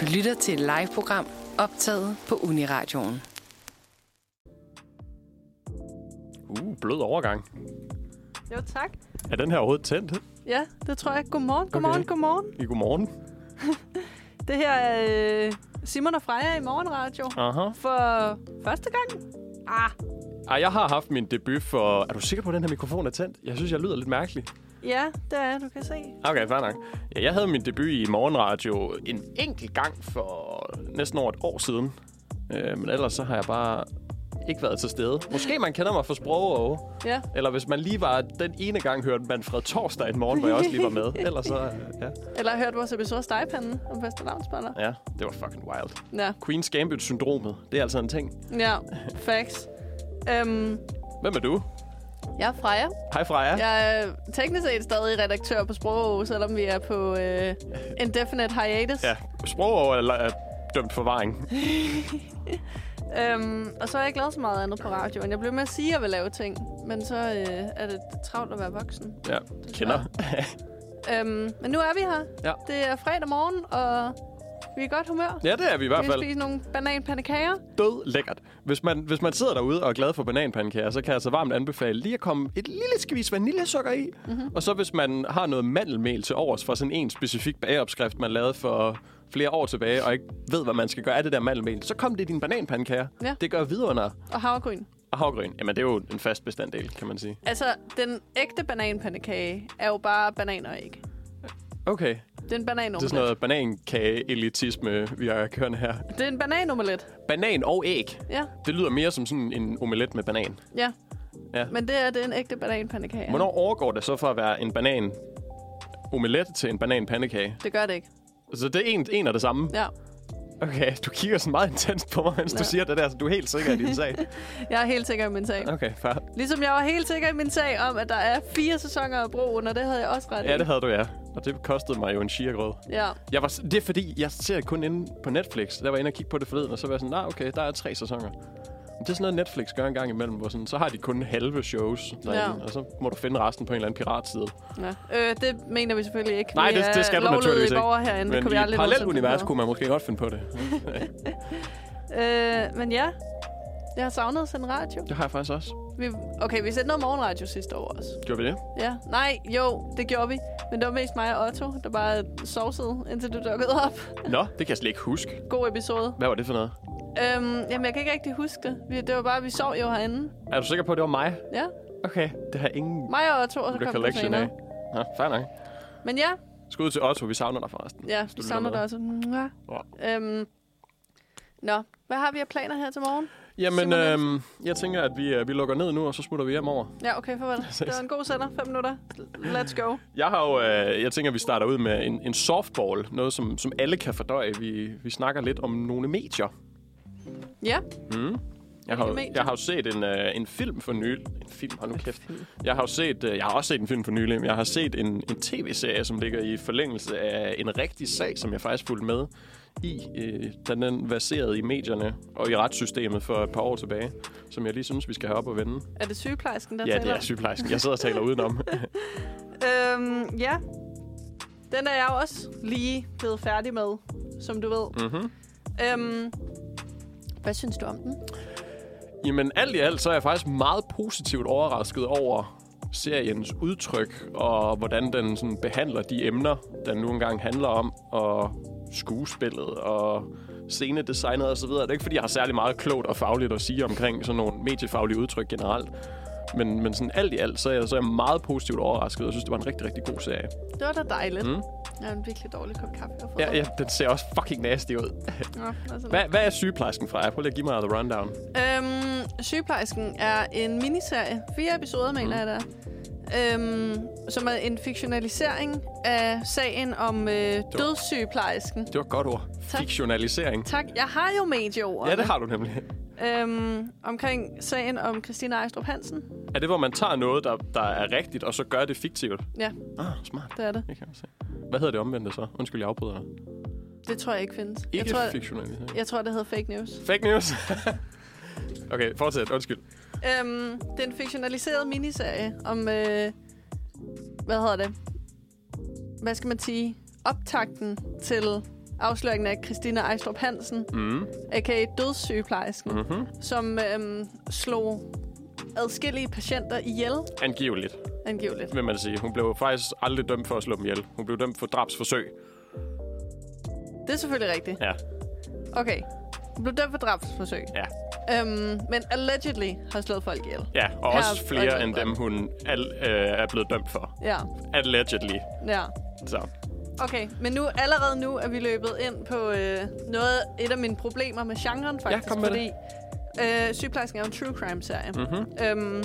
Du lytter til et live-program optaget på Uniradioen. Uh, blød overgang. Jo, tak. Er den her overhovedet tændt Ja, det tror jeg. Godmorgen, godmorgen, Okay. godmorgen. i godmorgen? Det her er øh, Simon og Freja i Morgenradio. Aha. For første gang? Ah, Ej, jeg har haft min debut for... Er du sikker på, at den her mikrofon er tændt? Jeg synes, jeg lyder lidt mærkelig. ja, det er du kan se. Okay, fair nok. Ja, jeg havde min debut i morgenradio en enkelt gang for næsten over et år siden. Øh, men ellers så har jeg bare ikke været til stede. Måske man kender mig for sprog Ja, Eller hvis man lige var den ene gang hørte Manfred Torsdag en morgen, hvor jeg også lige var med. Ellers så... øh, Ja, eller har hørt vores episode af Stegepanden om første lavnsballer. ja det var fucking wild. Ja, Queen's Gambit-syndromet, det er altså en ting. ja, facts. Øhm, Hvem er du? jeg er Freja. Hej Freja. Jeg er teknisk set stadig redaktør på Sprog, selvom vi er på øh, indefinite hiatus. Ja, sprog eller er dømt for varing. Øhm, og så er jeg ikke lavet så meget andet på radioen. Jeg blev med at sige, at jeg vil lave ting, men så øh, er det travlt at være voksen. Ja, kender. Øhm, men nu er vi her. Ja. Det er fredag morgen, og vi er i godt humør. ja, det er vi i hvert vi fald spiser nogle bananpandekager. død lækkert. Hvis man, hvis man sidder derude og er glad for bananpandekager, så kan jeg altså varmt anbefale lige at komme et lille skvis vaniljesukker i. Mm-hmm. Og så hvis man har noget mandelmel til overs fra sådan en specifik bageopskrift, man lavede for flere år tilbage, og ikke ved, hvad man skal gøre af det der mandelmel, så kom det i dine bananpandekager. Ja. Det gør vidunder. Og havregryn. Og havgryn, jamen det er jo en fast bestanddel, kan man sige. Altså, den ægte bananpandekage er jo bare banan og æg. Okay, det Det er er en sådan bananomelet. noget banankage-elitisme, vi har kørende her. Det er en bananomelet. Banan og æg. Ja, Det lyder mere som sådan en omelet med banan. ja. Ja. Men det er, det er en ægte bananpandekage. Hvornår overgår det så fra at være en banan omelet til en bananpandekage? Det gør det ikke. Så det er en, en og det samme. Ja. Okay, du kigger sådan meget intenst på mig, mens du Ja. siger det der, så du er helt sikker i din sag. Jeg er helt sikker i min sag. Okay, fair. Ligesom jeg var helt sikker i min sag om, at der er fire sæsoner af broen, og det havde jeg også ret Ja, i. det havde du, ja. Og det kostede mig jo en chia-grød. Ja, Jeg var, s- det er fordi, jeg ser kun inde på Netflix. Der var jeg inde og kigge på det forleden, og så var jeg sådan, nej, nah, okay, der er tre sæsoner. Men det er sådan noget, Netflix gør en gang imellem, hvor sådan, så har de kun halve shows derinde, Ja. og så må du finde resten på en eller anden piratside. ja. Øh, det mener vi selvfølgelig ikke. Nej, vi det- er det skal du lovlydige naturligvis ikke. borgere herinde. det Men kunne i vi et aldrig nogensinde parallelt finde univers på. kunne man måske godt finde på det. Øh, men ja, jeg har savnet at sende radio. Det har jeg faktisk også. Vi, okay, vi sendte noget morgenradio sidste år også. Gjorde vi det? Ja, nej, jo, det gjorde vi. Men det var mest mig og Otto, der bare sovsede, indtil du dukkede op. Nå, det kan jeg slet ikke huske. God episode. Hvad var det for noget? Øhm, jamen, jeg kan ikke rigtig huske det. Vi, det var bare, at vi sov jo herinde. Er du sikker på, at det var mig? Ja, Okay, det har jeg ingen mig og Otto, og så kom du recollection af. senere. Nå, fair nok. Men ja, Skud til Otto, vi savner dig forresten. ja, Hvis vi du savner lytter dig også. Mwah. Øhm, nå, hvad har vi af planer her til morgen? med. Jamen, Simon øhm, jeg tænker, at vi, øh, vi lukker ned nu, og så smutter vi hjem over. Ja, okay, farvel. Det var en god sender. Fem minutter. Let's go. Jeg har jo, øh, jeg tænker, at vi starter ud med en, en softball. Noget, som, som alle kan fordøje. Vi, vi snakker lidt om nogle medier. Ja, Mm. Jeg har, jo- medier? jeg har jo set en, øh, en film for nylig. En film, hold nu kæft. Jeg har jo set, øh, jeg har også set en film for nylig, men jeg har set en, en tv-serie, som ligger i forlængelse af en rigtig sag, som jeg faktisk fulgte med i, øh, da den verserede i medierne og i retssystemet for et par år tilbage, som jeg lige synes, vi skal have op og vende. er det sygeplejersken, der Ja, det taler? er sygeplejersken. Jeg sidder og taler udenom. Øhm, ja. Den er jeg jo også lige blevet færdig med, som du ved. Mhm. Øhm, hvad synes du om den? Jamen alt i alt, så er jeg faktisk meget positivt overrasket over seriens udtryk, og hvordan den sådan behandler de emner, den nu engang handler om, og skuespillet, og scenedesignet osv. Det er ikke, fordi jeg har særlig meget klogt og fagligt at sige omkring sådan nogle mediefaglige udtryk generelt, men, men sådan alt i alt, så er, jeg, så er jeg meget positivt overrasket, og jeg synes, det var en rigtig, rigtig god serie. Det var da dejligt. Mhm. Jeg har en virkelig dårlig kop kaffe, jeg har fået. Ja, ja den ser også fucking nasty ud. Nå, altså, Hvad, hvad er sygeplejersken fra? Prøv lige at give mig the rundown. Øhm, sygeplejersken er en miniserie. Fire episoder, Mm. mener jeg, der er. Øhm, som er en fiktionalisering af sagen om øh, dødssygeplejersken. Det var et godt ord. Tak. Fiktionalisering. Tak. Jeg har jo medieord. Ja, det har du nemlig. Øhm, omkring sagen om Christina Ejstrup Hansen. Er det, hvor man tager noget, der, der er rigtigt, og så gør det fiktivt? Ja, Ah, smart. det er det. Det kan jeg se. Hvad hedder det omvendte så? Undskyld, jeg afbryder dig. Det tror jeg ikke findes. Ikke jeg, tror, fiktionalisering. jeg tror, det hedder fake news. Fake news. okay, fortsæt. Undskyld. Øhm, det er en fiktionaliseret miniserie om, øh, hvad hedder det? Hvad skal man sige? Optakten til afsløringen af Christina Ejstrup Hansen, Mm. aka dødssygeplejersken, mm. Mm-hmm. som øhm, slog adskillige patienter ihjel, Angiveligt, angiveligt. vil man sige. Hun blev faktisk aldrig dømt for at slå dem ihjel. Hun blev dømt for drabsforsøg. Det er selvfølgelig rigtigt. Ja, Okay. Hun blev dømt for drabsforsøg. ja, Øhm, men allegedly har slået folk ihjel. ja. Og Her også er- flere og- end dem, hun al, øh, er blevet dømt for. Ja, Allegedly. ja. Så. Okay, men nu allerede nu er vi løbet ind på øh, noget et af mine problemer med genren faktisk, kom med fordi øh, sygeplejersken er jo en true crime serie. Mm-hmm. Øhm,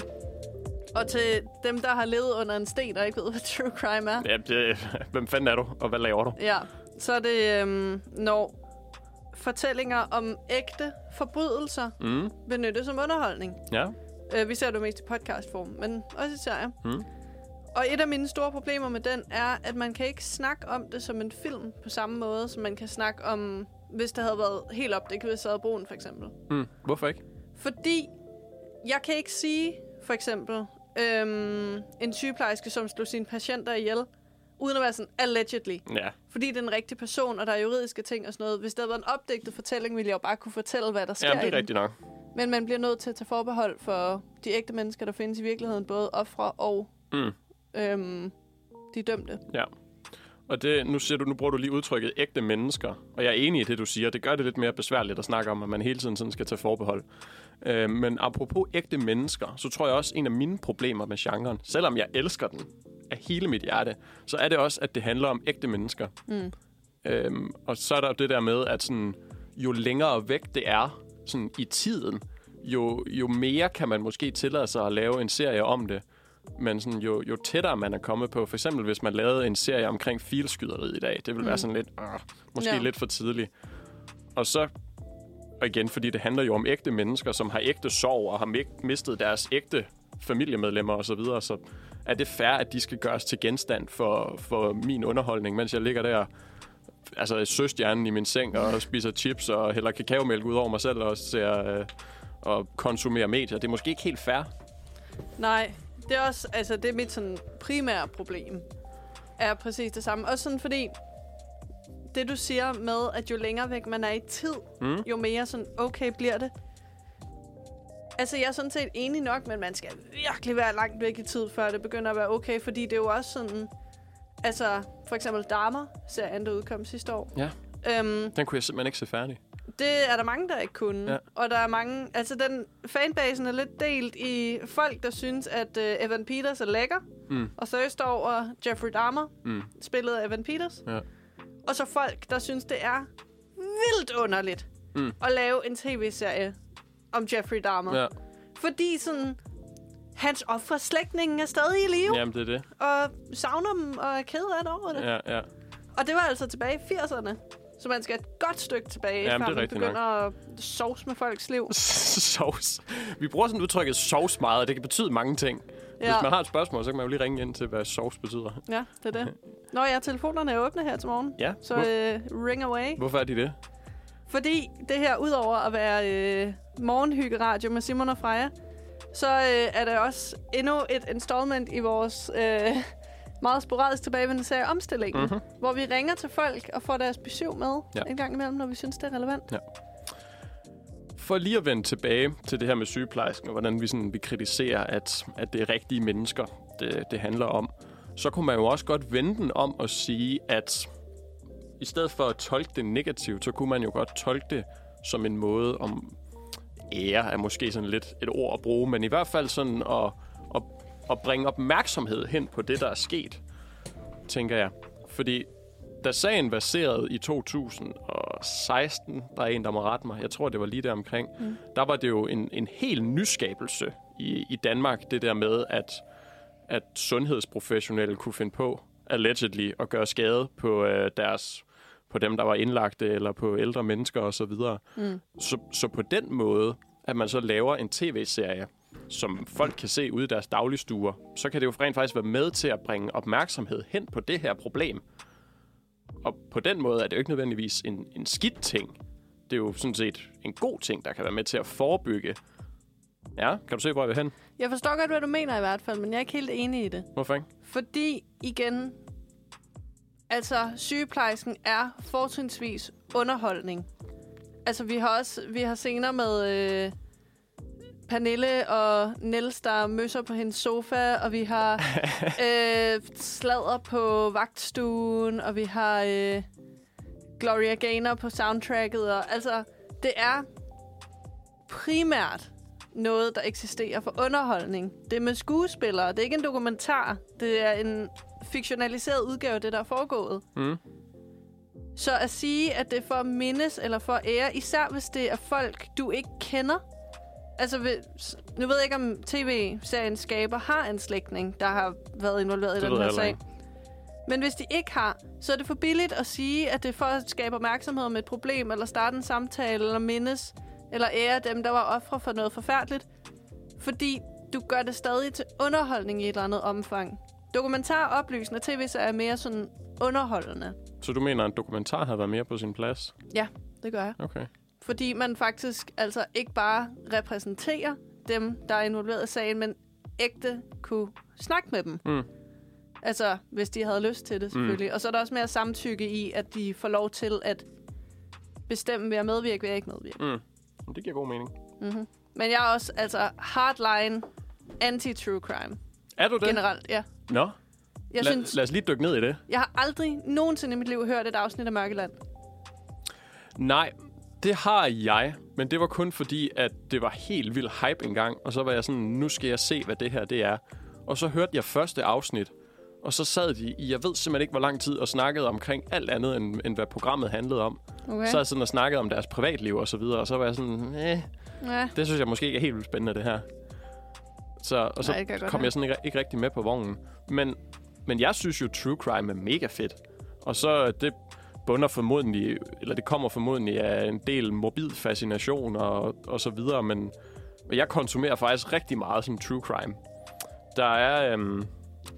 og til dem der har levet under en sten og ikke ved hvad true crime er. Ja, det, hvem fanden er du, og hvad laver du? Ja, så er det øhm, når fortællinger om ægte forbrydelser Mm. benyttes som underholdning. Ja. Øh, vi ser det jo mest i podcastform, men også i serier. Mm. Og et af mine store problemer med den er, at man kan ikke snakke om det som en film på samme måde, som man kan snakke om, hvis det havde været helt opdækket ved Sade Broen, for eksempel. Mm. Hvorfor ikke? Fordi jeg kan ikke sige, for eksempel, øhm, en sygeplejerske, som slog sine patienter ihjel, uden at være sådan allegedly. Ja. Fordi det er en rigtig person, og der er juridiske ting og sådan noget. Hvis det havde været en opdigtet fortælling, ville jeg jo bare kunne fortælle, hvad der sker Jamen, i det er den. rigtigt nok. Men man bliver nødt til at tage forbehold for de ægte mennesker, der findes i virkeligheden, både ofre og Mm. øhm, de dømte. Og det, nu, siger du, nu bruger du lige udtrykket ægte mennesker, og jeg er enig i det, du siger. Det gør det lidt mere besværligt at snakke om, at man hele tiden sådan skal tage forbehold. Øh, men apropos ægte mennesker, så tror jeg også, en af mine problemer med genren, selvom jeg elsker den af hele mit hjerte, så er det også, at det handler om ægte mennesker. Mm. Øhm, og så er der jo det der med, at sådan, jo længere væk det er sådan i tiden, jo, jo mere kan man måske tillade sig at lave en serie om det. Men sådan, jo, jo tættere man er kommet på, for eksempel hvis man lavede en serie omkring filskyderiet i dag, det ville mm. være sådan lidt, øh, måske Ja. ja. lidt for tidligt. Og så, og igen, fordi det handler jo om ægte mennesker, som har ægte sorg og har mi- mistet deres ægte familiemedlemmer osv., så, videre, så er det fair, at de skal gøres til genstand for, for min underholdning, mens jeg ligger der altså søstjernen i min seng og spiser chips og hælder kakaomælk ud over mig selv og ser øh, og konsumerer medier. Det er måske ikke helt fair. Nej, det er også, altså det er mit sådan primære problem, er præcis det samme. Også sådan fordi, det du siger med, at jo længere væk man er i tid, Mm. jo mere sådan, okay bliver det. Altså, jeg er sådan set enig nok, men man skal virkelig være langt væk i tid, før det begynder at være okay, fordi det er jo også sådan... Altså, for eksempel Dharma-serien, der udkom sidste år. Ja. Øhm, Den kunne jeg simpelthen ikke se færdig. det er der mange, der ikke kunne. Ja. Ja. Og der er mange... Altså, den fanbasen er lidt delt i folk, der synes, at øh, Evan Peters er lækker. Mm. Og så står over Jeffrey Dahmer, Mm. spillet af Evan Peters. Ja. Og så folk, der synes, det er vildt underligt Mm. at lave en tv-serie om Jeffrey Dahmer. Ja. Fordi sådan... Hans offer slægtningen er stadig i live, Jamen, det er det. og savner dem, og er ked af det over det. Ja, ja. Og det var altså tilbage i 80'erne. Så man skal et godt stykke tilbage, Jamen, det før er man rigtigt begynder at sovs med folks liv. sovs. Vi bruger sådan udtrykket sovs meget, og det kan betyde mange ting. Ja. Hvis man har et spørgsmål, så kan man jo lige ringe ind til, hvad sovs betyder. ja, det er det. Nå ja, telefonerne er åbne her til morgen. Ja. Så Hvor, øh, ring away. hvorfor er de det? Fordi det her, udover at være øh, morgenhyggeradio med Simon og Freja, så øh, er det også endnu et installment i vores øh, meget sporadisk tilbagevendende serie Omstillingen, Mhm. mm-hmm. hvor vi ringer til folk og får deres besøg med ja. Ja. en gang imellem, når vi synes, det er relevant. For lige at vende tilbage til det her med sygeplejersken, og hvordan vi, sådan, vi kritiserer, at, at det er rigtige mennesker, det, det handler om, så kunne man jo også godt vende den om og sige, at i stedet for at tolke det negativt, så kunne man jo godt tolke det som en måde om ære, er måske sådan lidt et ord at bruge, men i hvert fald sådan at, at, at bringe opmærksomhed hen på det, der er sket, tænker jeg. Fordi da sagen verserede i 2016, der er en, der må rette mig, jeg tror, det var lige der omkring, mm. der var det jo en, en hel nyskabelse i, i Danmark, det der med, at, at sundhedsprofessionelle kunne finde på, allegedly, at gøre skade på øh, deres på dem, der var indlagte, eller på ældre mennesker osv. Så, mm. så, så på den måde, at man så laver en tv-serie, som folk kan se ude i deres dagligstuer, så kan det jo rent faktisk være med til at bringe opmærksomhed hen på det her problem. Og på den måde er det jo ikke nødvendigvis en, en skidt ting. Det er jo sådan set en god ting, der kan være med til at forebygge. Ja, kan du se, hvor jeg vil hen? Jeg forstår godt, hvad du mener i hvert fald, men jeg er ikke helt enig i det. Hvorfor ikke? Fordi, igen, Altså, sygeplejersken er fortrinsvis underholdning. Altså, vi har også vi har senere med øh, Pernille og Niels, der møsser på hendes sofa, og vi har øh, sladder på vagtstuen, og vi har øh, Gloria Gaynor på soundtracket. Og, altså, det er primært noget, der eksisterer for underholdning. Det er med skuespillere. Det er ikke en dokumentar. Det er en fiktionaliseret udgave af det, der er foregået. Mm. Så at sige, at det er for at mindes eller for at ære, især hvis det er folk, du ikke kender. Altså, hvis- nu ved jeg ikke, om tv-seriens skaber har en slægtning, der har været involveret i Det den ved her jeg heller sag. ikke. Men hvis de ikke har, så er det for billigt at sige, at det er for at skabe opmærksomhed om et problem, eller starte en samtale, eller mindes, eller ære dem, der var ofre for noget forfærdeligt. Fordi du gør det stadig til underholdning i et eller andet omfang. Dokumentar, oplysende tv-serier er mere sådan underholdende. Så du mener, at en dokumentar havde været mere på sin plads? Ja, det gør jeg. Okay. Fordi man faktisk altså ikke bare repræsenterer dem, der er involveret i sagen, men ægte kunne snakke med dem. Mm. Altså, hvis de havde lyst til det, selvfølgelig. Mm. Og så er der også mere samtykke i, at de får lov til at bestemme, ved at medvirke, ved at ikke medvirke. Mm. Men Det giver god mening. Men jeg er også altså hardline anti-true crime Er du det? generelt. Ja. Nå, Jeg, La- synes, lad os lige dykke ned i det. jeg har aldrig nogensinde i mit liv hørt et afsnit af Mørkeland. Nej, det har jeg. Men det var kun fordi, at det var helt vild hype engang. Og så var jeg sådan, nu skal jeg se, hvad det her det er. Og så hørte jeg første afsnit. Og så sad de i, jeg ved simpelthen ikke, hvor lang tid, og snakkede omkring alt andet, end, end hvad programmet handlede om. Okay. Så jeg sådan og snakkede om deres privatliv og så videre. Og så var jeg sådan, eh, ja. det synes jeg måske ikke er helt vildt spændende, det her. Så, og så Nej, det kan jeg godt kom høre. jeg sådan ikke, ikke rigtig med på vognen. Men, men jeg synes jo, True Crime er mega fedt. Og så øh, det bunder formodentlig, eller det kommer formodentlig af en del morbid fascination og, og så videre, men jeg konsumerer faktisk rigtig meget som True Crime. Der er, øhm,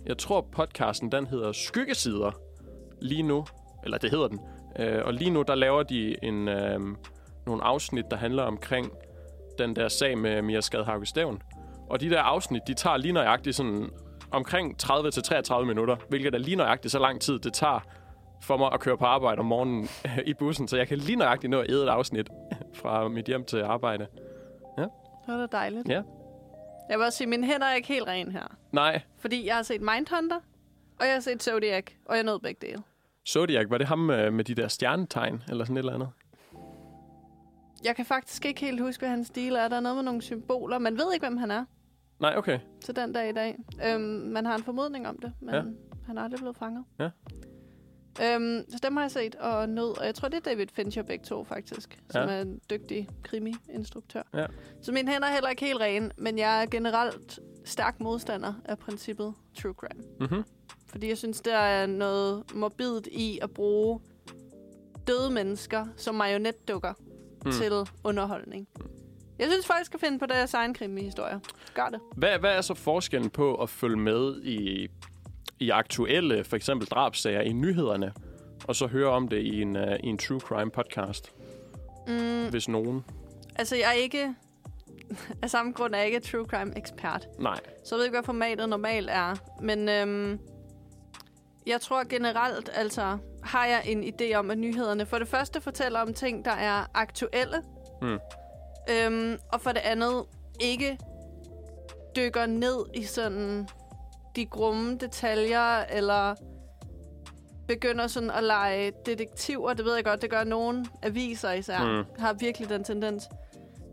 jeg tror podcasten, den hedder Skyggesider lige nu, eller det hedder den, øh, og lige nu, der laver de en, øh, nogle afsnit, der handler omkring den der sag med Mia Skadhauke Stævn. Og de der afsnit, de tager lige nøjagtigt sådan omkring 30-33 minutter, hvilket er lige nøjagtigt så lang tid, det tager for mig at køre på arbejde om morgenen i bussen, så jeg kan lige nøjagtigt nå at æde et afsnit fra mit hjem til arbejde. Det var da dejligt. Ja. Jeg vil også sige, at mine hænder er ikke helt rene her. Nej, Fordi jeg har set Mindhunter, og jeg har set Zodiac, og jeg nåede begge dele. Zodiac, var det ham øh, med de der stjernetegn, eller sådan et eller andet? Jeg kan faktisk ikke helt huske, hvad hans stil er. Der er noget med nogle symboler. Man ved ikke, hvem han er Nej, okay. til den dag i dag. Øhm, man har en formodning om det, men Ja. ja. han er aldrig blevet fanget. Ja. Øhm, så dem har jeg set og nød, og jeg tror, det er David Fincher begge to, faktisk, som Ja. er en dygtig krimi-instruktør. Ja. Så mine hænder er heller ikke helt rene, men jeg er generelt stærk modstander af princippet true crime. Mm-hmm. Fordi jeg synes, der er noget morbidt i at bruge døde mennesker som marionetdukker Mm. mm. til underholdning. Jeg synes folk skal finde på deres egen krimihistorier. Gør det. Hvad, hvad er så forskellen på at følge med i, i aktuelle, for eksempel drabsager i nyhederne, og så høre om det i en, uh, i en true crime podcast, Mm, hvis nogen? altså, jeg er ikke... Af samme grund er jeg ikke true crime ekspert. Nej. Så jeg ved ikke, hvad formatet normalt er. Men øhm, jeg tror generelt, altså, har jeg en idé om, at nyhederne for det første fortæller om ting, der er aktuelle. Mm. Øhm, og for det andet ikke dykker ned i sådan de grumme detaljer, eller begynder sådan at lege detektiver. Det ved jeg godt, det gør nogen aviser især. Mm. Mm. Har virkelig den tendens.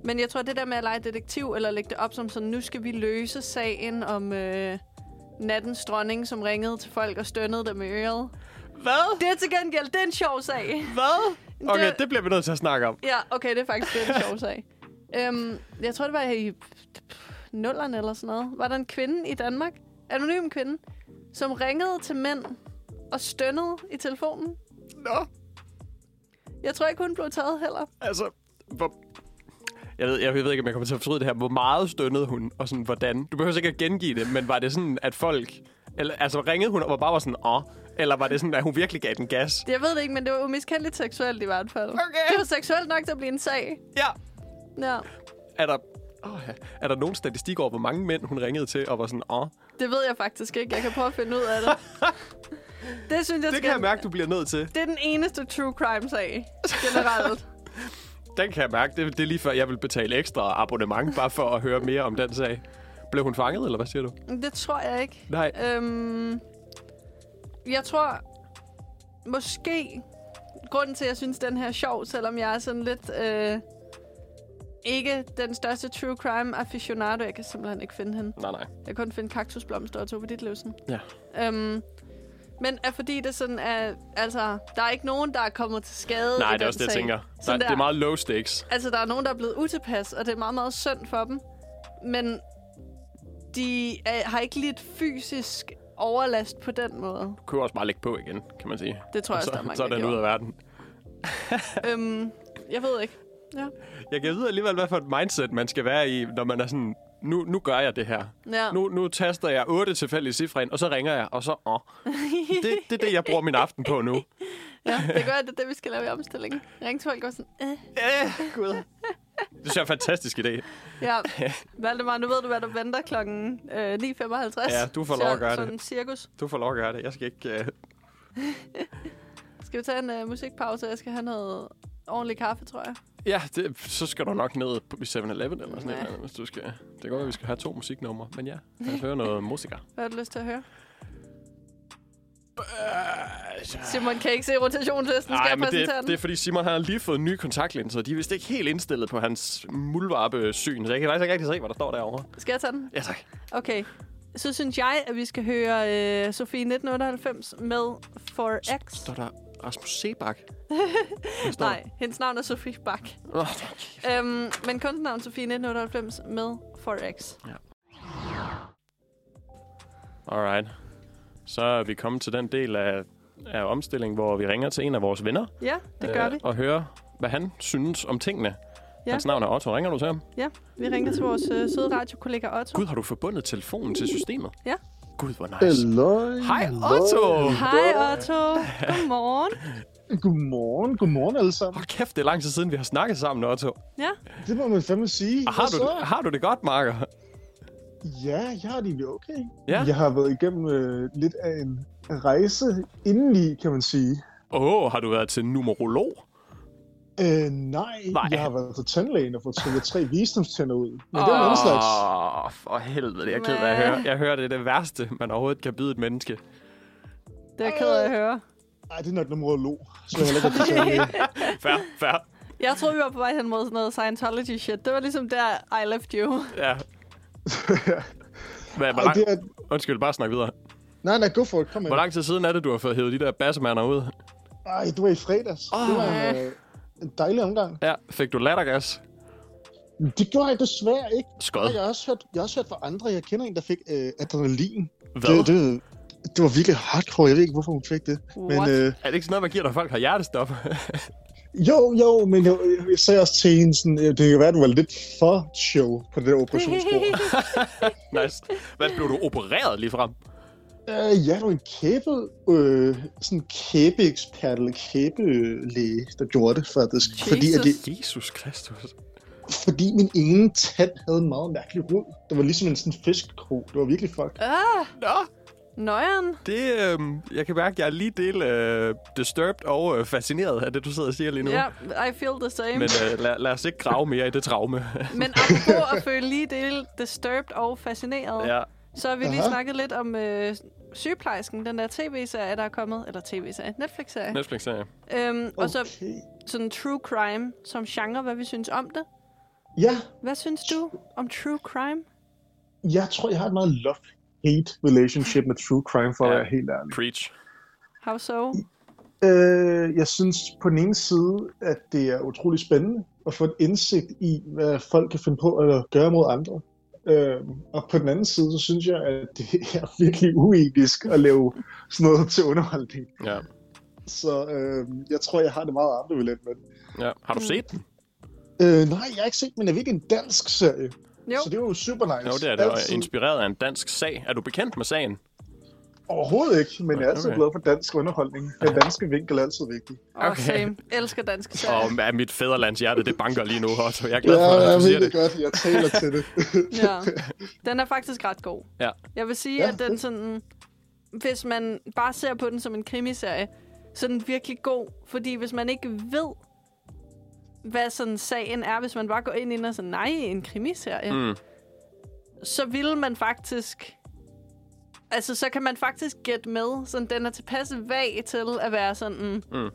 Men jeg tror, det der med at lege detektiv, eller lægge det op som sådan, nu skal vi løse sagen om øh, nattens dronning, som ringede til folk og stønnede dem i øret. Hvad? Det er til gengæld, det er en sjov sag. Hvad? Okay, Det- det bliver vi nødt til at snakke om. Ja, okay, det er faktisk det er en sjov sag. Øhm, jeg tror, det var i nullerne eller sådan noget. Var der en kvinde i Danmark, anonym kvinde, som ringede til mænd og stønnede i telefonen. Nå, Jeg tror ikke, hun blev taget heller. altså... Hvor... Jeg ved, jeg ved ikke, om jeg kommer til at fortryde det her. Hvor meget stønnede hun, og sådan hvordan? Du behøver ikke at gengive det, men var det sådan, at folk... Eller, altså, ringede hun og var bare var sådan, åh? Eller var det sådan, at hun virkelig gav den gas? Jeg ved det ikke, men det var umiskendeligt seksuelt i hvert fald. Okay. Det var seksuelt nok til at blive en sag. Ja. Ja. Er der, oh ja, er der nogen statistik over, hvor mange mænd hun ringede til og var sådan, åh? Det ved jeg faktisk ikke. Jeg kan prøve at finde ud af det. Det synes jeg Det skal... kan jeg mærke, du bliver nødt til. Det er den eneste true crime-sag generelt. Den kan jeg mærke. Det, det er lige før, jeg vil betale ekstra abonnement, bare for at høre mere om den sag. Blev hun fanget, eller hvad siger du? det tror jeg ikke. Nej. Øhm, jeg tror, måske grunden til, at jeg synes, den her er sjov, selvom jeg er sådan lidt øh, ikke den største true crime aficionado. Jeg kan simpelthen ikke finde hende. Nej, nej. Jeg kan kun finde kaktusblomster og Tove Ditlevsen. Ja. Øhm, men er fordi det sådan er, altså, der er ikke nogen, der er kommet til skade i Nej, det den er også det, jeg sag. tænker. Der, Sådan det er meget low stakes. Altså, der er nogen, der er blevet utilpas, og det er meget, meget synd for dem. Men de er, har ikke lidt fysisk overlast på den måde. Kunne også bare lægge på igen, kan man sige. Det tror jeg også, der er Så, mange, så er der den ud af verden. gjorde. øhm, Jeg ved ikke. Ja. Jeg kan vide alligevel, hvad for et mindset man skal være i, når man er sådan, nu, nu gør jeg det her. Ja. Nu, nu taster jeg otte tilfældige cifre ind, og så ringer jeg, og så... Åh. Det, det er det, jeg bruger min aften på nu. ja, det gør, at det er det, vi skal lave i omstillingen. Ringe til folk og sådan, øh. Øh, Gud. Det synes jeg er en fantastisk idé. Ja, Valdemar, nu ved du, hvad der venter klokken øh, 9.55. Ja, du får lov at gøre det. sådan Sådan cirkus. Du får lov at gøre det. Jeg skal ikke... Uh... Skal vi tage en øh, musikpause? Jeg skal have noget ordentlig kaffe, tror jeg. Ja, det, så skal du nok ned på 7-Eleven eller sådan Nej. noget, hvis du skal... Det kan godt være, vi skal have to musiknumre, men ja, lad os høre noget musiker. Hvad har du lyst til at høre? Øh, Simon kan ikke se rotationslisten. Skal Nej, jeg men det, præsentere den? det er fordi Simon han har lige fået nye kontaktlinser, og de er vist ikke helt indstillet på hans muldvarpe-syn, så jeg kan faktisk ikke rigtig se, hvad der står derovre. Skal jeg tage den? Ja, tak. Okay, så synes jeg, at vi skal høre øh, Sofie 1998 med 4X. Står der Rasmus Sebak? Nej, hendes navn er Sofie Bak. Oh, Øhm, men kunstnavn Sofie 1998 med 4X. Alright. Så er vi kommet til den del af, af omstillingen, hvor vi ringer til en af vores venner. Ja, det gør øh, vi. Og hører, hvad han synes om tingene. Ja. Ja. Hans navn er Otto. Ringer du til ham? Ja, vi ringer til vores øh, søde radiokollega Otto. Gud, har du forbundet telefonen til systemet? Ja. Gud, hvor nice. Hallo. Hej, hallo. Otto! Hej Otto, godmorgen. Godmorgen, godmorgen alle sammen. Hold kæft, det er lang tid siden, vi har snakket sammen, Otto. Ja, Det må man fandme sige. Og har, Hvad du, så? har du det godt, Marker? Ja, jeg har det egentlig okay. Ja. Jeg har været igennem øh, lidt af en rejse indeni, kan man sige. Åh, oh, har du været til numerolog? Øh, nej, Nej. jeg har været på tandlægen og fået trykket tre visdomstænder ud. Men det er en anden slags. Åh, for helvede, jeg er ked af at høre. Jeg hører, det er det værste, man overhovedet kan byde et menneske. det er jeg ked af at høre. Nej, det er nok numerolog, så jeg heller ikke er på tandlæge. Fair, fair. Jeg troede, vi var på vej hen mod sådan noget Scientology shit. Det var ligesom der, I left you. Ja. Hvad, hvor Ej, lang... det er... Undskyld, bare snak videre. Nej, nej, go for it. Kom Hvor med. lang tid siden er det, du har fået hævet de der bassemander ud? Nej, du var i fredags. Det var en, Ah. øh, en dejlig omgang. Ja, fik du lattergas? Det gjorde jeg desværre ikke. Skod. Jeg har også hørt, jeg har også hørt fra andre. Jeg kender en, der fik øh, adrenalin. Hvad? Det, det, det var virkelig hardcore. Jeg ved ikke, hvorfor hun fik det. What? Men, øh, Er det ikke sådan noget, man giver, når folk har hjertestop? jo, jo, men jeg, jeg sagde også til hende, sådan, øh, det kan være, at du var lidt for show på det der operationsbord. nice. Hvad, blev du opereret lige frem? øh, ja, det var en kæbe, øh, sådan en kæbeekspert eller kæbelæge, der gjorde det faktisk. Fordi, at det, Jesus Kristus. fordi min ene tand havde en meget mærkelig rod. Det var ligesom en sådan fiskekro. Det var virkelig fucked. Ah, Nå, nøjeren. det, øh, jeg kan mærke, at jeg er lige del øh, disturbed og øh, fascineret af det, du sidder og siger lige nu. Ja, I feel the same. Men øh, lad, lad os ikke grave mere i det traume. Men apropos at føle lige del disturbed og fascineret, ja. ja. så har vi lige Aha. snakket lidt om øh, sygeplejersken, den der tv-serie, der er kommet, eller tv-serie, Netflix-serie. Netflix-serie. Øhm, Oh. Og så Okay. sådan true crime som genre, hvad vi synes om det. Ja, Hvad synes du om true crime? jeg tror, jeg har et meget love-hate relationship med true crime, for ja. Ja. at være helt ærlig. Preach. How so? Øh, jeg synes på den ene side, at det er utrolig spændende at få et indsigt i, hvad folk kan finde på at gøre mod andre. Øh, og på den anden side, så synes jeg, at det er virkelig uetisk at lave sådan noget til underholdning. Ja. Så øh, jeg tror, jeg har det meget ambivalent med det. ja. Har Mm. du set den? Øh, nej, jeg har ikke set, men jeg ved, det er en dansk serie. Jo, Så det var jo super nice. Jo, det er det. Og Altid- inspireret af en dansk sag. Er du bekendt med sagen? Overhovedet ikke, men jeg er altid Okay. glad for dansk underholdning. Den danske vinkel er altid vigtig. og okay. same. Elsker danske serier. Og med mit fædrelands hjerte, det banker lige nu, Otto. Jeg er Ja, glad for, jeg at du ved siger det det. godt, jeg taler til det. Ja. Den er faktisk ret god. Ja. Jeg vil sige, ja. Ja. at den sådan... hvis man bare ser på den som en krimiserie, så er den virkelig god. Fordi hvis man ikke ved, hvad sådan sagen er, hvis man bare går ind i den og sådan, nej, en krimiserie, mm. Mm. så vil man faktisk... Altså, så kan man faktisk gætte med. Sådan, den er tilpas vag til at være sådan... Mm. Mm.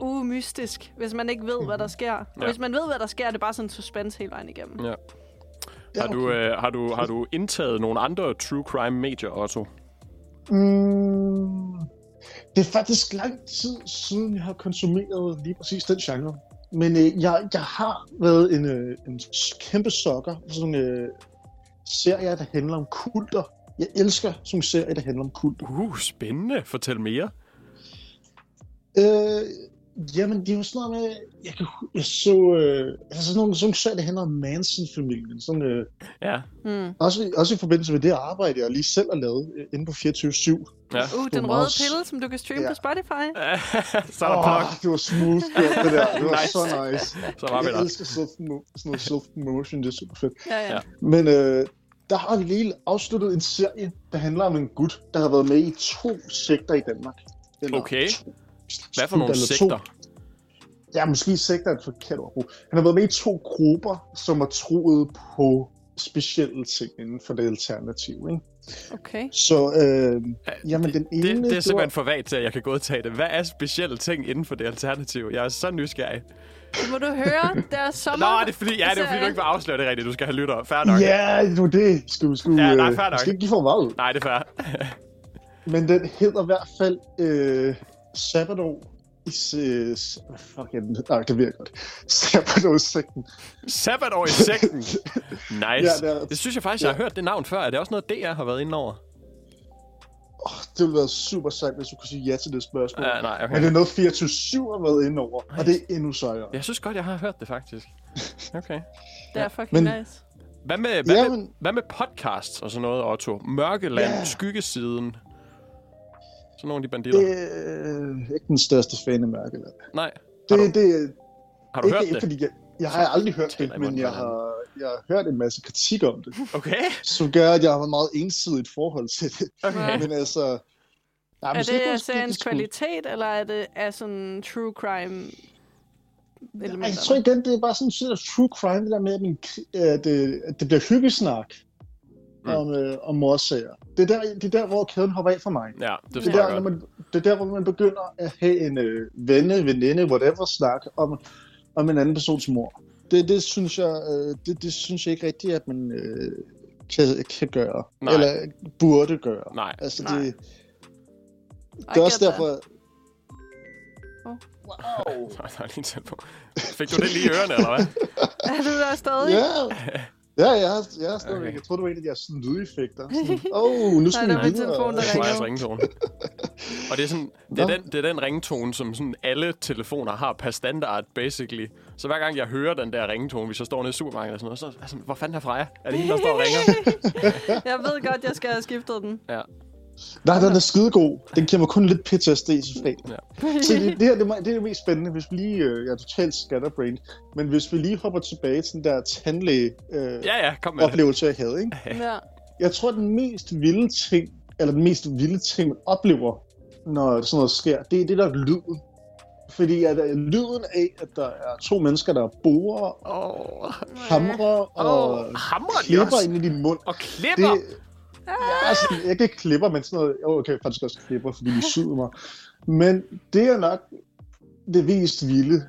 Uh, mystisk, hvis man ikke ved, hvad der sker. Og Ja. hvis man ved, hvad der sker, er det bare sådan suspense hele vejen igennem. Ja. Har, du, øh, har, du, har du indtaget nogle andre true crime medier, Otto? Mm, det er faktisk lang tid siden, jeg har konsumeret lige præcis den genre. Men øh, jeg, jeg har været en, øh, en kæmpe sokker for sådan nogle øh, serier, der handler om kulter. Jeg elsker sådan nogle serier, der handler om kulter. Uh, spændende. Fortæl mere. Øh, jamen, det er jo sådan noget med, jeg, kan, hu- jeg så øh, altså sådan nogle, sådan nogle serier, der handler om Manson-familien. Sådan, øh, Ja. Mm. også, også i forbindelse med det arbejde, jeg lige selv har lavet øh, inde på 24-7. Uh, Det er den røde meget s- pille, som du kan streame Ja. på Spotify. så er der plok. det var smooth, gjort, det der. Det var Nice. så nice. Så var vi jeg der. elsker self sådan noget self-promotion, det er super fedt. Ja, ja. Ja. ja. Men øh, der har vi lige afsluttet en serie, der handler om en gut, der har været med i to sekter i Danmark. Eller Okay. to- Hvad for nogle eller to- sekter? Ja, måske sekter er et forkert ord. at bruge. Han har været med i to grupper, som har troet på specielle ting inden for det alternative. Ikke? Okay. Så øh, jamen, den ene... Det, det er var- simpelthen for vagt til, at jeg kan godtage det. Hvad er specielle ting inden for det alternativ? Jeg er så nysgerrig. Det må du høre. Der er sommer. Nå, er det er fordi, ja, det er fordi du ikke vil afsløre det rigtigt. Du skal have lytter. Fair nok. Ja, det var det. Skal vi, skal vi, Ja, nej, øh, fair nok. skal ikke give for meget. Nej, det er fair. Men den hedder i hvert fald øh, Sabbatår i... Øh, s- hvad fuck, jeg, nej, det virker godt. Sabbatår-sekten. Sabbatår i sekten. Nice. Ja, det det, er- synes jeg faktisk, jeg har hørt det navn før. Er det også noget, DR har været inde over? Oh, det ville være super sejt, hvis du kunne sige ja til det spørgsmål. Ja, nej, okay. Men det er noget 24-7 har været inde over, og det er endnu sejere. Jeg synes godt, jeg har hørt det faktisk. Okay. Det er fucking Men- Men... nice. Hvad med, hvad, Ja, med, men- hvad med podcasts og sådan noget, Otto? Mørkeland, Ja. Skyggesiden. Sådan nogle af de banditter. Det er øh, ikke den største fan af Mørkeland. Nej. Har Det, du, det, det, har du ikke, hørt ikke, det? Fordi jeg, jeg har aldrig hørt taler det, jeg men munden jeg på har, jeg har hørt en masse kritik om det, Okay. som gør, at jeg har et meget ensidigt forhold til det. okay. Men altså... Nej, Er måske kunne det jeg spille seriens skud. kvalitet, eller er det er sådan true crime Ej, Jeg elementer? tror igen, det er bare sådan en true crime, det der med, at, min, kri- at, det, at det bliver hyggesnak Mm. mm. om, øh, om morsager. Det er, der, det er der, hvor kæden hopper af for mig. Ja, det Det tror er, der, jeg når godt. man, det er der, hvor man begynder at have en øh, venne, veninde, whatever snak om, om en anden persons mor. Det, det, synes jeg, øh, det, det synes jeg ikke rigtigt, at man øh, kan, kan gøre. Nej. Eller burde gøre. Nej. Altså, Nej. Det, I det er også get derfor... Oh. Wow! Nej, der er lige en telefon. Fik du det lige i ørerne, eller hvad? that. Er du der stadig? Ja, ja jeg, har, jeg har stadigvæk. Okay. Okay. Jeg troede, det var en af de her sådan lydeffekter. Sådan, Åh, oh, nu skal Nej, der var vi en telefon, der Det er videre. ringer. Majas ringetone. Og det er, sådan, det, er Nå. den, det er den ringetone, som sådan alle telefoner har per standard, basically. Så hver gang jeg hører den der ringetone, hvis jeg står nede i supermarkedet og sådan noget, så altså, hvor fanden er Freja? Er det hende, der står og ringer? Jeg ved godt, jeg skal have skiftet den. Ja. Nej, den er skidegod. Den giver mig kun lidt PTSD til fredag. Ja. Så det, det her det er, meget- det er det mest spændende, hvis vi lige... Øh, jeg er totalt scatterbrained. Men hvis vi lige hopper tilbage til den der tandlæge... Øh, Ja, ja, kom med det. oplevelse, jeg havde. Ikke? Ja. Jeg tror, den mest vilde ting, eller den mest vilde ting, man oplever, når sådan noget sker, det er det, der er lyden. Fordi at, øh, lyden af, at der er to mennesker, der borer og Åh, hamrer og oh, hamrer de klipper også? ind i din mund. Og klipper? Det, jeg, er sådan, jeg kan ikke klipper, men sådan noget. Jo, okay, faktisk også klipper, fordi de syder mig. Men det er nok det mest vilde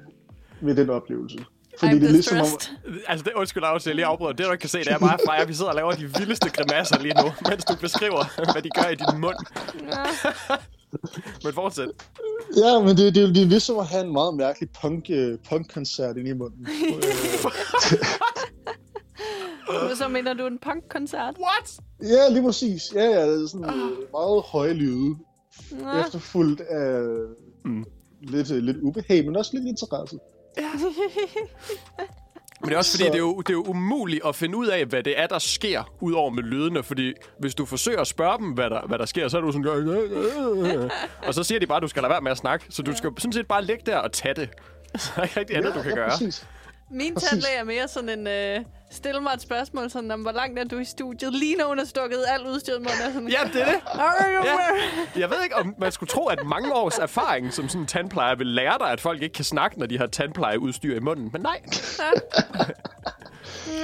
ved den oplevelse. Fordi I'm det er ligesom om, distressed. Altså, det, undskyld, Aarhus, jeg lige afbryder. Det, du ikke kan se, det er bare Freja. Vi sidder og laver de vildeste grimasser lige nu, mens du beskriver, hvad de gør i din mund. Ja. Men fortsæt. Ja, men det, det, det er ligesom at have en meget mærkelig punk, øh, punkkoncert inde i munden. Så mener du en punkkoncert? What? ja, lige præcis. Ja, ja, det er sådan øh, meget høje lyde, Ja. efterfulgt af Mm. mm. lidt, øh, lidt ubehag, men også lidt interesse. Men det er også fordi, Så- det er, jo, det er jo umuligt at finde ud af, hvad det er, der sker, udover med lydene. Fordi hvis du forsøger at spørge dem, hvad der, hvad der sker, så er du sådan... "Øh, øh, øh." Og så siger de bare, at du skal lade være med at snakke. Så du skal sådan set bare ligge der og tage det. Så er der ikke rigtig andet, du kan ja, gøre. Præcis. Min Præcis. tandlæge er mere sådan en... Øh, stille mig et spørgsmål, sådan om, hvor langt er du i studiet? Lige når hun har stukket alt udstyret mod mig, sådan, Ja, det er det. Are you Ja. aware? Jeg ved ikke, om man skulle tro, at mange års erfaring som sådan en tandplejer vil lære dig, at folk ikke kan snakke, når de har tandplejeudstyr i munden. Men nej,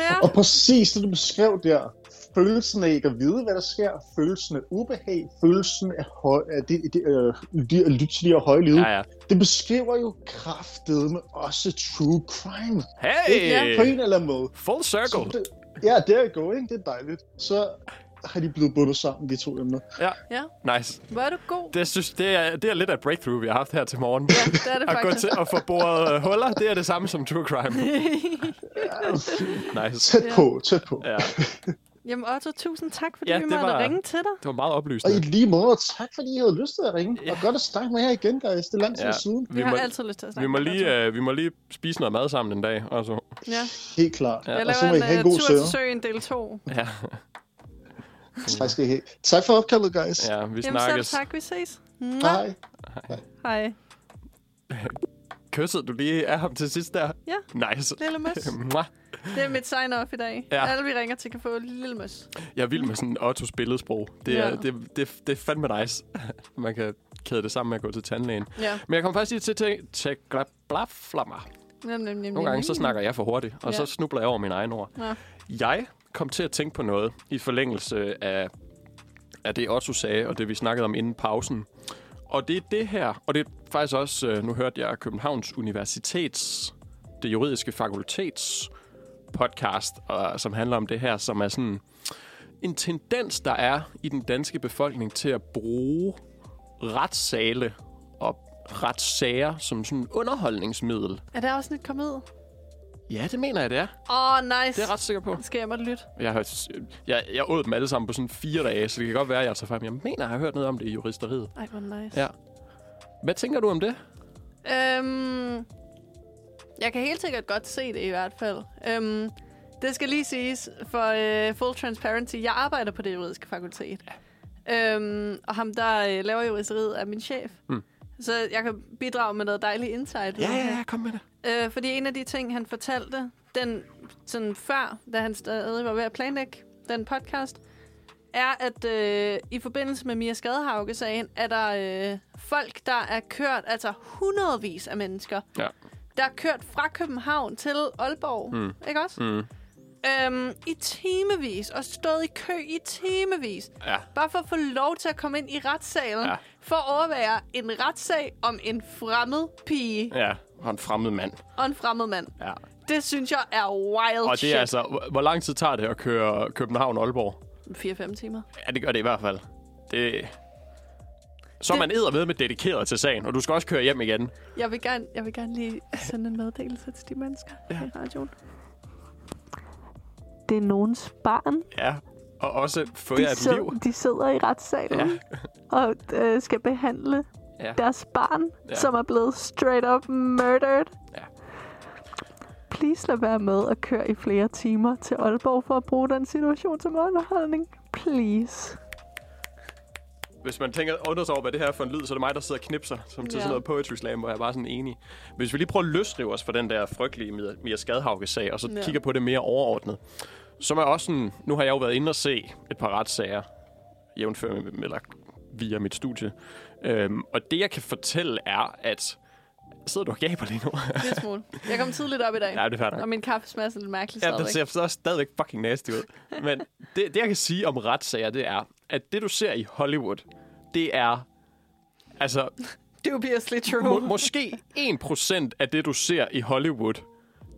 Ja. Og præcis det, du beskrev der, følelsen af ikke at vide, hvad der sker, følelsen af ubehag, følelsen af, høj, af det, det, øh, de, at lytte til de her høje lyde, Ja, ja. det beskriver jo kraftedeme også true crime. hey, Ikke? På en eller anden måde. full Så circle. det, ja, der er go, ikke? Det er dejligt. Så har de blevet bundet sammen, de to emner. Ja, ja. nice. Hvor er du god? Det, synes, det, er, det er lidt af et breakthrough, vi har haft her til morgen. Ja, det er det At gå faktisk. til at få boret øh, huller, det er det samme som true crime. Nice. Tæt på, tæt på. Ja, Jamen Otto, tusind tak, fordi Ja, ja, vi det måtte var- var... ringe til dig. det var meget Og i oplysende. lige måde, og tak fordi I havde lyst til at ringe. Og godt at snakke med jer igen, guys. Det er lang tid Ja. siden. Vi, vi har må... altid lyst til at snakke vi må, med dig, Otto. lige, øh, vi må lige spise noget mad sammen en dag. Også. Ja. Helt klart. Jeg Og så må I laver have en, en en god tur til søvn. søen del 2. Ja, Tak skal I have. Tak for opkaldet, guys. ja vi Jamen snakkes. selv tak, vi ses. Mwah. Hej. Hej. Kyssede du lige af ham til sidst der? Ja, Nice. lille møs. Mwah. Det er mit sign-off i dag. Ja. Ja. Alle vi ringer til kan få lille møs. Jeg er vild med sådan Ottos billedsprog. Det er, Ja. det, det, det er fandme nice. Man kan kæde det sammen med at gå til tandlægen. Ja. Men jeg kom faktisk lige til at tænke, til blaflammer. Nem, nem, nem, Nogle gange så snakker jeg for hurtigt, og Ja. så snubler jeg over mine egne ord. Nå. Jeg kom til at tænke på noget i forlængelse af, af det, Otto sagde, og det, vi snakkede om inden pausen. Og det er det her, og det er faktisk også, øh, nu hørte jeg Københavns Universitets, det juridiske fakultets podcast, og, som handler om det her, som er sådan en tendens, der er i den danske befolkning til at bruge retssale og retssager som sådan underholdningsmiddel. Er der også lidt kommet ud? Ja, det mener jeg, det er. Åh, oh, nice. Det er jeg ret sikker på. Skal jeg måtte lytte? Jeg, har, jeg, jeg åd dem alle sammen på sådan fire dage, så det kan godt være, at jeg tager fejl. Men jeg mener, jeg har hørt noget om det i juristeriet. Ej, hvor nice. Ja. Hvad tænker du om det? Øhm, jeg kan helt sikkert godt se det i hvert fald. Øhm, det skal lige siges for øh, full transparency. Jeg arbejder på det juridiske fakultet. Øhm, og ham, der øh, laver juristeriet, er min chef. Mm. Så jeg kan bidrage med noget dejligt insight. Ja, ja, ja, kom med det. Øh, fordi en af de ting, han fortalte, den sådan før, da han stadig var ved at planlægge den podcast, er, at øh, i forbindelse med Mia Skadehauke-sagen, er der øh, folk, der er kørt, altså hundredvis af mennesker, Ja. der er kørt fra København til Aalborg, Mm. mm. ikke også? Mm. Øhm, I timevis, og stået i kø i timevis, Ja. bare for at få lov til at komme ind i retssalen, Ja. ja. for at overvære en retssag om en fremmed pige Ja, og en fremmed mand. Oh, og en fremmed mand. Ja. Det synes jeg er wild Og det shit. er altså... hvor- Hvor lang tid tager det at køre København-Aalborg? 4-5 timer. Ja, det gør det i hvert fald. Det... Så er man Det- æder med med dedikeret til sagen, og du skal også køre hjem igen. Jeg vil gerne, jeg vil gerne lige sende en meddelelse til de mennesker ja. i radioen. Det er nogens barn. Ja, og også få De, jer et liv. sid- de sidder i retssalen Ja. ja. og øh, skal behandle Ja. deres barn, Ja. ja. som er blevet straight up murdered. Ja. Please lad være med at køre i flere timer til Aalborg for at bruge den situation som underholdning. Please. Hvis man tænker undrer sig over, hvad det her er for en lyd, så er det mig, der sidder og knipser, som til Ja. sådan noget poetry slam, hvor jeg er bare sådan enig. Hvis vi lige prøver at løsrive os fra den der frygtelige Mia- Mia Skadhauke-sag, og så Ja. kigger på det mere overordnet, så er jeg også sådan, nu har jeg jo været inde og se et par retssager, jævnfør med, eller via mit studie. Øhm, og det, jeg kan fortælle, er, at sidder du og gaber lige nu? Lidt smule. Jeg kom tidligt op i dag. Nej, det er fair nok. Og min kaffe smager sådan lidt mærkeligt Ja, den stadigvæk. ser så stadigvæk fucking nasty ud. Men det, det, jeg kan sige om retssager, det er, at det, du ser i Hollywood, det er... Altså, Dubiously må, true. måske 1% af det, du ser i Hollywood,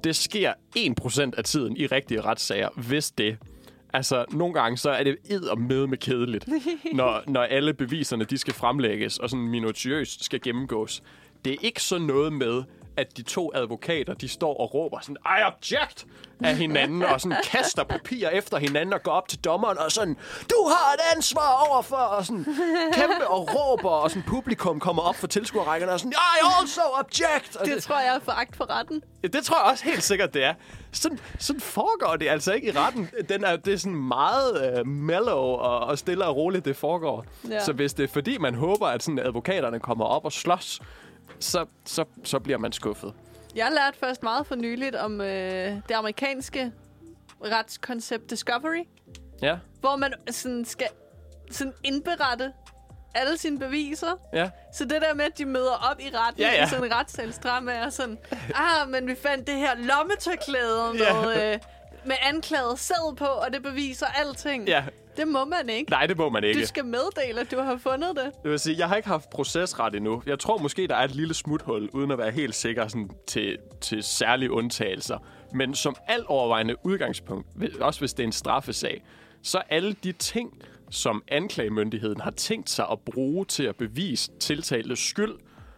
det sker 1% af tiden i rigtige retssager, hvis det. Altså, nogle gange så er det ed med med kedeligt, når, når alle beviserne, de skal fremlægges og sådan minutiøst skal gennemgås. Det er ikke sådan noget med, at de to advokater, de står og råber sådan, I object af hinanden, og sådan kaster papirer efter hinanden og går op til dommeren og sådan, du har et ansvar overfor, og sådan kæmpe og råber, og sådan publikum kommer op for tilskuerrækkerne og sådan, I also object! Og Det tror jeg er foragt for retten. Ja, det tror jeg også helt sikkert, det er. Sådan, sådan foregår det altså ikke i retten. Den er, det er sådan meget øh, mellow og, og stille og roligt, det foregår. Ja. Ja. Så hvis det er fordi, man håber, at sådan, advokaterne kommer op og slås, så, så, så bliver man skuffet. Jeg lærte først meget for nyligt om øh, det amerikanske retskoncept Discovery, Ja, hvor man sådan skal sådan indberette alle sine beviser. ja. Så det der med, at de møder op i retten Ja, ja, ja. ja. i sådan en retssalstram, er sådan, ah, men vi fandt det her lommetørklæde med, Ja. øh, med anklaget sæd på, og det beviser alting. Ja. Det må man ikke. Nej, det må man ikke. Du skal meddele, at du har fundet det. Det vil sige, jeg har ikke haft procesret endnu. Jeg tror måske, der er et lille smuthul, uden at være helt sikker sådan, til, til særlige undtagelser. Men som alt overvejende udgangspunkt, hvi- også hvis det er en straffesag, så alle de ting, som anklagemyndigheden har tænkt sig at bruge til at bevise tiltaltes skyld,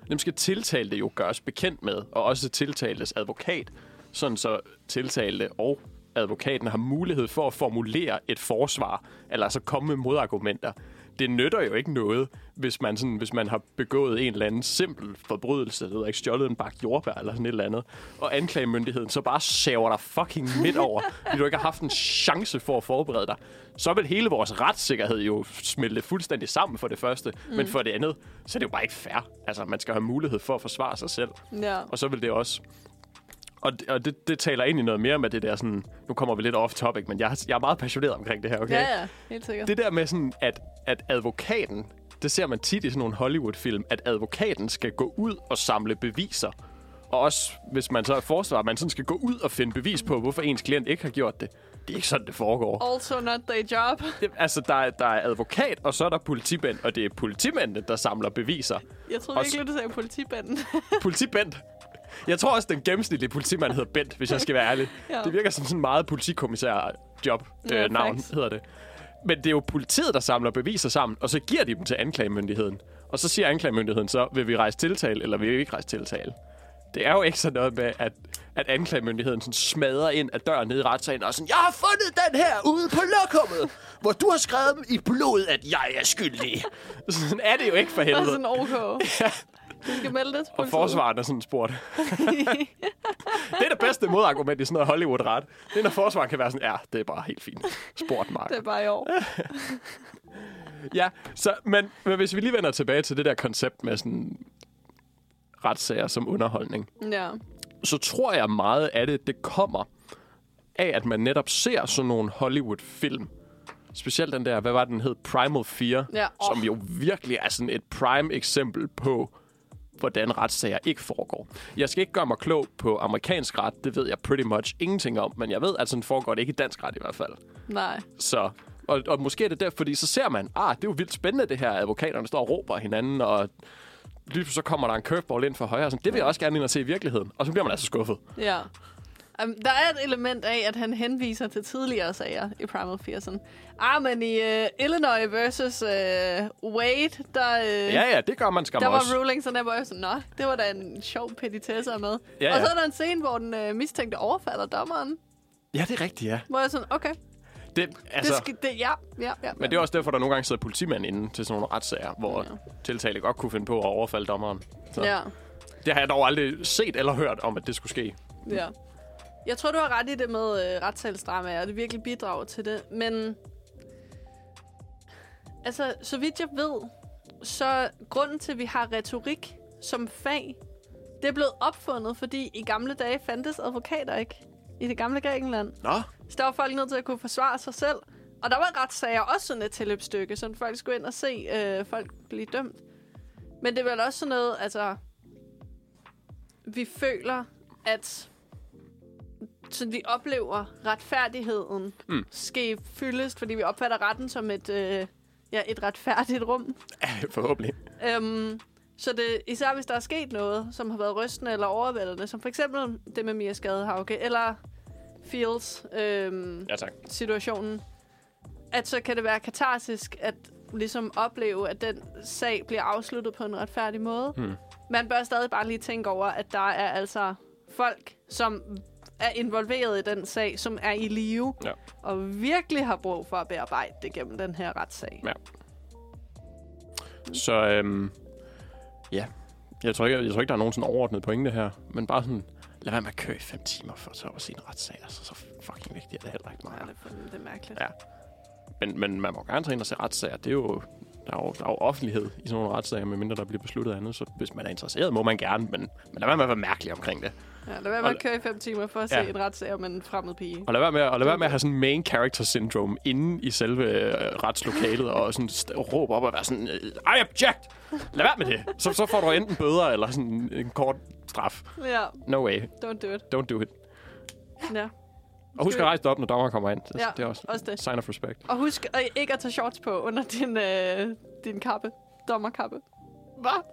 dem skal tiltalte jo gøres bekendt med, og også tiltaltes advokat, sådan så tiltalte og advokaten har mulighed for at formulere et forsvar, eller altså komme med modargumenter. Det nytter jo ikke noget, hvis man, sådan, hvis man har begået en eller anden simpel forbrydelse, det ved jeg ikke, stjålet en bakke jordbær eller sådan et eller andet, og anklagemyndigheden så bare saver dig fucking midt over, fordi du ikke har haft en chance for at forberede dig. Så vil hele vores retssikkerhed jo smelte fuldstændig sammen for det første, mm. men for det andet, så er det jo bare ikke fair. Altså, man skal have mulighed for at forsvare sig selv. Ja. Og så vil det også... Og, det, og det, det taler egentlig noget mere med det der sådan... Nu kommer vi lidt off topic, men jeg, jeg er meget passioneret omkring det her, okay? Ja, ja, helt sikkert. Det der med sådan, at, at advokaten... Det ser man tit i sådan nogle Hollywood-film, at advokaten skal gå ud og samle beviser. Og også, hvis man så er forsvarer, at man sådan skal gå ud og finde bevis på, hvorfor ens klient ikke har gjort det. Det er ikke sådan, det foregår. Also not their job. Det, altså, der er, der er advokat, og så er der politimænd, og det er politimændene, der samler beviser. Jeg troede Og virkelig, du sagde politibanden. Politibent. Jeg tror også, den gennemsnitlige politimand hedder Bent, hvis jeg skal være ærlig. Ja. Det virker som sådan meget politikommissær-job, Ja, øh, navn faktisk. hedder det. Men det er jo politiet, der samler beviser sammen, og så giver de dem til anklagemyndigheden. Og så siger anklagemyndigheden så, vil vi rejse tiltale, eller vil vi ikke rejse tiltale? Det er jo ikke sådan noget med, at, at anklagemyndigheden sådan smadrer ind af døren nede i retssagen og sådan, jeg har fundet den her ude på lokummet, hvor du har skrevet i blod, at jeg er skyldig. Sådan er det jo ikke for Og helvede. Altså sådan, OK. Du skal melde det til Og politiet. forsvaren er sådan spurgt. det er det bedste modargument i sådan noget Hollywood-ret. Det er, når forsvaren kan være sådan, ja, det er bare helt fint. Spurgt Mark. Det er bare i år. Ja, så, men, men hvis vi lige vender tilbage til det der koncept med sådan retssager som underholdning, Ja. så tror jeg meget af det, det kommer af, at man netop ser sådan nogle Hollywood-film. Specielt den der, hvad var den hed? Primal Fear, Ja, åh. som jo virkelig er sådan et prime eksempel på, hvordan retssager ikke foregår. Jeg skal ikke gøre mig klog på amerikansk ret, det ved jeg pretty much ingenting om, men jeg ved, at sådan foregår det ikke i dansk ret i hvert fald. Nej. Så, og, og måske er det der, fordi så ser man, ah, det er jo vildt spændende det her, advokaterne står og råber af hinanden, og lige så kommer der en curveball ind fra højre, og sådan, det vil jeg også gerne ind og se i virkeligheden. Og så bliver man altså skuffet. Ja. Um, der er et element af, at han henviser til tidligere sager i Primal Fear. Sådan. Ah, men i uh, Illinois versus uh, Wade, der, uh, Ja, ja, det gør man skam der var også. ruling sådan der, hvor jeg var sådan, Nå, det var da en sjov petitesse at med. Ja, Og ja. så er der en scene, hvor den uh, mistænkte overfalder dommeren. Ja, det er rigtigt, ja. Hvor jeg sådan, okay, Det, altså, altså, det skal, det, ja, ja, ja. Men det er også derfor, der nogle gange sidder politimænd inde til sådan nogle retssager, hvor ja. Ja. tiltalte godt kunne finde på at overfalde dommeren. Så ja. Ja, Det har jeg dog aldrig set eller hørt om, at det skulle ske. ja. Jeg tror, du har ret i det med øh, retssalsdramaer, og det virkelig bidrager til det. Men altså, så vidt jeg ved, så grunden til, at vi har retorik som fag, det er blevet opfundet, fordi i gamle dage fandtes advokater ikke i det gamle Grækenland. Nå, Så der var folk nødt til at kunne forsvare sig selv. Og der var retssager også sådan et tilløbsstykke, så folk skulle ind og se øh, folk blive dømt. Men det er vel også sådan noget, altså... Vi føler, at sådan, vi oplever retfærdigheden Mm. mm. ske fyldest, fordi vi opfatter retten som et, øh, ja, et retfærdigt rum. forhåbentlig. Øhm, så det, især hvis der er sket noget, som har været rystende eller overvældende, som for eksempel det med Mia Skadehauke, eller Fields øhm, Ja, tak. situationen, at så kan det være katarsisk at ligesom opleve, at den sag bliver afsluttet på en retfærdig måde. Hmm. Man bør stadig bare lige tænke over, at der er altså folk, som er involveret i den sag, som er i live, Ja. og virkelig har brug for at bearbejde det gennem den her retssag. Ja. Så øhm, ja, jeg tror, ikke, jeg, tror ikke, der er nogen sådan overordnet pointe her. Men bare sådan, lad være med at køre i fem timer for så at se en retssag. Altså, så fucking vigtigt er det heller ikke Ja, meget. det er fandme- det er mærkeligt. Ja. Men, men man må gerne tage ind og se retssager. Det er jo, der, er jo, der er jo offentlighed i sådan nogle retssager, medmindre der bliver besluttet andet. Så hvis man er interesseret, må man gerne, men, men lad være med at være mærkelig omkring det. Ja, lad være med at køre i fem timer for at se Ja. en retssag om en fremmed pige. Og lad være med, og lad være med at have sådan main character syndrome inde i selve øh, retslokalet, og sådan st- råbe op og være sådan, øh, I object! Lad være med det! Så, så får du enten bøder eller sådan en kort straf. Ja, No way. don't do it. Don't do it. Ja. Og husk at rejse dig op, når dommer kommer ind. Det, Ja, det er også, også det. sign of respect. Og husk øh, ikke at tage shorts på under din, øh, din kappe. Dommerkappe. Hvad?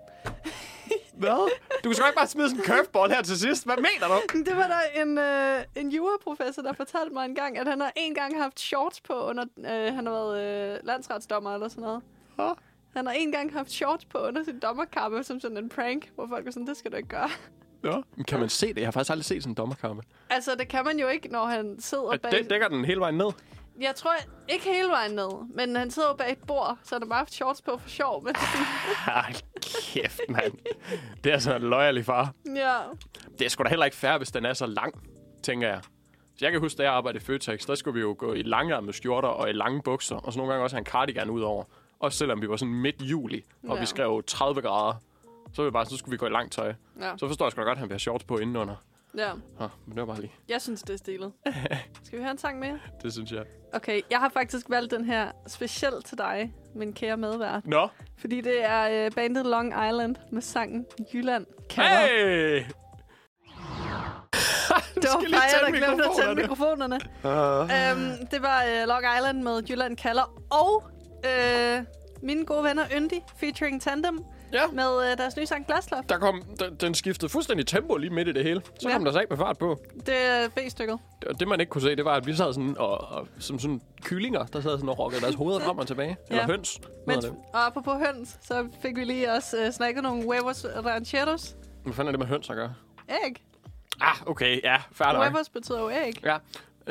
Hvad? Du kan sgu ikke bare smide sådan en curveball her til sidst. Hvad mener du? Det var der en, øh, en juraprofessor, der fortalte mig en gang, at han har en gang haft shorts på under... Øh, han har været øh, landsretsdommer eller sådan noget. Hå? Han har en gang haft shorts på under sin dommerkappe som sådan en prank, hvor folk var sådan, det skal du ikke gøre. Ja. Men kan man se det? Jeg har faktisk aldrig set sådan en dommerkampe. Altså, det kan man jo ikke, når han sidder bag... Det dækker den hele vejen ned. Jeg tror ikke hele vejen ned, men han sidder jo bag et bord, så han har bare haft shorts på for sjov. Men sådan, Ej, kæft, mand. Det er sådan en løjerlig far. ja. det er sgu da heller ikke fair, hvis den er så lang, tænker jeg. Så jeg kan huske, da jeg arbejdede i Føtex, der skulle vi jo gå i langærmede skjorter og i lange bukser, og så nogle gange også have en cardigan ud over. Også selvom vi var sådan midt juli, og Ja. vi skrev 30 grader, så var vi bare sådan, så skulle vi gå i langt tøj. Ja. Så forstår jeg sgu da godt, at han vil have shorts på indenunder. ja. Nå, men det var bare lige, Jeg synes, det er stilet. Skal vi høre en sang mere? det synes jeg. Okay, jeg har faktisk valgt den her specielt til dig, min kære medvært. Nå, Fordi det er øh, bandet Long Island med sangen Jylland hey! kalder. det var skal lige bare jeg, der tænde glemte at tænde mikrofonerne. mikrofonerne. øhm, det var øh, Long Island med Jylland kalder og øh, mine gode venner Yndi featuring Tandem Ja, med øh, deres nye sang Glasloft. der kom, den, den skiftede fuldstændig tempo lige midt i det hele. Så Ja. kom der så ikke med fart på. Det er B-stykket. Og det, man ikke kunne se, det var, at vi sad sådan, og, og som sådan kyllinger, der sad sådan og rockede deres hoveder frem og tilbage. Eller Ja. høns. Men... Men og apropos høns, så fik vi lige også øh, snakket nogle huevos rancheros. Hvad fanden er det med høns at gøre? Æg. Ah, okay, ja, fair nok. Huevos betyder jo æg. Ja.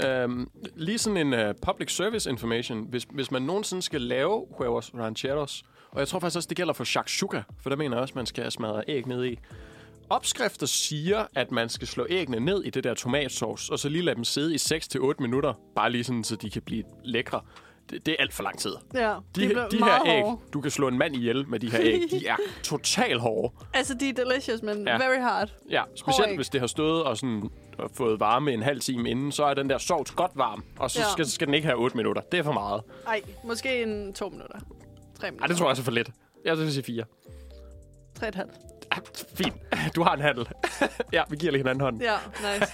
Øhm, lige sådan en uh, public service information, hvis, hvis man nogensinde skal lave huevos rancheros, og jeg tror faktisk også, det gælder for shakshuka, for der mener jeg også, man skal smadre æg ned i. Opskrifter siger, at man skal slå æggene ned i det der tomatsovs, og så lige lade dem sidde i 6-8 minutter, bare lige sådan, så de kan blive lækre. Det, det er alt for lang tid. Ja, De, de de, blev de her meget æg, hårde. du kan slå en mand ihjel med de her æg. De er total hårde. Altså, de er delicious, men Ja. ja. very hard. Ja, specielt æg. hvis det har stået og sådan og fået varme en halv time inden, så er den der sovs godt varm, og så Ja. skal, skal den ikke have 8 minutter. Det er for meget. Ej, måske en to minutter. Tre Ej, minutter. det tror jeg også er for lidt. Jeg vil sige 4. Tre et halvt. Ja, fint. Du har en handel. ja, vi giver lige hinanden hånden. Ja, nice.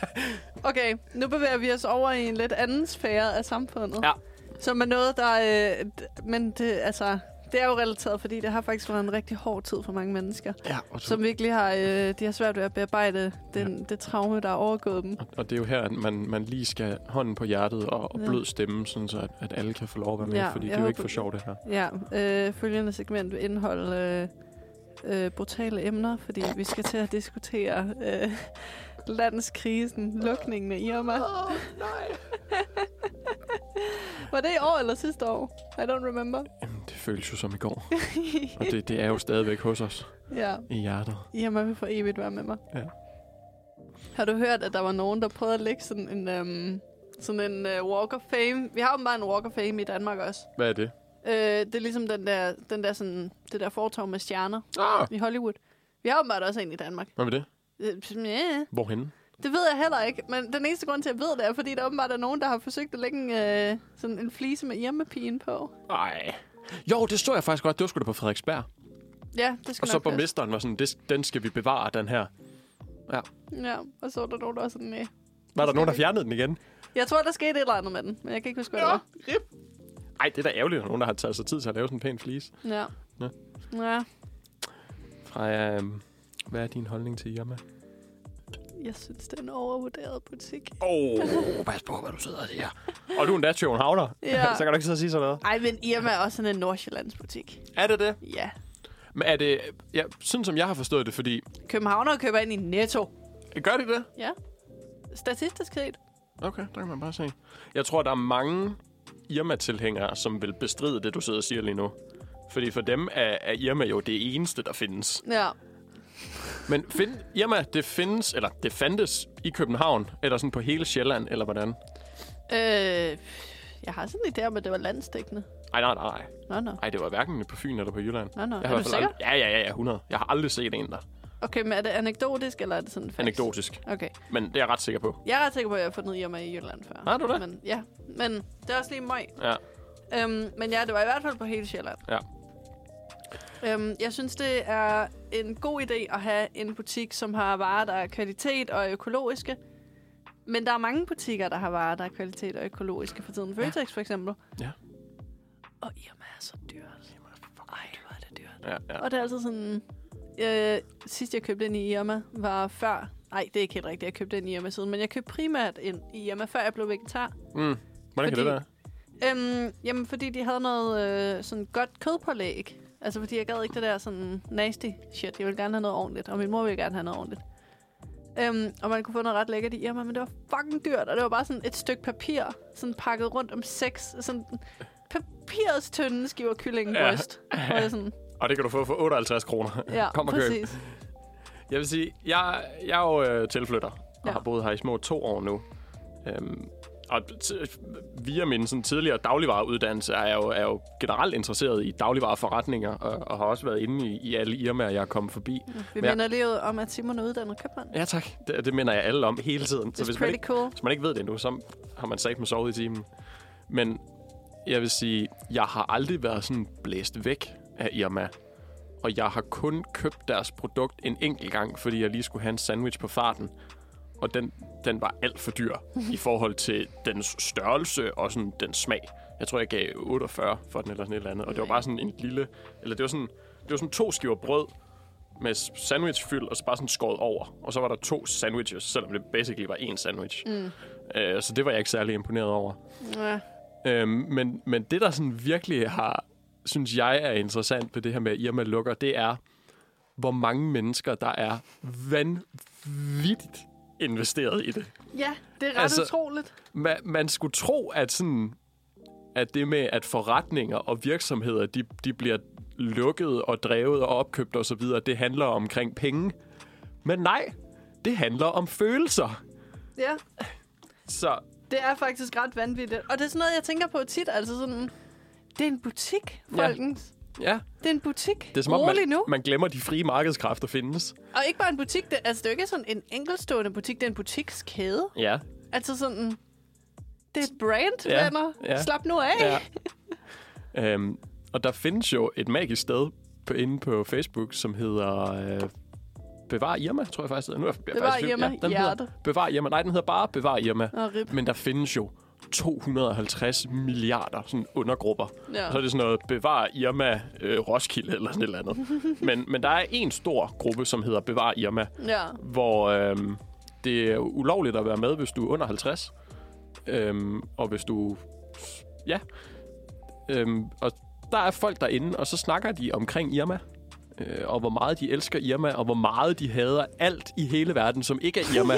Okay, nu bevæger vi os over i en lidt anden sfære af samfundet. Ja. Som er noget, der... Øh, d- men det, altså, det er jo relateret, fordi det har faktisk været en rigtig hård tid for mange mennesker. ja og, så, Som virkelig har, øh, de har svært ved at bearbejde den, ja. det traume, der har overgået dem. og det er jo her, at man, man lige skal have hånden på hjertet og, og Ja. blød stemme, sådan så at, at alle kan få lov at være med, Ja, fordi jeg det er jo ikke håber- for sjovt, det her. Ja, øh, følgende segment vil indeholde øh, øh, brutale emner, fordi vi skal til at diskutere øh, landskrisen, lukningen af Irma. Åh, nej. Var det i år eller sidste år? I don't remember. Jamen, det føles jo som i går. og det, det er jo stadigvæk hos os Ja, i hjertet. Irma vil for evigt være med mig. Ja. Har du hørt, at der var nogen, der prøvede at lægge sådan en, øhm, sådan en øh, walk of fame? Vi har åbenbart en walk of fame i Danmark også. Hvad er det? Øh, det er ligesom den der, den der sådan, det der fortov med stjerner Ah! i Hollywood. Vi har åbenbart også en i Danmark. Hvad med det? Øh, yeah. Hvorhenne? Det ved jeg heller ikke, men den eneste grund til, at jeg ved det, er, fordi der åbenbart er nogen, der har forsøgt at lægge en, øh, sådan en flise med Irma-pigen på. Ej. Jo, det så jeg faktisk godt. Det var sgu da på Frederiksberg. Ja, det skal Og så nok passe. borgmesteren var sådan, det, den skal vi bevare, den her. Ja, og så var der nogen, der var sådan, nej. Var der nogen, der fjernede den igen? Jeg tror, der skete et eller andet med den, men jeg kan ikke huske, hvad det var. rip. Ej, det er da ærgerligt, at nogen, der har taget sig tid til at lave sådan en pæn flis. Ja. Ja. ja. Freja, øhm, hvad er din holdning til Irma? Jeg synes, det er en overvurderet butik. Åh, oh, pas på, hvad du sidder og siger. Og du er endda Havner. Ja. så kan du ikke sidde og sige sådan noget. Ej, men Irma er også sådan en Nordsjællands butik. Er det det? Ja. Men er det, ja, sådan som jeg har forstået det, fordi... Københavnere køber ind i Netto. Gør de det? Ja. Statistisk set. Okay, der kan man bare se. Jeg tror, der er mange Irma-tilhængere, som vil bestride det, du sidder og siger lige nu. Fordi for dem er, er Irma jo det eneste, der findes. Ja. Men find, Irma, det findes, eller det fandtes i København, eller sådan på hele Sjælland, eller hvordan? Øh, jeg har sådan en idé om, at det var landstækkende. Ej, nej, nej, nej. Nå, nå. Ej, det var hverken på Fyn eller på Jylland. Nå, nå. Jeg Er har i du hvert fald sikker? Aldrig, ja, ja, ja, ja, 100. Jeg har aldrig set en der. Okay, men er det anekdotisk, eller er det sådan facts? Anekdotisk. Okay. Men det er jeg ret sikker på. Jeg er ret sikker på, at jeg har fundet i mig i Jylland før. Har du det? Men, ja, men det er også lige møg. Ja, Øhm, men ja, det var i hvert fald på hele Sjælland. ja. Øhm, jeg synes, det er en god idé at have en butik, som har varer, der er kvalitet og økologiske. Men der er mange butikker, der har varer, der er kvalitet og økologiske for tiden. Føtex for eksempel. Ja. Og Irma er så dyrt. Ej, hvor er det dyrt. ja, ja. Og det er altså sådan... Øh, sidst jeg købte ind i Irma var før... Nej, det er ikke helt rigtigt, jeg købte ind i Irma siden. Men jeg købte primært ind i Irma, før jeg blev vegetar. Mm. Hvordan kan Fordi- det være? Øhm, jamen, fordi de havde noget øh, sådan godt kødpålæg. Altså, fordi jeg gad ikke det der sådan nasty shit. Jeg ville gerne have noget ordentligt, og min mor ville gerne have noget ordentligt. Øhm, og man kunne få noget ret lækkert i Irma, men det var fucking dyrt, og det var bare sådan et stykke papir, sådan pakket rundt om seks, sådan papirets tynde skiver kyllingebryst. Ja. Hvor jeg sådan, Og det kan du få for 58 kroner. ja, Kom og køb. præcis. Jeg vil sige, jeg, jeg er jo øh, tilflytter, og Ja. har boet her i små to år nu. Øhm, og t- via min sådan, tidligere dagligvareuddannelse er jeg, jo, er jeg jo generelt interesseret i dagligvareforretninger, og, og har også været inde i, i alle Irma'er, jeg er kommet forbi. Vi Men jeg- minder lige ud om, at Simon er uddannet købmand. Ja tak, det, det minder jeg alle om hele tiden. It's man pretty ikke, cool. hvis man ikke ved det endnu, så har man sagt med sovet i timen. Men jeg vil sige, jeg har aldrig været sådan blæst væk af Irma. Og jeg har kun købt deres produkt en enkelt gang, fordi jeg lige skulle have en sandwich på farten. Og den, den var alt for dyr i forhold til dens størrelse og sådan dens smag. Jeg tror, jeg gav 48 for den eller sådan et eller andet. Og det var bare sådan en lille... Eller det var sådan, det var sådan to skiver brød med s- sandwichfyld, og så bare sådan skåret over. Og så var der to sandwiches, selvom det basically var én sandwich. Mm. Øh, så det var jeg ikke særlig imponeret over. Ja. Øhm, men, men det, der sådan virkelig har, synes jeg er interessant ved det her med, at Irma lukker, det er, hvor mange mennesker, der er vanvittigt investeret i det. ja, det er ret Altså- altså, utroligt. Man, man skulle tro, at, sådan, at det med, at forretninger og virksomheder, de, de bliver lukket og drevet og opkøbt og så videre, det handler omkring penge. Men nej, det handler om følelser. Ja. Så Det er faktisk ret vanvittigt. Og det er sådan noget, jeg tænker på tit. Altså sådan, det er en butik, folkens. Ja. ja, Det er en butik. det er som om, Rolig man, nu. man glemmer de frie markedskræfter findes. Og ikke bare en butik. Det, altså, det er jo ikke sådan en enkeltstående butik. Det er en butikskæde. Ja, Altså sådan... Det er et brand, Ja, ja, venner. ja. Ja. Slap nu af. Ja. Ja. øhm, og der findes jo et magisk sted på, inde på Facebook, som hedder... Øh, Bevar Irma, tror jeg faktisk. det hedder. Nu er jeg faktisk i Bevar tvivl. Irma, den hedder, hjerte. Bevar Irma. Nej, den hedder bare Bevar Irma. Nå, rip. Men der findes jo 250 milliarder sådan undergrupper. Ja. Og så er det sådan noget Bevar Irma øh, Roskilde eller sådan et eller andet. men, men der er en stor gruppe, som hedder Bevar Irma, ja. hvor øh, det er ulovligt at være med, hvis du er under 50. Øhm, og hvis du... Ja. Øhm, og der er folk derinde, og så snakker de omkring Irma. Øh, og hvor meget de elsker Irma, og hvor meget de hader alt i hele verden, som ikke er Irma.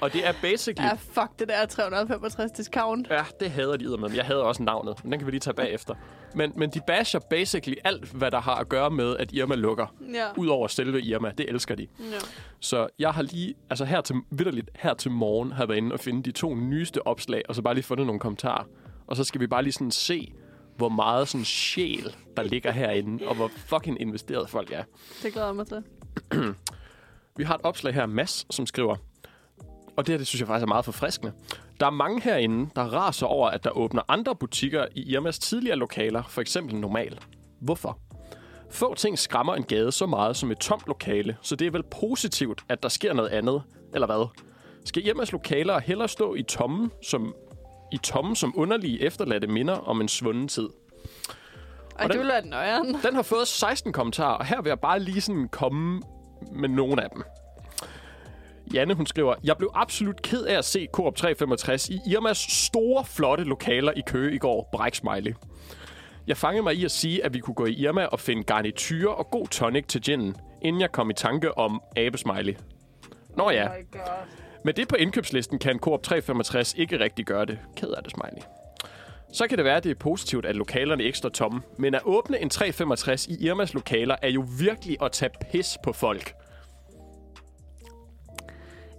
og det er basically... ja, fuck det der 365 discount. Ja, det hader de med. Jeg hader også navnet, men den kan vi lige tage bagefter. Men, men de basher basically alt, hvad der har at gøre med, at Irma lukker. Ja. Udover selve Irma, det elsker de. ja. Så jeg har lige, altså her til, vidderligt, her til morgen, har jeg været inde og finde de to nyeste opslag, og så bare lige fundet nogle kommentarer. Og så skal vi bare lige sådan se, hvor meget sådan sjæl, der ligger herinde, og hvor fucking investeret folk er. Det glæder jeg mig til. Vi har et opslag her, Mads, som skriver, og det her, det synes jeg faktisk er meget forfriskende. Der er mange herinde, der raser over, at der åbner andre butikker i Irmas tidligere lokaler, for eksempel normal. Hvorfor? Få ting skræmmer en gade så meget som et tomt lokale, så det er vel positivt, at der sker noget andet, eller hvad? Skal Irmas lokaler hellere stå i tommen som, i tommen som underlige efterladte minder om en svunden tid? Ej, det den- ville være den nøjeren. Den har fået 16 kommentarer, og her vil jeg bare lige sådan komme med nogle af dem. Janne, hun skriver, Jeg blev absolut ked af at se Coop 365 i Irmas store, flotte lokaler i Køge i går. Bræk smiley. Jeg fangede mig i at sige, at vi kunne gå i Irma og finde garnityr og god tonic til ginen, inden jeg kom i tanke om abesmiley. Nå ja, God. med det på indkøbslisten kan Coop 365 ikke rigtig gøre det. Ked af det, smiley. Så kan det være, at det er positivt, at lokalerne ikke står tomme. Men at åbne en 365 i Irmas lokaler er jo virkelig at tage pis på folk.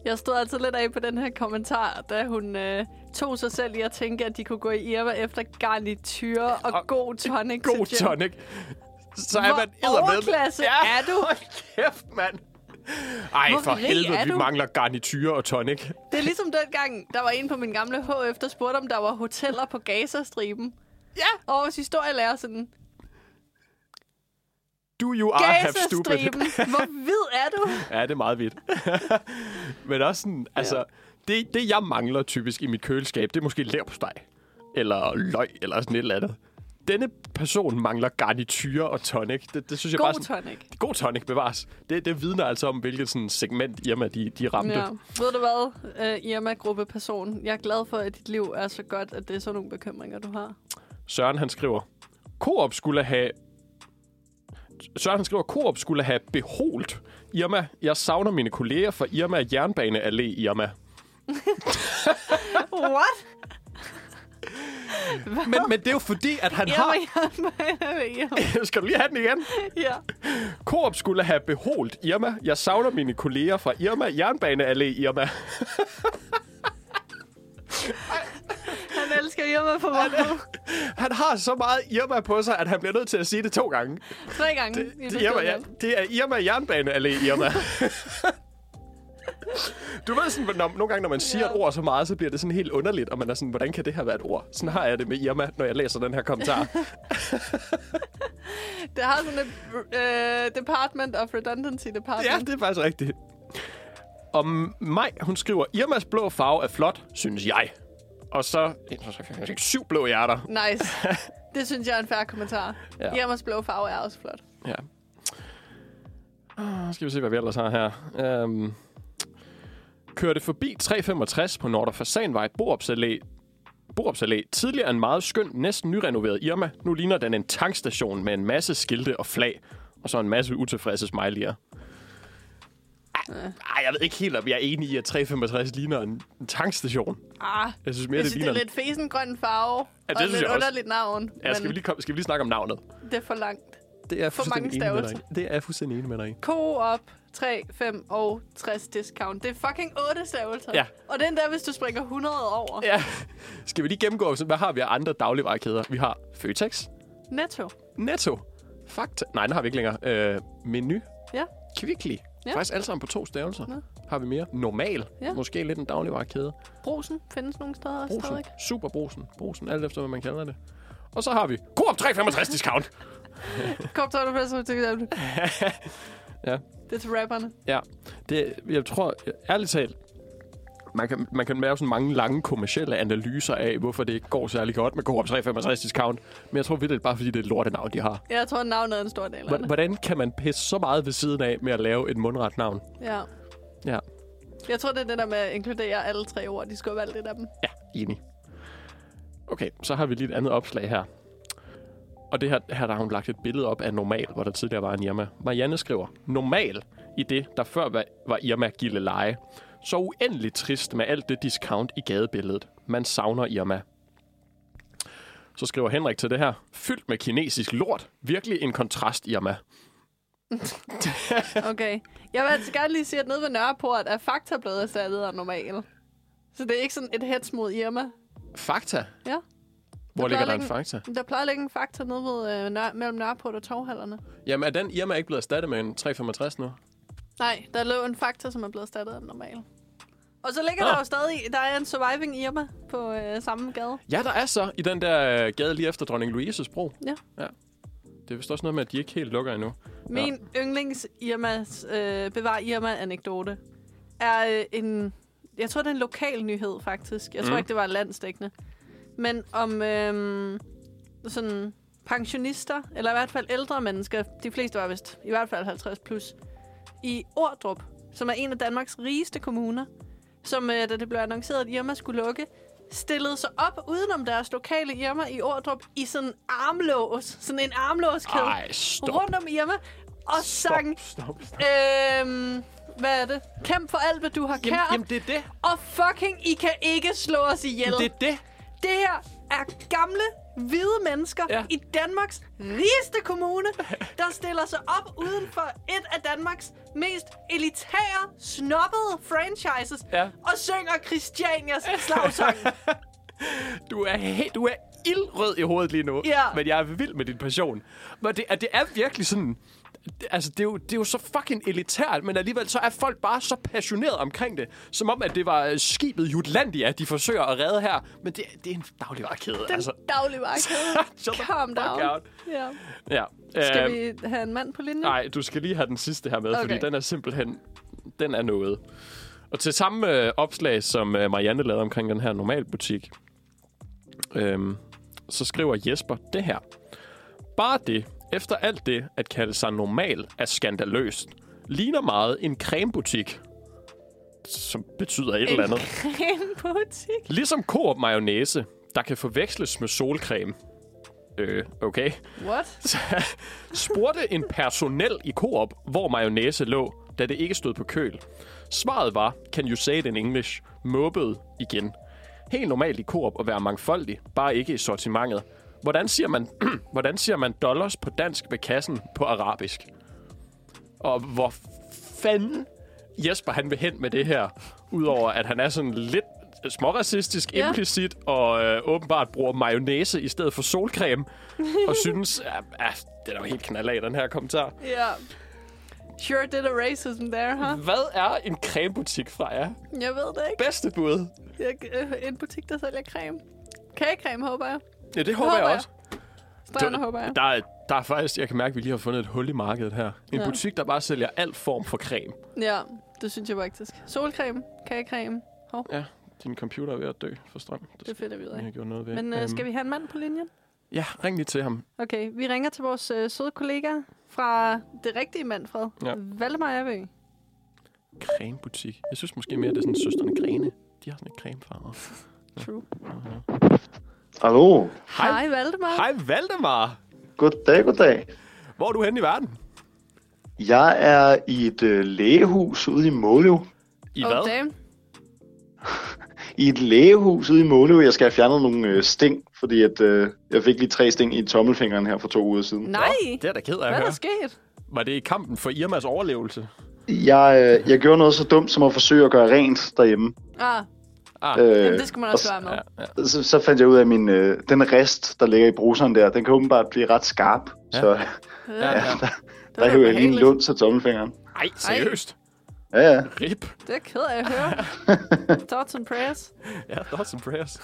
Jeg stod altså lidt af på den her kommentar, da hun øh, tog sig selv i at tænke, at de kunne gå i Irma efter garnityr og, Og og god tonic. God til gin. tonic. Så er Hvor man eddermed- overklasse er du? Hold kæft, mand. Ej, Hvor for rig helvede, er vi du? mangler garniture og tonic. Det er ligesom dengang, der var en på min gamle HF, der spurgte, om der var hoteller på Gazastriben. Ja. Og vores historielærer sådan, Do you are have stupid. Gazastriben, hvor hvid er du? Ja, det er meget vildt. Men også sådan, altså, det, det jeg mangler typisk i mit køleskab, det er måske leverpostej. Eller løg, eller sådan et eller andet. Denne person mangler garniture og tonic. Det, det synes jeg bare God sådan, tonic. God tonic bevares. Det, det vidner altså om, hvilket sådan, segment Irma de, de ramte. Ja. Ved du hvad, uh, Irma-gruppe person? Jeg er glad for, at dit liv er så godt, at det er sådan nogle bekymringer, du har. Søren han skriver, Coop skulle have... Søren han skriver, Coop skulle have beholt Irma. Jeg savner mine kolleger fra Irma Jernbaneallé Irma. What? Men, men det er jo fordi, at han har... Irma, Irma, Irma. Skal du lige have den igen? Ja. Coop skulle have beholt Irma. Jeg savner mine kolleger fra Irma Jernbaneallé Irma. Han elsker Irma for meget. Han har så meget Irma på sig, at han bliver nødt til at sige det to gange. Tre gange. i Det, det, Irma, ja, beskeden. det er Irma Jernbaneallé Irma. Du ved sådan, når, nogle gange, når man siger Ja. et ord så meget, så bliver det sådan helt underligt, og man er sådan, hvordan kan det her være et ord? Sådan har jeg det med Irma, når jeg læser den her kommentar. Det har sådan et uh, Department of Redundancy ja, Department. det er faktisk rigtigt. Og Maj, hun skriver, Irmas blå farve er flot, synes jeg. Og så syv blå hjerter. Nice. Det synes jeg er en færre kommentar. Ja. Ja. Irmas blå farve er også flot. Ja. Ah, Skal vi se, hvad vi ellers har her. Um, kørte forbi 365 på Nordre Fasanvej, Borups Allé, Borups Allé. Tidligere en meget skøn, næsten nyrenoveret Irma. Nu ligner den en tankstation med en masse skilte og flag. Og så en masse utilfredse smiley'er. Ej, jeg ved ikke helt, om jeg er enig i, at 365 ligner en en tankstation. Ah, Jeg synes mere, jeg det synes, det ligner... er en- lidt fesengrøn farve. det og synes lidt jeg også. underligt navn. Ja, skal, vi lige komme, skal vi lige snakke om navnet? Det er for langt. Det er For mange fuldstændig enig med dig stavelser. i. Det er jeg fuldstændig enig med dig i. Coop 3, 5 og 60 discount. Det er fucking 8 stavelser. Ja. Og den der, hvis du springer 100 over. Ja. Skal vi lige gennemgå, sådan, hvad har vi af andre dagligvarekæder? Vi har Føtex, Netto. Netto, Fakta... Nej, den har vi ikke længere. Øh, menu, Ja. Kvickly. Ja. Ja. Faktisk alle sammen på to stavelser. Nå. Har vi mere? Normal. Ja. Ja. Måske lidt en dagligvarekæde. Brosen findes nogle steder også Brosen. stadig. Superbrosen. Brosen, alt efter, hvad man kalder det. Og så har vi Coop 365 discount. Kom, tager du først til eksempel. Ja. Det er til rapperne. Ja, det, jeg tror, ærligt talt, man kan, man kan lave sådan mange lange kommersielle analyser af, hvorfor det ikke går særlig godt med Coop 365 discount. Men jeg tror virkelig bare, fordi det er et lortenavn, de har. Jeg tror, navnet er en stor del af Hvordan- det. Hvordan kan man pisse så meget ved siden af med at lave et mundret navn? Ja. Ja, Jeg tror, det er det der med at inkludere alle tre ord. De skulle have valgt et af dem. ja enig. Okay, så har vi lige et andet opslag her. Og det her, her der har hun lagt et billede op af normal, hvor der tidligere var en Irma. Marianne skriver, normal i det, der før var, var Irma Gilleleje. Så uendelig trist med alt det discount i gadebilledet. Man savner Irma. Så skriver Henrik til det her, fyldt med kinesisk lort. Virkelig en kontrast, Irma. Okay. Jeg vil altså gerne lige sige, at nede ved Nørreport er Fakta blevet erstattet af normal. Så det er ikke sådan et hets mod Irma. Fakta. Ja. Hvor Der ligger der plejer en ikke- fakta? Der plejer at ligge en Fakta nede ved, øh, nør- mellem Nørreport og Torvhallerne. Jamen, er den Irma ikke blevet erstattet med en 365 nu? Nej, der lå en Fakta, som er blevet erstattet af normal. Og så ligger Nå. der jo stadig, der er en Surviving Irma på øh, samme gade. Ja, der er så i den der øh, gade lige efter dronning Louises bro. Ja. ja. Det er vist også noget med, at de ikke helt lukker endnu. Min yndlings Irmas, øh, bevar Irma-anekdote er øh, en... Jeg tror, det er en lokal nyhed, faktisk. Jeg tror Mm. ikke, det var landsdækkende. Men om øh, sådan pensionister, eller i hvert fald ældre mennesker, de fleste var vist i hvert fald 50 plus, i Ordrup, som er en af Danmarks rigeste kommuner, som øh, da det blev annonceret, at Irma skulle lukke, stillede sig op udenom deres lokale Irma i Ordrup i sådan en armlås, sådan en armlåskæde Ej, stop. rundt om hjemme og sang, Stop, stop, stop. øhm, hvad er det? Kæmp for alt, hvad du har Jamen, kært, jamen, det er det. og fucking, I kan ikke slå os ihjel. Det Det, er det. det her er gamle, hvide mennesker Ja. ja. i Danmarks rigeste kommune, der stiller sig op uden for et af Danmarks mest elitære, snobbede franchises Ja. og synger Christianias slagsang. Du er, he- du er ildrød i hovedet lige nu, Ja. men jeg er vild med din passion. Men det, er- det er virkelig sådan... altså, det er, jo, det er jo så fucking elitært, men alligevel så er folk bare så passionerede omkring det, som om, at det var øh, skibet Jutlandia, de forsøger at redde her. Men det, det er en dagligvarekæde, Den altså. altså, dagligvarekæde. Shut the Calm fuck down. out. Ja. Ja. Skal øh, vi have en mand på linjen? Nej, du skal lige have den sidste her med, okay. fordi Okay. den er simpelthen... Den er noget. Og til samme øh, opslag, som øh, Marianne lavede omkring den her normalbutik, øhm, så skriver Jesper det her. Bare det, efter alt det, at kalde sig normal, er skandaløst. Ligner meget en cremebutik, som betyder et eller En andet. cremebutik. Ligesom Coop mayonnaise, der kan forveksles med solcreme. Øh, okay. What? spurgte en personel i Coop, hvor mayonnaise lå, da det ikke stod på køl. Svaret var, can you say it in English? Måbet igen. Helt normalt i Coop at være mangfoldig, bare ikke i sortimentet. Hvordan siger man, hvordan siger man dollars på dansk ved kassen på arabisk? Og hvor fanden Jesper han vil hen med det her, udover at han er sådan lidt småracistisk, Ja. implicit, og øh, åbenbart bruger mayonnaise i stedet for solcreme, og synes, at, at det er jo helt knald af, den her kommentar. Ja. Sure did a racism there, huh? Hvad er en cremebutik fra jer? Jeg ved det ikke. Bedste bud. Jeg, øh, en butik, der sælger creme. Kagecreme, håber jeg. Ja, det håber, håber jeg jeg. også. Strømmer, håber jeg. Der, er, der er faktisk, jeg kan mærke, at vi lige har fundet et hul i markedet her. En ja. Ja. butik, der bare sælger alt form for creme. Ja, det synes jeg faktisk. Solcreme, kagecreme. Hov, Ja, din computer er ved at dø for strøm. Det, det det finder vi ud jeg af. har gjort noget ved. Men øh, skal Øhm, vi have en mand på linjen? Ja, ring lige til ham. Okay, vi ringer til vores øh, søde kollega fra det rigtige Manfred. Ja. Ja. Valdemar Erbø. Cremebutik. Jeg synes måske mere, det er sådan søsterne Grene. De har sådan en cremefarve. True. Hallo. Hej. Hej, Valdemar. Hej Valdemar! Goddag, goddag. Hvor er du henne i verden? Jeg er i et øh, lægehus ude i Måløv. I Oh, damn. I et lægehus ude i Måløv. Jeg skal have fjernet nogle øh, sting, fordi at, øh, jeg fik lige tre sting i tommelfingeren her for to uger siden. Nej, Det er da ked af hvad at er der høre. sket? Var det i kampen for Irmas overlevelse? Jeg, øh, jeg gjorde noget så dumt som at forsøge at gøre rent derhjemme. Ah, Ah, Øh, jamen, det skal man og også s- være med. ja, ja. så, så fandt jeg ud af, at min, øh, den rest, der ligger i bruseren der, den kan åbenbart blive ret skarp. Ja. Ja. Så Ja, ja. der da hævde jeg lige en ubehageligt. lund til tommelfingeren. Ej, seriøst? Ja, ja. Rip. Det er jeg ked af at høre. Thoughts and prayers. Ja, thoughts and prayers.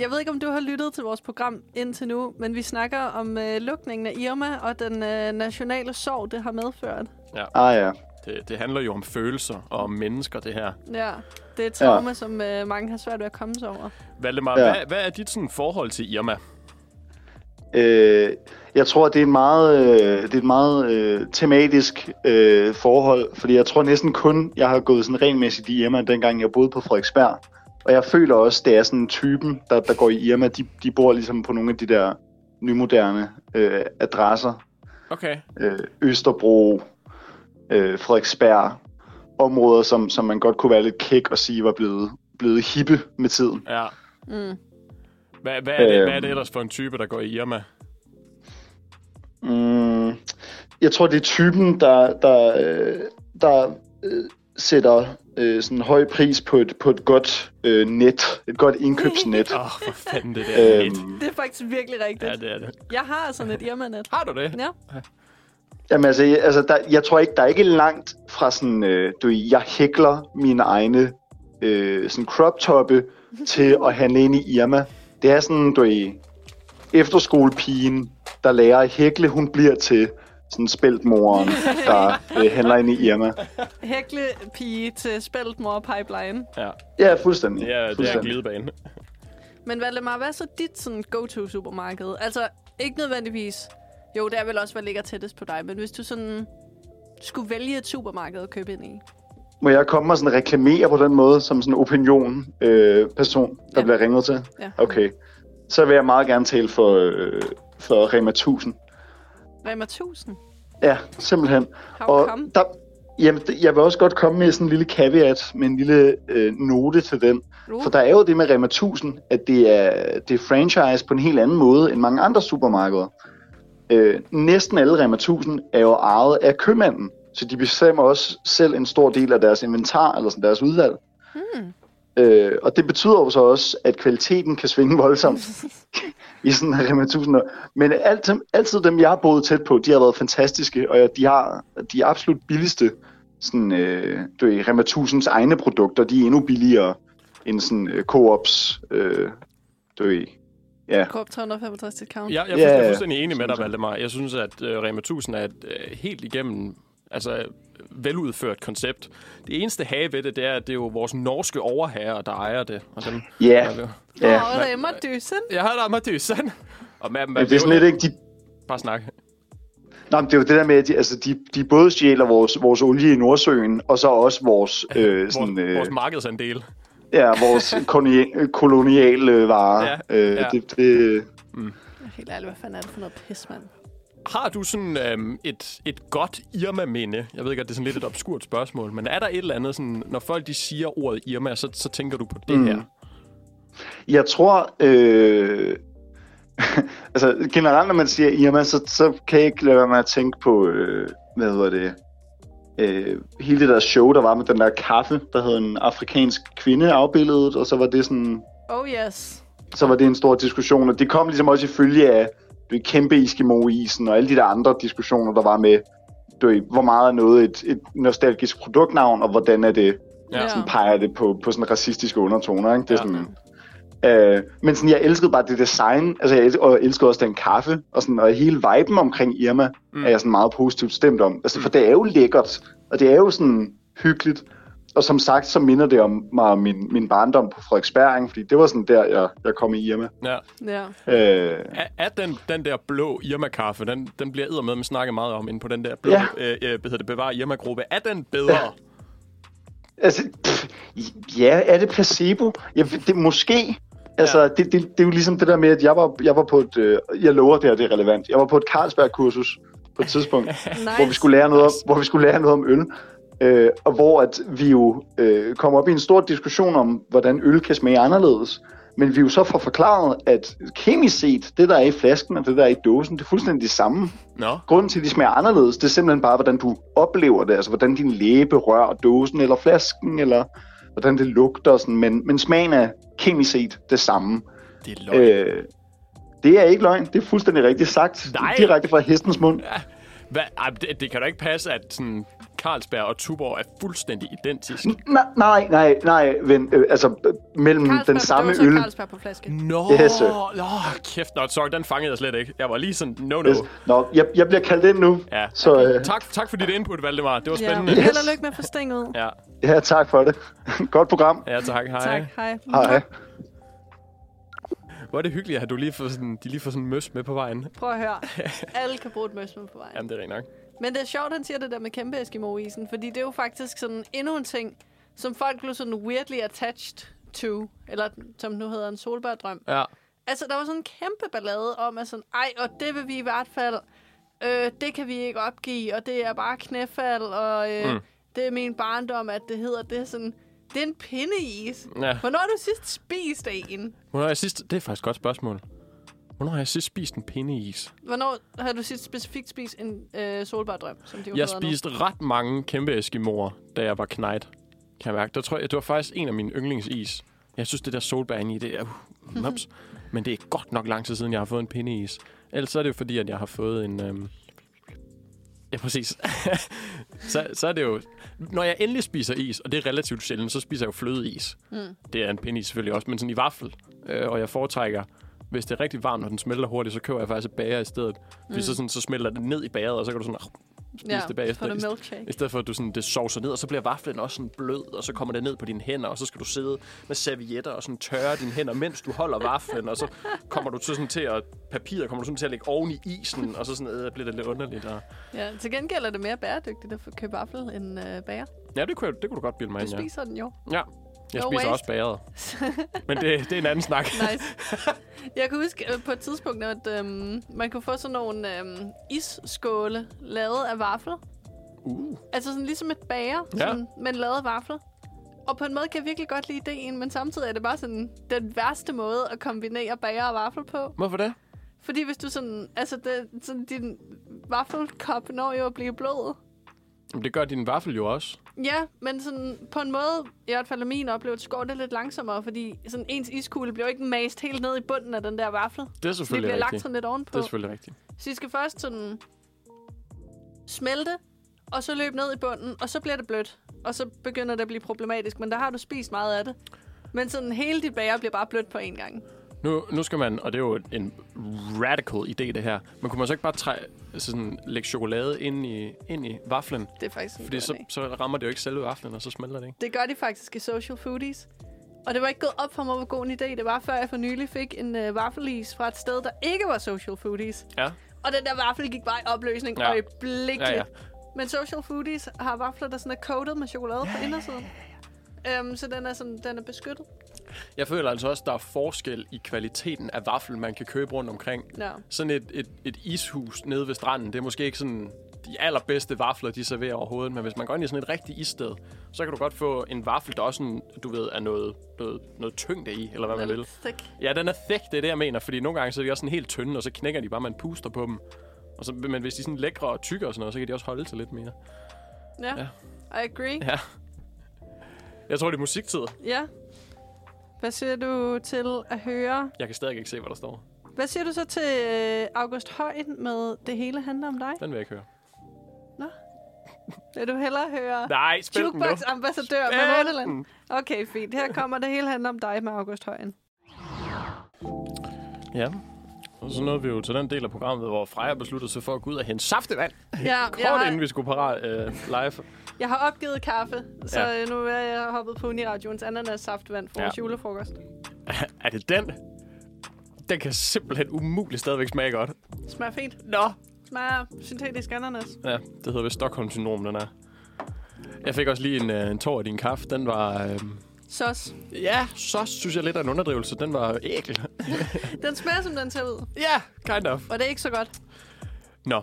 Jeg ved ikke, om du har lyttet til vores program indtil nu, men vi snakker om øh, lukningen af Irma og den øh, nationale sorg, det har medført. Ah ja. Det, det handler jo om følelser og om mennesker, det her. Ja, det er et trauma, ja. som øh, mange har svært ved at komme sig over. Valdemar, ja. Ja. hvad, hvad er dit sådan, forhold til Irma? Øh, jeg tror, det er en meget, øh, det er et meget øh, tematisk øh, forhold, fordi jeg tror næsten kun, jeg har gået sådan regelmæssigt i Irma, dengang jeg boede på Frederiksberg. Og jeg føler også, det er sådan typen, der, der går i Irma, de, de bor ligesom på nogle af de der nymoderne øh, adresser. Okay. Øh, Østerbro, øh, Frederiksberg, områder, som, som man godt kunne være lidt kæk og sige var blevet, blevet hippe med tiden. Ja. Mm. Hvad, hvad, er det, Øhm. hvad er det ellers for en type, der går i Irma? Mm, jeg tror, det er typen, der, der, øh, der øh, sætter øh, sådan en høj pris på et, på et godt øh, net, et godt indkøbsnet. Åh, oh, for fanden det der. net. øhm, Det er faktisk virkelig rigtigt. Ja, Ja, det... det er det. Jeg har altså sådan et Irma-net. Har du det? Ja. jamen altså, jeg, altså der, jeg tror ikke, der er ikke langt fra sådan, øh, du, ved, jeg hækler mine egne øh, sådan crop toppe til at handle ind i Irma. Det er sådan, du er efterskolepigen, der lærer at hækle, hun bliver til sådan spæltmoren, der øh, handler ind i Irma. Hæklepige til Speltmore Pipeline. Ja, Ja, fuldstændig. det er, det er en fuldstændig. glidebane. Men Valdemar, hvad er så dit sådan, go-to-supermarked? Altså, ikke nødvendigvis... Jo, det er vel også, hvad ligger tættest på dig. Men hvis du sådan skulle vælge et supermarked at købe ind i. Må jeg komme og sådan reklamere på den måde, som sådan en opinion-person, øh, person, der Ja. bliver ringet til? Ja. Okay. Så vil jeg meget gerne tale for, øh, for Rema 1000. Rema 1000. Ja, simpelthen. How come? der, jamen, det- jeg vil også godt komme med sådan en lille caveat, med en lille øh, note til den. Uh. For der er jo det med Rema 1000, at det er, det er franchise på en helt anden måde end mange andre supermarkeder. Øh, næsten alle Rema 1000 er jo ejet af købmanden, så de bestemmer også selv en stor del af deres inventar, eller sådan deres udvalg. Hmm. Øh, og det betyder jo så også, at kvaliteten kan svinge voldsomt. i sådan her Rema 1000 år. Men altid, altid dem, jeg har boet tæt på, de har været fantastiske, og jeg- de har de absolut billigste sådan, øh, du ved, Rema 1000's egne produkter, de er endnu billigere end sådan øh, Coops, øh, du ved, ja, Korp 365 til count. Jeg, jeg, Ja, yeah, jeg er ja. fuldstændig enig med dig, Sådan. Valdemar. Jeg synes, at øh, Rema 1000 er et øh, helt igennem altså, veludført koncept. Det eneste have ved det, det er, at det er jo vores norske overherrer, der ejer det. Altså, Og dem, ja, Ja, ja. og der er Emma Dysen. Jeg har da mig dysen. Og med, med, Men det er sådan lidt ikke, de Bare snak. Nå, men det er jo det der med, at de, altså, de, de både stjæler vores, vores olie i Nordsøen, og så også vores, øh, sådan, Vores, øh, vores vores, markedsandel. ja, vores kolonial, øh, koloniale varer. Ja, Ja, øh, ja. ja. Det, det, Helt ærligt, hvad fanden er det for noget pis, mand? Har du sådan øhm, et, et godt Irma-minde? Jeg ved godt, det er sådan lidt et obskurt spørgsmål, men er der et eller andet, sådan, når folk de siger ordet Irma, så, så tænker du på det mm. her? jeg tror, øh, altså generelt, når man siger Irma, så, så kan jeg ikke lade være med at tænke på, øh, hvad hedder det, øh, hele det der show, der var med den der kaffe, der hed en afrikansk kvinde afbildet, og så var det sådan, Oh yes. så var det en stor diskussion, og det kom ligesom også i følge af du ved, kæmpe Eskimo-isen og alle de der andre diskussioner, der var med, du ved, hvor meget er noget et, et nostalgisk produktnavn, og hvordan er det, Ja. Ja. sådan peger det på, på sådan racistiske undertoner, ikke? Det er Ja. sådan, øh, men sådan, jeg elskede bare det design, altså jeg, el- og jeg elskede også den kaffe, og, sådan, og hele viben omkring Irma, mm. er jeg sådan meget positivt stemt om. Altså, for det er jo lækkert, og det er jo sådan hyggeligt, og som sagt, så minder det om mig om min, min barndom på Frederiksberg, ikke? fordi det var sådan der, jeg, jeg kom i Irma. Ja. Ja. Øh, Er, er den, den der blå Irma-kaffe, den, den bliver med, man snakker meget om inde på den der blå, ja. Ja. øh, øh, hvad hedder det, bevare Irma-gruppe. Er den bedre? altså, pff, ja, er det placebo? Ja, det måske. Altså, Ja. ja. det, det, det, er jo ligesom det der med, at jeg var, jeg var på et, øh, jeg lover det her, det er relevant, jeg var på et Carlsberg-kursus på et tidspunkt, Nice. hvor vi skulle lære noget om, hvor vi skulle lære noget om øl. Øh, og hvor at vi jo øh, kom op i en stor diskussion om, hvordan øl kan smage anderledes. Men vi jo så får forklaret, at kemisk set, det der er i flasken og det der er i dåsen, det er fuldstændig det samme. Nå, Grunden til, at de smager anderledes, det er simpelthen bare, hvordan du oplever det. Altså, hvordan din læbe rører dåsen eller flasken, eller hvordan det lugter. og Sådan. Men, men smagen er kemisk set det samme. det er løgn. Øh. Øh, det er ikke løgn. Det er fuldstændig rigtigt sagt. Nej. Direkte fra hestens mund. Hva, ej, det, det kan da ikke passe, at sådan, Carlsberg og Tuborg er fuldstændig identisk. Nej, nej, nej, nej, ven, øh, altså b- mellem Carlsberg den samme på dåse og øl. Carlsberg på flaske. Nå, Yes, sir. nå, kæft, nå, sorry, den fangede jeg slet ikke. Jeg var lige sådan, no, no. Yes. Nå, jeg, jeg bliver kaldt ind nu, Ja. så øh, Tak, tak for dit input, Valdemar. Det var Ja. spændende. Held og lykke med at få sting ud. Ja, ja, tak for det. Godt program. ja tak. Hej. Tak, hej. Hej. Hvor er det hyggeligt, at du lige får sådan, de lige får sådan en møs med på vejen. Prøv at høre. Alle kan bruge et møsmund på vejen. Jamen, det er rent nok. Men det er sjovt, han siger det der med kæmpe Eskimo-isen, fordi det er jo faktisk sådan endnu en ting, som folk blev sådan weirdly attached to, eller som nu hedder en solbærdrøm. Ja. Altså, der var sådan en kæmpe ballade om, at sådan, ej, og det vil vi i hvert fald, øh, det kan vi ikke opgive, og det er bare knæfald, og øh, mm. det er min barndom, at det hedder det sådan, det er en pindeis. Ja. Hvornår har du sidst spist af en? Hvornår har jeg sidst... Det er faktisk et godt spørgsmål. Hvornår har jeg sidst spist en pindeis? Hvornår har du sidst specifikt spist en øh, solbærdrøm, som de jo Jeg hedder spiste ret mange kæmpe eskimoer, da jeg var knejt. Kan jeg mærke. Der tror jeg, det var faktisk en af mine yndlingsis. Jeg synes, det der solbær inde i, det er... Uh, mops. Men det er godt nok lang tid siden, jeg har fået en pindeis. Ellers så er det jo fordi, at jeg har fået en... Øhm... Ja, præcis. så, så er det jo... Når jeg endelig spiser is, og det er relativt sjældent, så spiser jeg jo flødeis. Mm. Det er en pindeis selvfølgelig også, men sådan i vaffel. Øh, og jeg foretrækker, hvis det er rigtig varmt, og den smelter hurtigt, så køber jeg faktisk et bager i stedet. Fordi så, sådan, så smelter det ned i bageret, og så kan du sådan spise Mm. Ja, det bagefter. får du I st- milkshake. I stedet for, at du sådan, det sovser ned, og så bliver vaflen også sådan blød, og så kommer det ned på dine hænder, og så skal du sidde med servietter og sådan tørre dine hænder, mens du holder vaflen, og så kommer du til, sådan til at, papiret kommer du sådan til at lægge oven i isen, og så sådan, øh, bliver det lidt underligt. Og... Ja, til gengæld er det mere bæredygtigt at få- købe vaffel end øh, bager. Ja, det kunne, jeg- det kunne du godt bilde mig Du ind, ja. spiser den jo. ja. Jeg No spiser waste. også bageret. Men det, det er en anden snak. Nice. Jeg kan huske øh, på et tidspunkt, at øhm, man kunne få sådan nogle øhm, isskåle lavet af vafler. Uh. Altså sådan ligesom et bager, Ja. ja. sådan, men lavet af vafler. Og på en måde kan jeg virkelig godt lide ideen, men samtidig er det bare sådan den værste måde at kombinere bager og vafler på. Hvorfor det? Fordi hvis du sådan, altså det, sådan din vaffelkop når jo at blive blød. Jamen, det gør din vaffel jo også. Ja, men sådan, på en måde, i hvert fald af min oplevelse, går det lidt langsommere, fordi sådan, ens iskugle bliver jo ikke mast helt ned i bunden af den der vafle. Det er Det selvfølgelig bliver lagt rigtigt. sådan lidt ovenpå. Det er selvfølgelig rigtigt. Så I skal først sådan smelte, og så løbe ned i bunden, og så bliver det blødt. Og så begynder det at blive problematisk, men der har du spist meget af det. Men sådan hele dit bager bliver bare blødt på en gang. Nu, nu skal man, og det er jo en radical idé, det her. Men kunne man så ikke bare træ, sådan, lægge chokolade ind i, ind i vaflen? Det er faktisk en Fordi god så, idé. så rammer det jo ikke selve vaflen, og så smelter det ikke. Det gør de faktisk i Social Foodies. Og det var ikke gået op for mig, hvor god en idé det var, før jeg for nylig fik en øh, vaffelis fra et sted, der ikke var Social Foodies. Ja. Og den der vaffel gik bare i opløsning Ja. ja. øjeblikkeligt. Ja, ja. Men Social Foodies har vafler, der sådan er coated med chokolade på indersiden. Øhm, så den er, sådan, den er beskyttet. Jeg føler altså også, at der er forskel i kvaliteten af vaffel, man kan købe rundt omkring. Ja. Sådan et, et, et ishus nede ved stranden, det er måske ikke sådan de allerbedste vafler, de serverer overhovedet. Men hvis man går ind i sådan et rigtigt issted, så kan du godt få en vaffel, der også sådan, du ved, er noget, noget, noget tyngde i, eller hvad man Den er vil. lidt thick. Ja, den er thick, det er det, jeg mener. Fordi nogle gange så er de også sådan helt tynde, og så knækker de bare, man puster på dem. Og så, men hvis de er sådan lækre og tykke og sådan noget, så kan de også holde til lidt mere. Ja. Ja. I agree. Ja. Ja. Jeg tror, det er musiktid. ja. Hvad siger du til at høre? Jeg kan stadig ikke se, hvad der står. Hvad siger du så til øh, August Højen med Det hele handler om dig? Den vil jeg ikke høre. Vil du hellere høre Nej, spil den nu. Jukebox-ambassadør Spil med Nordland? den. Okay, fint. Her kommer Det hele handler om dig med August Højen. Ja. Og så nåede vi jo til den del af programmet, hvor Freja besluttede sig for at gå ud og hente saftevand. Ja, Kort jeg har, inden vi skulle parat øh, live. jeg har opgivet kaffe, så Ja. ja. nu er jeg hoppet på Uniradioens ananas saftvand for Ja. vores julefrokost. er det den? Den kan simpelthen umuligt stadigvæk smage godt. Smager fint. Nå, Smager syntetisk ananas. Ja, det hedder vist Stockholm-syndrom, den er. Jeg fik også lige en, øh, en tår i din kaffe. Den var... Øh, Sos. ja, så synes jeg lidt er en underdrivelse. Den var ækel. Den smager, som den ser ud. Ja, yeah, kind of. Og det er ikke så godt. Nå,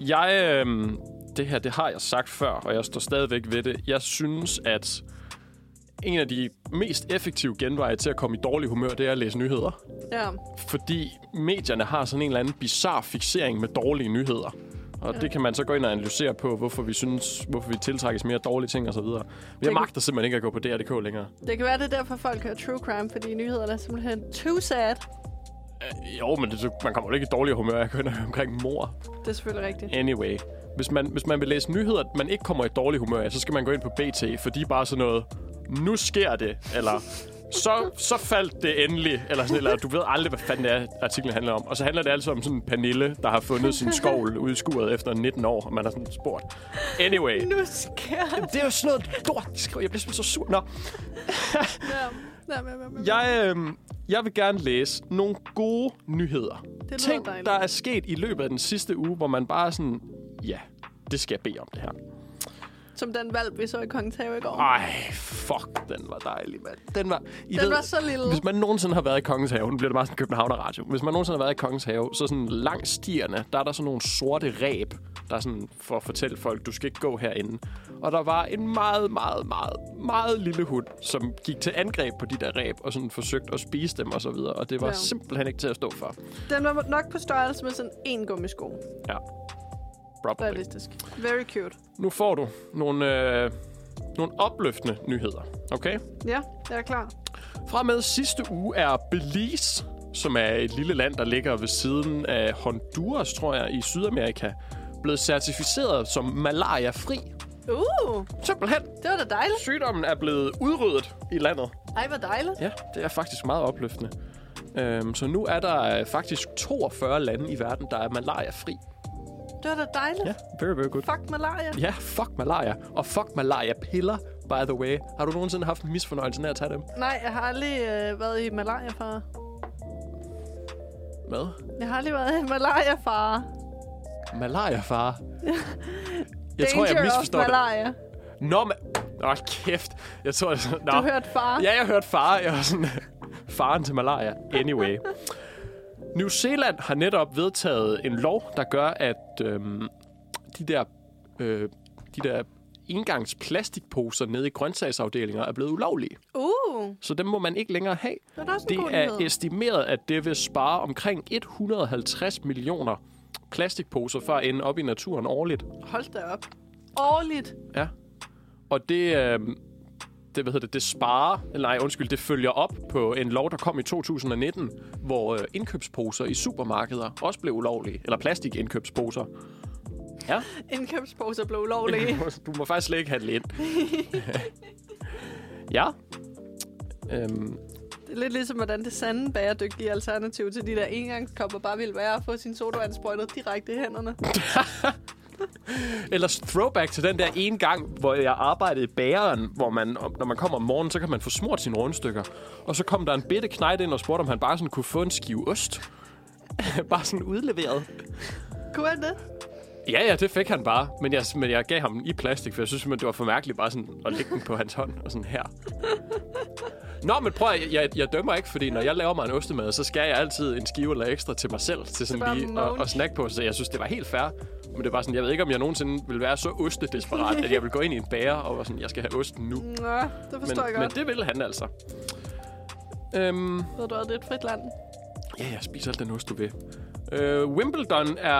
jeg... Øh, det her, det har jeg sagt før, og jeg står stadigvæk ved det. Jeg synes, at en af de mest effektive genveje til at komme i dårlig humør, det er at læse nyheder. Ja. fordi medierne har sådan en eller anden bizarre fixering med dårlige nyheder. Og det kan man så gå ind og analysere på, hvorfor vi synes, hvorfor vi tiltrækkes mere af dårlige ting og så videre. Men jeg kan- magter simpelthen ikke at gå på DR.dk længere. Det kan være, det er derfor, folk hører true crime, fordi nyhederne er simpelthen too sad. Øh, Jo, men det, man kommer jo ikke i dårlig humør af at gå ind og høre omkring mor. Det er selvfølgelig rigtigt. Anyway. Hvis man, hvis man vil læse nyheder, man ikke kommer i dårlig humør af, så skal man gå ind på BT, for de er bare sådan noget, nu sker det, eller så, så faldt det endelig, eller sådan, eller du ved aldrig, hvad fanden det er, artiklen handler om. Og så handler det altså om sådan en Pernille, der har fundet sin skovl ude i skuret efter 19 år, og man har sådan spurgt. Anyway. Nu sker det. Det er jo sådan noget lort, de skriver. Jeg bliver simpelthen så sur. Nå, Ja. Ja, men, men, men. jeg, øh, jeg vil gerne læse nogle gode nyheder. lyder Ting, dejligt. der er sket i løbet af den sidste uge, hvor man bare er sådan, ja, det skal jeg bede om det her. Som den valg, vi så i Kongens Have i går. Ej, fuck, den var dejlig, mand. Den var, I Den var så lille. Hvis man nogensinde har været i Kongens Have, nu bliver det bare sådan Københavner Radio. Hvis man nogensinde har været i Kongens Have, så sådan langs stierne, der er der sådan nogle sorte ræb, der er sådan for at fortælle folk, du skal ikke gå herinde. Og der var en meget, meget, meget, meget lille hund, som gik til angreb på de der ræb, og sådan forsøgte at spise dem og så videre. Og det var ja. Ja. simpelthen ikke til at stå for. Den var nok på størrelse med sådan en gummisko. Ja. Probably. Realistisk. Very cute. Nu får du nogle, øh, nogle opløftende nyheder, okay? Ja, jeg er klar. Fra med sidste uge er Belize, som er et lille land, der ligger ved siden af Honduras, tror jeg, i Sydamerika, blevet certificeret som malaria-fri. Uh, Simpelthen. det var da dejligt. Sygdommen er blevet udryddet i landet. Ej, hvor dejligt. Ja, det er faktisk meget opløftende. Øhm, så nu er der øh, faktisk 42 lande i verden, der er malaria-fri. Det var da dejligt. Ja, very, very good. Fuck malaria. Ja, fuck malaria. Og fuck malaria-piller, by the way. Har du nogensinde haft en misfornøjelse af at tage dem? Nej, jeg har aldrig øh, været i malaria far. Hvad? Jeg har aldrig været i malaria far. Malaria, far. Jeg Danger tror, jeg misforstår of det. malaria. Nå, men... Nå, kæft. Jeg tror, jeg... Nå. Du hørte far. Ja, jeg hørte far. Jeg var sådan... Faren til malaria. Anyway. New Zealand har netop vedtaget en lov, der gør, at øhm, de der... Øh, de der engangs plastikposer nede i grøntsagsafdelinger er blevet ulovlige. Uh, Så dem må man ikke længere have. det var da også en Det god er nyhed. estimeret, at det vil spare omkring 150 millioner plastikposer for at ende op i naturen årligt. Hold da op. Årligt. Ja. Og det, øh, det, hvad hedder det, det sparer, eller nej, undskyld, det følger op på en lov, der kom i 2019, hvor øh, indkøbsposer i supermarkeder også blev ulovlige, eller plastikindkøbsposer. Ja, Indkøbsposer blev ulovlige. du må faktisk slet ikke handle ind. ja. Øhm, Det er lidt ligesom, hvordan det sande bæredygtige alternativ til de der engangskopper bare ville være at få sin sodavand sprøjtet direkte i hænderne. Ellers throwback til den der ene gang, hvor jeg arbejdede i bageren, hvor man, om- når man kommer om morgenen, så kan man få smurt sine rundstykker. Og så kom der en bitte knejt ind og spurgte, om han bare sådan kunne få en skive ost. bare sådan udleveret. Kunne han det? Ja, ja, det fik han bare. Men jeg, men jeg gav ham den i plastik, for jeg synes simpelthen, det var for mærkeligt bare sådan at lægge den på hans hånd og sådan her. Nå, men prøv at, jeg, jeg, jeg dømmer ikke, fordi når jeg laver mig en ostemad, så skal jeg altid en skive eller ekstra til mig selv, til sådan bare lige at, munch. at snakke på. Så jeg synes, det var helt fair. Men det var sådan, jeg ved ikke, om jeg nogensinde ville være så ostedesperat, at jeg ville gå ind i en bager og var sådan, jeg skal have osten nu. Nå, Mm, det Men, forstår jeg men godt. det ville han altså. Øhm, Ved du, at det er et frit land? Ja, jeg spiser alt den ost, du vil. Øh, Wimbledon er,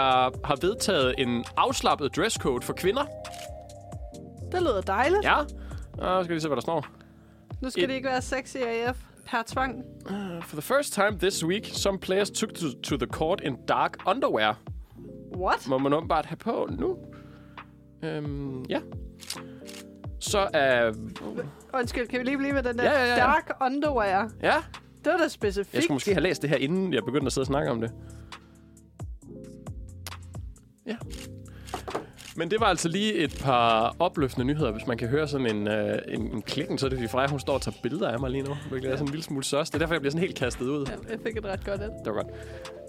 har vedtaget en afslappet dresscode for kvinder. Det lyder dejligt. Ja. Og skal vi se, hvad der står. Nu skal Et- det ikke være sexy AF per tvang. For the first time this week, some players took to, to the court in dark underwear. What? Må man åbenbart have på nu. Øhm, ja. Så øh, er... Undskyld, kan vi lige blive ved den der Ja, ja, ja. dark underwear? ja. Det var da Jeg specifikt. skulle måske have læst det her, inden jeg begyndte at sidde og snakke om det. Ja. Men det var altså lige et par opløftende nyheder. Hvis man kan høre sådan en, øh, en, en klikken, så er det fordi Freja, hun står og tager billeder af mig lige nu. Hvilket er sådan en lille smule søs. Det er derfor, jeg bliver sådan helt kastet ud. Ja, Jeg fik et ret godt et. Det var godt.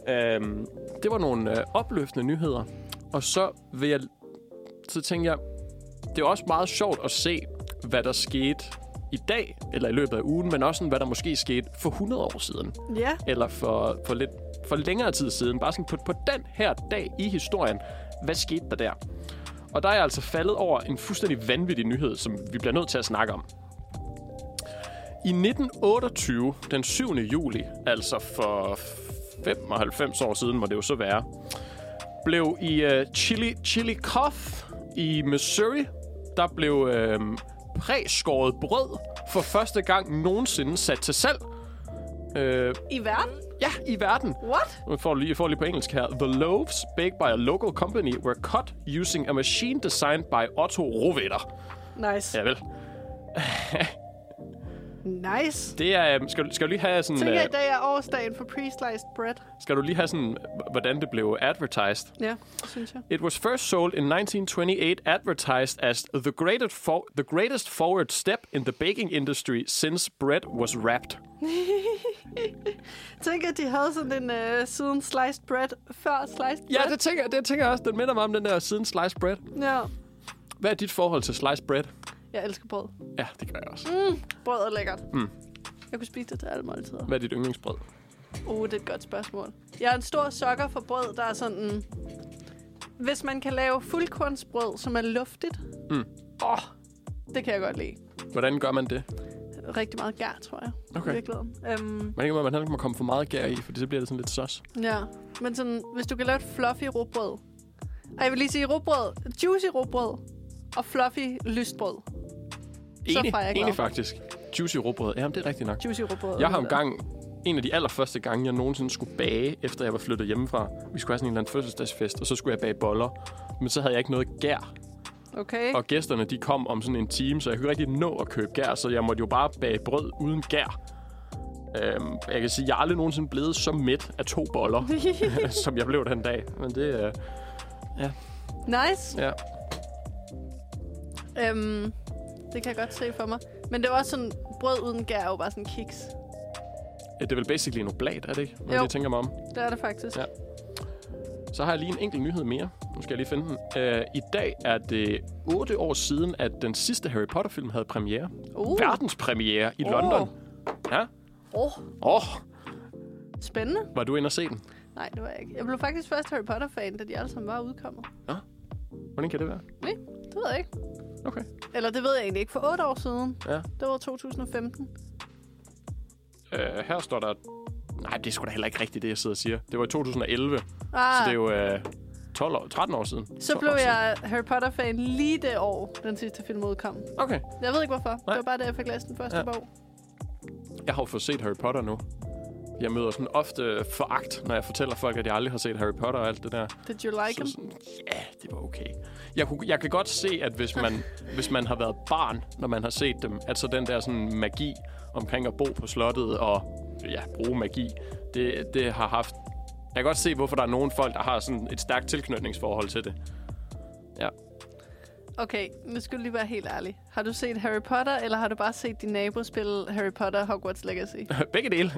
Øhm, det var nogle øh, opløftende nyheder. Og så vil jeg... Så tænkte jeg, det er også meget sjovt at se, hvad der skete i dag, eller i løbet af ugen, men også sådan, hvad der måske skete for 100 år siden Ja, eller for, for lidt for længere tid siden, bare sådan på, på den her dag i historien, hvad skete der der? Og der er jeg altså faldet over en fuldstændig vanvittig nyhed, som vi bliver nødt til at snakke om. I 1928, den 7. juli, altså for 95 år siden må det jo så være, blev i øh, Chili, Chillicothe i Missouri, der blev øh, præskåret brød for første gang nogensinde sat til salg. Øh, i verden? Ja, i verden. What? Nu får du lige, jeg får lige på engelsk her. The loaves baked by a local company were cut using a machine designed by Otto Rovetter. Nice. Ja vel. Nice. Det er, øhm, skal, du- skal du lige have sådan, Tænk, øh, at i dag er årsdagen for pre-sliced bread. skal du lige have sådan, h- hvordan det blev advertised. Ja, det synes jeg. It was first sold in 1928, advertised as the greatest, for, the greatest forward step in the baking industry since bread was wrapped. Tænk, at de havde sådan en øh, siden sliced bread før sliced Ja, bread. det tænker, det tænker jeg også. Den minder mig om den der siden sliced bread. Ja. Hvad er dit forhold til sliced bread? Jeg elsker brød. Ja, det gør jeg også. Brød er lækkert. Mm. Jeg kunne spise det til alle måltider. Hvad er dit yndlingsbrød? Uh, det er et godt spørgsmål. Jeg er en stor sokker for brød, der er sådan... mm. Hvis man kan lave fuldkornsbrød, som er luftigt... Mm. Åh, det kan jeg godt lide. Hvordan gør man det? Rigtig meget gær, tror jeg. Okay. I virkeligheden. Øhm, Man kan man heller ikke må komme for meget gær i, for så bliver det sådan lidt sus. ja. Men sådan, hvis du kan lave et fluffy råbrød... Ej, jeg vil lige sige råbrød. Juicy råbrød. Og fluffy lystbrød. Enig, får jeg glad. enig faktisk. Juicy råbrød. Jamen, det er rigtigt nok. Juicy råbrød. Jeg har engang, en af de allerførste gange, jeg nogensinde skulle bage, efter jeg var flyttet hjemmefra. Vi skulle have sådan en eller anden fødselsdagsfest, og så skulle jeg bage boller. Men så havde jeg ikke noget gær, Okay. og gæsterne de kom om sådan en time, så jeg kunne ikke rigtig nå at købe gær, så jeg måtte jo bare bage brød uden gær. Øhm, jeg kan sige, jeg er aldrig nogensinde blevet så mæt af to boller, som jeg blev den dag. Men det øh, er... nice. Ja. Øhm, det kan jeg godt se for mig. Men det var også sådan... Brød uden gær er jo bare sådan kiks. Det er vel basically en oblat, er det ikke? Når Jo. jeg lige tænker mig om. Det er det faktisk. Ja. Så har jeg lige en enkelt nyhed mere. Nu skal jeg lige finde den. Øh, I dag er det 8 år siden, at den sidste Harry Potter-film havde premiere. Uh. Verdenspremiere i Åh. London. Ja. Åh, Åh, oh, spændende. var du inde og se den? Nej, det var jeg ikke. Jeg blev faktisk først Harry Potter-fan, da de alle sammen var udkommet. Hvordan kan det være? Nej, det ved jeg ikke. Okay. Eller det ved jeg egentlig ikke. For otte år siden. Ja. Det var 2015. Øh, her står der... Nej, det er sgu da heller ikke rigtigt, det jeg sidder og siger. Det var i 2011, ah. Ah, så det er jo øh, 12 år, 13 år siden. Så 12 blev år siden. jeg Harry Potter-fan lige det år, den sidste film udkom. Okay. Jeg ved ikke hvorfor. Nej. Det var bare da jeg fik læst den første Ja. ja. bog. Jeg har jo fået set Harry Potter nu. Jeg møder sådan ofte foragt, når jeg fortæller folk, at jeg aldrig har set Harry Potter og alt det der. Did you like Så him? sådan, ja, det var okay. Jeg, kunne, jeg kan godt se, at hvis man, hvis man har været barn, når man har set dem, at så den der sådan magi omkring at bo på slottet og ja, bruge magi, det, det har haft... Jeg kan godt se, hvorfor der er nogle folk, der har sådan et stærkt tilknytningsforhold til det. Ja. Okay, nu skal du lige være helt ærlig. Har du set Harry Potter, eller har du bare set din nabo spille Harry Potter Hogwarts Legacy? Begge dele.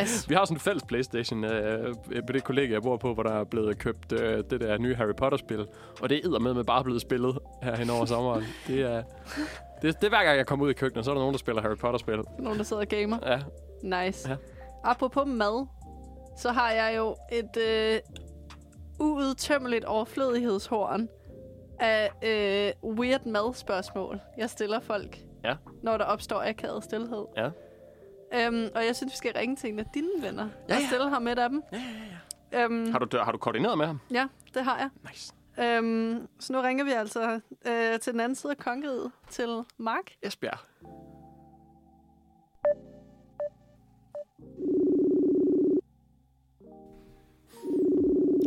Nice. Vi har sådan en fælles Playstation øh, på det kollega, jeg bor på, hvor der er blevet købt øh, det der nye Harry Potter-spil. Og det er med bare blevet spillet her hen over sommeren. Det er... Det, det er hver gang, jeg kommer ud i køkkenet, så er der nogen, der spiller Harry Potter-spil. Nogen, der sidder og gamer. Ja, Nice. Ja. Ja. Apropos mad, så har jeg jo et øh, uudtømmeligt overflødighedshorn af øh, weird madspørgsmål, jeg stiller folk, Ja. når der opstår akavet stillhed. ja. Øhm, og jeg synes, vi skal ringe til en af dine venner Ja, ja, og ja. stille ham et af dem. Ja, ja, ja. Øhm, Har du, har du koordineret med ham? ja, det har jeg. Mm-hmm. Nice. Øhm, så nu ringer vi altså øh, til den anden side af kongeriget, til Mark. Esbjerg.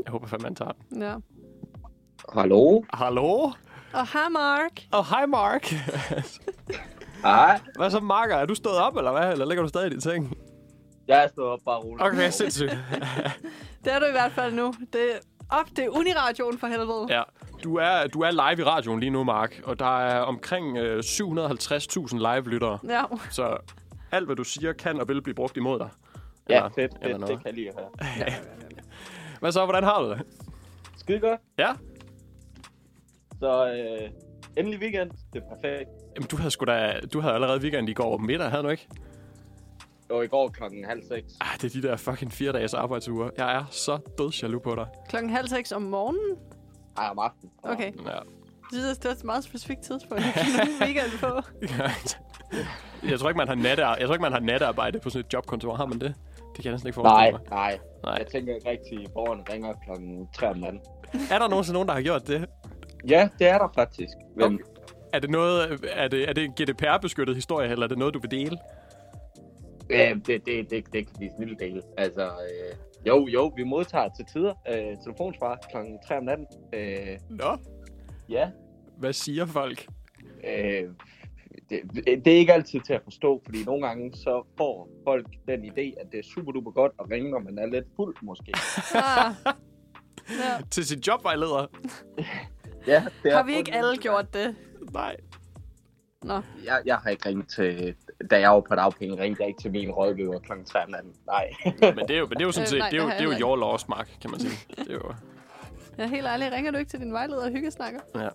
Jeg håber fandme, han tager den. Ja. Hallo? Hallo? Og hej Mark. Og oh, hej, Mark. Hej. hvad så, Marker? Er du stået op, eller hvad? Eller ligger du stadig i din ting? Jeg er stået op bare roligt. Okay, sindssygt. Det er du i hvert fald nu. Det er op, det er Uniradioen for helvede. Ja. Du er, du er live i radioen lige nu, Mark, og der er omkring øh, 750.000 live-lyttere. Ja, Så alt, hvad du siger, kan og vil blive brugt imod dig. Ja, fedt. eller Det, det, noget. det kan jeg lige høre. Hvad så? Hvordan har du det? Skide godt. Ja? Så øh, endelig weekend. Det er perfekt. Jamen, du havde, sgu da, du havde allerede weekend i går middag, havde du ikke? Det var i går klokken halv seks. Ah, det er de der fucking fire dages arbejdsuger. Jeg er så død jaloux på dig. klokken halv seks om morgenen. Ej, om aftenen. Okay, Ja. jeg synes, det er et meget specifikt tidspunkt, at give nogen weekend på. jeg tror ikke, man har natte, jeg tror ikke, man har nattearbejde på sådan et jobkontor. Har man det? Det kan jeg næsten ikke Nej, forestille mig. nej. Nej. Jeg tænker ikke rigtigt, at borgerne ringer klokken 3 om natten. Er der nogensinde nogen, der har gjort det? Ja, det er der faktisk. Men Okay. Er det noget, er det, er det en GDPR-beskyttet historie, eller er det noget, du vil dele? øh, det, det, det, det kan vi snille dele. Altså, øh, jo, jo, vi modtager til tider øh, telefonsvar klokken 3 om natten. Øh, Nå, ja, hvad siger folk? Øh, det, det er ikke altid til at forstå, fordi nogle gange så får folk den idé, at det er super duper godt at ringe, når man er lidt fuld måske. Ah. Ja. Til sin jobvejleder? ja, det Har vi ikke alle gjort det? Nej. Nå, Jeg, jeg har ikke ringet til, da jeg var på dagpenge, ringte jeg ikke til min rådgiver kl. 3 om natten. Nej. Men det er jo, men det er jo sådan Øh, set, nej, det er jo, det har det er jeg jo your loss, Mark, kan man sige. Det er jo, ja, helt ærligt, ringer du ikke til din vejleder og hyggesnakker? ja.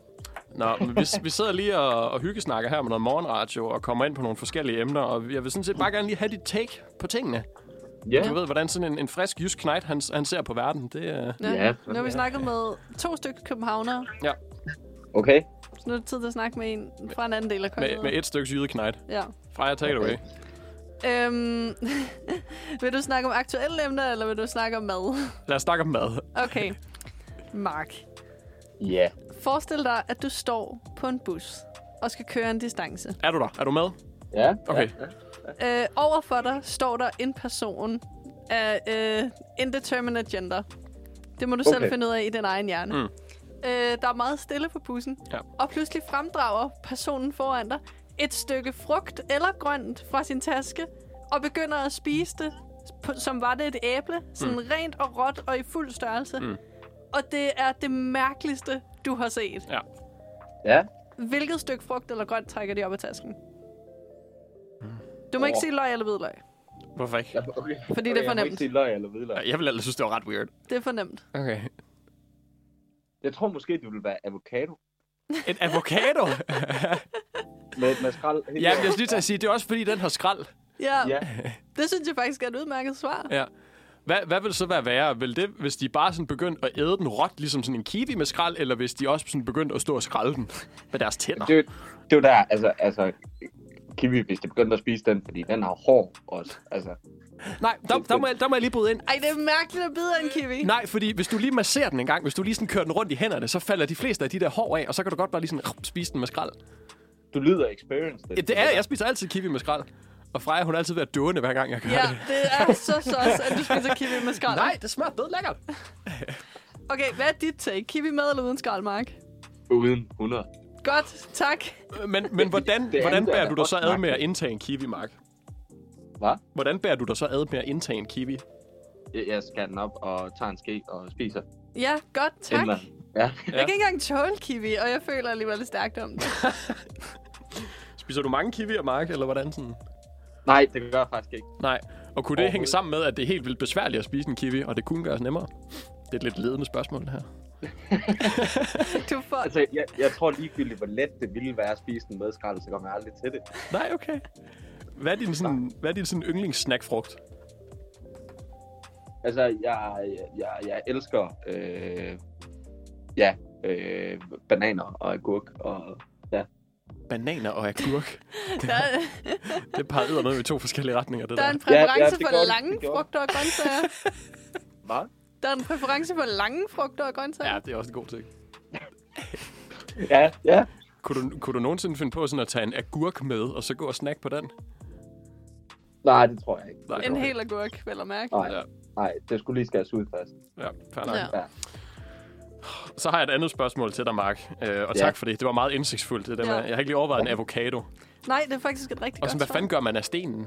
Nå, men vi, vi sidder lige og, og hyggesnakker her med noget morgenradio og kommer ind på nogle forskellige emner, og jeg vil sådan set bare gerne lige have dit take på tingene. Ja. Du ved, hvordan sådan en, en frisk jysk knight, han, han ser på verden. Det, øh, Ja. Ja. Nu har vi snakket med to stykker københavnere, ja, Okay. så nu er det tid til at snakke med en fra en anden del af med, kongeriget. med et stykke jyde knight. Ja. Freja, take it away. Øhm, vil du snakke om aktuelle emner, eller vil du snakke om mad? Lad os snakke om mad. Okay. Mark, Ja. forestil dig, at du står på en bus og skal køre en distance. Er du der? Er du med? Ja. Okay. Ja. Øh, over for dig står der en person af øh, indeterminate gender. Det må du okay. selv Okay. finde ud af i din egen hjerne. Mm. Mm. Øh, der er meget stille på bussen, Ja. og pludselig fremdrager personen foran dig et stykke frugt eller grønt fra sin taske, og begynder at spise det, på- som var det et æble, sådan mm. rent og råt og i fuld størrelse. Mm. Og det er det mærkeligste, du har set. Ja. Ja. Hvilket stykke frugt eller grønt trækker de op af tasken? Du må oh. ikke Åh. sige løg eller hvidløg. Hvorfor ikke? ja. Okay. Fordi det er okay, for jeg må nemt. ikke sige løg eller hvidløg. Jeg ville ellers synes, det var ret weird. Det er for nemt. Okay. Jeg tror måske, det ville være avocado. En avocado? Med, med skrald. helt ja, men over. jeg skulle lige til at sige, det er også fordi, den har skrald. Ja, Ja. ja. det synes jeg faktisk er et udmærket svar. Ja. Hvad, hvad vil så være værre? Vil det, hvis de bare sådan begyndte at æde den råt, ligesom sådan en kiwi med skrald, eller hvis de også sådan begyndte at stå og skralde den med deres tænder? Det, er jo- det er jo der, altså, altså, kiwi, hvis de begyndte at spise den, fordi den har hår også, altså. Nej, der, der, må jeg, der må jeg lige bryde ind. Ej, det er mærkeligt at bide af en kiwi. Nej, fordi hvis du lige masserer den en gang, hvis du lige sådan kører den rundt i hænderne, så falder de fleste af de der hår af, og så kan du godt bare lige sådan rup, spise den med skrald. Du lyder experienced. Ja, det er jeg. Jeg spiser altid kiwi med skrald. Og Freja, hun er altid ved at døne, hver gang jeg gør Ja, det. det er så sås, at du spiser kiwi med skrald. Nej, det smager død lækkert. Okay, hvad er dit take? Kiwi med eller uden skrald, Mark? Uden 100. Godt, tak. Øh, Men, men hvordan, er hvordan andet, bærer du der er dig så godt ad snak. med at indtage en kiwi, Mark? Hvad? Hvordan bærer du dig så ad med at indtage en kiwi? Jeg, jeg skærer den op og tager en ske og spiser. Ja, godt, tak. Emma. Ja. Jeg kan ikke engang tåle kiwi, og jeg føler alligevel lidt stærkt om det. Spiser du mange kiwier, Mark, eller hvordan sådan? Nej, det gør jeg faktisk ikke. Nej. Og kunne det hænge sammen med, at det er helt vildt besværligt at spise en kiwi, og det kunne gøres nemmere? Det er et lidt ledende spørgsmål, det her. Du får... Altså, jeg, jeg tror ligegyldigt, hvor let det ville være at spise den med skrald, så kommer jeg aldrig til det. Nej, okay. Hvad er din, sådan, hvad er din sådan yndlingssnackfrugt? Altså, jeg, jeg- jeg, jeg elsker øh, ja, øh, bananer og agurk. Og, Bananer og agurk. Der, Det parrede med i to forskellige retninger, det der der. er en præference det for gjorde det, lange det gjorde det. frugter og grøntsager. Hvad? Der er en præference for lange frugter og grøntsager. Ja, det er også en god ting. Ja, ja. Kunne du, kunne du nogensinde finde på sådan at tage en agurk med, og så gå og snakke på den? Nej, det tror jeg ikke. Nej, En okay. hel agurk, vel at mærke. Nej, Ja. nej det skulle lige skæres ud først. Ja, fair nok. Ja. Ja. Så har jeg et andet spørgsmål til dig, Mark. Øh, og Ja. tak for det. Det var meget indsigtsfuldt. Det der med, Ja. jeg har ikke lige overvejet en avocado. Nej, det er faktisk et rigtig Og sådan, godt hvad fanden gør man af stenen?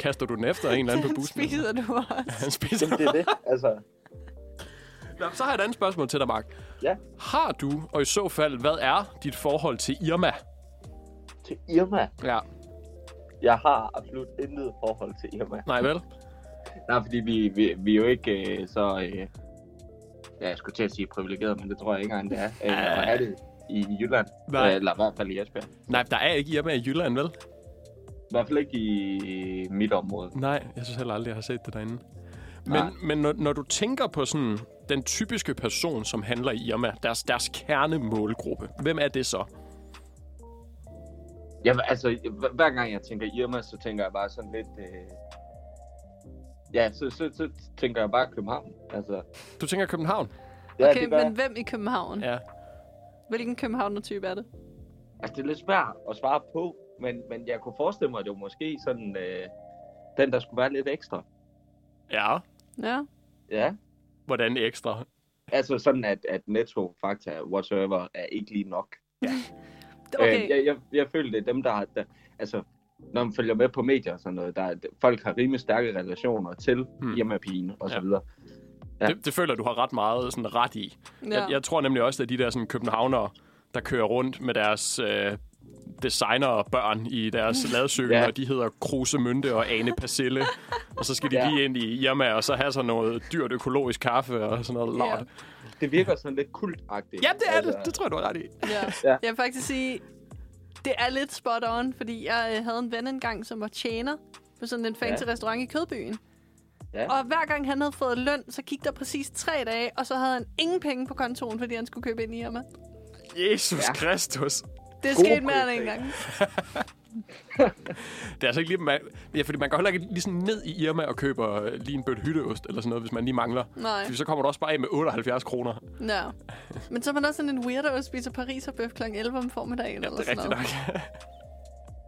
Kaster du den efter en eller anden på Den bussen? spiser du også. Han spiser. Jamen, det er det. Altså, Nå, Så har jeg et andet spørgsmål til dig, Mark. ja. Har du, og i så fald, hvad er dit forhold til Irma? Til Irma. Ja. Jeg har absolut intet forhold til Irma. Nej, vel? Nej, fordi vi, vi, vi er jo ikke øh, så... Øh, ja, jeg skulle til at sige privilegeret, men det tror jeg ikke engang, det er. Øh, at have det i Jylland. Nej. Øh, Eller i hvert fald i Esbjerg. Nej, der er ikke Irma i Jylland, vel? I hvert fald ikke i mit område. Nej, jeg synes heller aldrig, jeg har set det derinde. Nej. Men, men når, når du tænker på sådan den typiske person, som handler i Irma, deres, deres kernemålgruppe, hvem er det så? Ja, altså, hver- hver gang jeg tænker Irma, så tænker jeg bare sådan lidt... Øh... Ja, så, så, så tænker jeg bare København. Altså, Du tænker København? ja, Okay, det gør men men... hvem i København? Ja. Hvilken københavner-type er det? altså, det er lidt svært at svare på, men, men jeg kunne forestille mig, at det var måske sådan... Øh... Den, der skulle være lidt ekstra. Ja. Ja. Ja, Hvordan ekstra? altså sådan, at, at netto, fakta, whatsoever, er ikke lige nok. Okay, Øh, jeg, jeg, jeg føler, det er dem, der har... Der, altså, når man følger med på medier og sådan noget, der, er- folk har rimelig stærke relationer til Hmm. hmm. Irma-pigen og så Ja. videre. Ja. Ja. Det, det føler du har ret meget sådan ret i. Ja. ja. Jeg, jeg tror nemlig også, at de der sådan, københavnere, der kører rundt med deres øh, designerbørn i deres ladcykel, ja. Ja. og de hedder Kruse Mynte og Ane Persille. og så skal de ja. Ja. lige ind i Irma, og så have sådan noget dyrt økologisk kaffe og sådan noget Ja. lort. Det virker sådan lidt kultagtigt. Altså, Ja, det er det. Det tror jeg, du har ret i. Ja. Ja. Jeg vil faktisk sige, det er lidt spot on, fordi jeg øh, havde en ven engang, som var tjener på sådan en fancy ja. restaurant i Kødbyen. Ja. Og hver gang han havde fået løn, så gik der præcis tre dage, og så havde han ingen penge på kontoen, fordi han skulle købe ind i Irma. Jesus ja. Ja. Kristus. Det God skete mere end en prioritering. gang. Det er altså ikke lige... Man, ja, fordi man går heller ikke lige sådan ned i Irma og køber øh, lige en bøtte hytteost eller sådan noget, hvis man lige mangler. Nej. Fordi så kommer du også bare af med 78 kroner. No. Men så er man også sådan en weirdo og spiser Paris og bøf kl. 11 om formiddagen. Ja, eller det er sådan rigtigt noget. nok.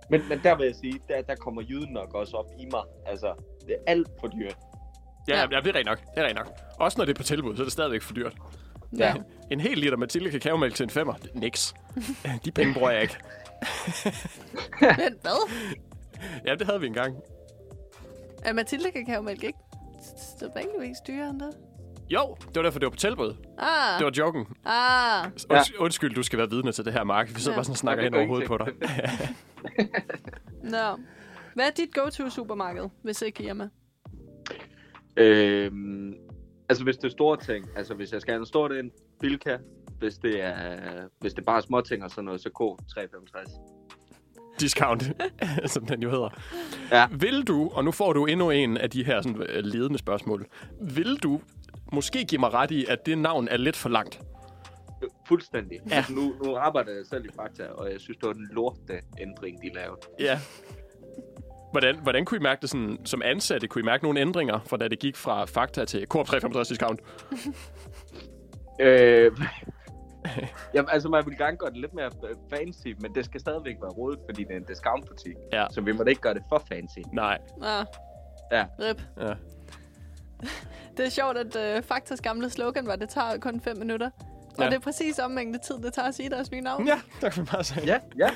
Men, men der vil jeg sige, der, der kommer jyden nok også op i mig. Altså, det er alt for dyrt. ja, Ja. ja. ja, det er rigtigt nok. Det er rigtigt nok. Også når det er på tilbud, så er det stadigvæk for dyrt. Ja. En hel liter Mathilde kakaomælk til en femmer. Niks. De penge bruger jeg ikke. Men hvad? Ja, det havde vi engang. Er Øh, Mathilde kakaomælk ikke sædvanligvis dyrere end det? Jo, det var derfor, det var på tilbud. Ah, Det var joken. ah. Unds- Undskyld, du skal være vidne til det her, Mark. Vi sidder Ja. bare sådan og snakker Ja, hen det over hovedet gør på dig. No. Hvad er dit go-to-supermarked, hvis ikke Irma? Øhm, altså, hvis det er store ting. Altså, hvis jeg skal have en stor ind, Bilka. Hvis det er, hvis det bare er små ting og sådan noget, så K365. Discount, som den jo hedder. Ja. Vil du, og nu får du endnu en af de her sådan, øh, ledende spørgsmål. Vil du måske give mig ret i, at det navn er lidt for langt? Fuldstændig. Ja. Ja. Altså, nu, nu arbejder jeg selv i Fakta, og jeg synes, det var en lorte ændring, de lavede. Ja. Hvordan, hvordan kunne I mærke det sådan, som ansatte? Kunne I mærke nogle ændringer, fra da det gik fra Fakta til Coop 365 discount? Øh, jamen, altså, man vil gerne gøre det lidt mere øh, fancy, men det skal stadigvæk være rådet, fordi det er en discountbutik. Ja. Så vi må da ikke gøre det for fancy. Nej. Ah. Ja. Rip. Ja. Det er sjovt, at øh, Faktas gamle slogan var, det tager kun 5 minutter. Og Ja. det er præcis om mængde tid, det tager at sige deres nye navn. Ja, der kan vi bare sige. Ja, ja.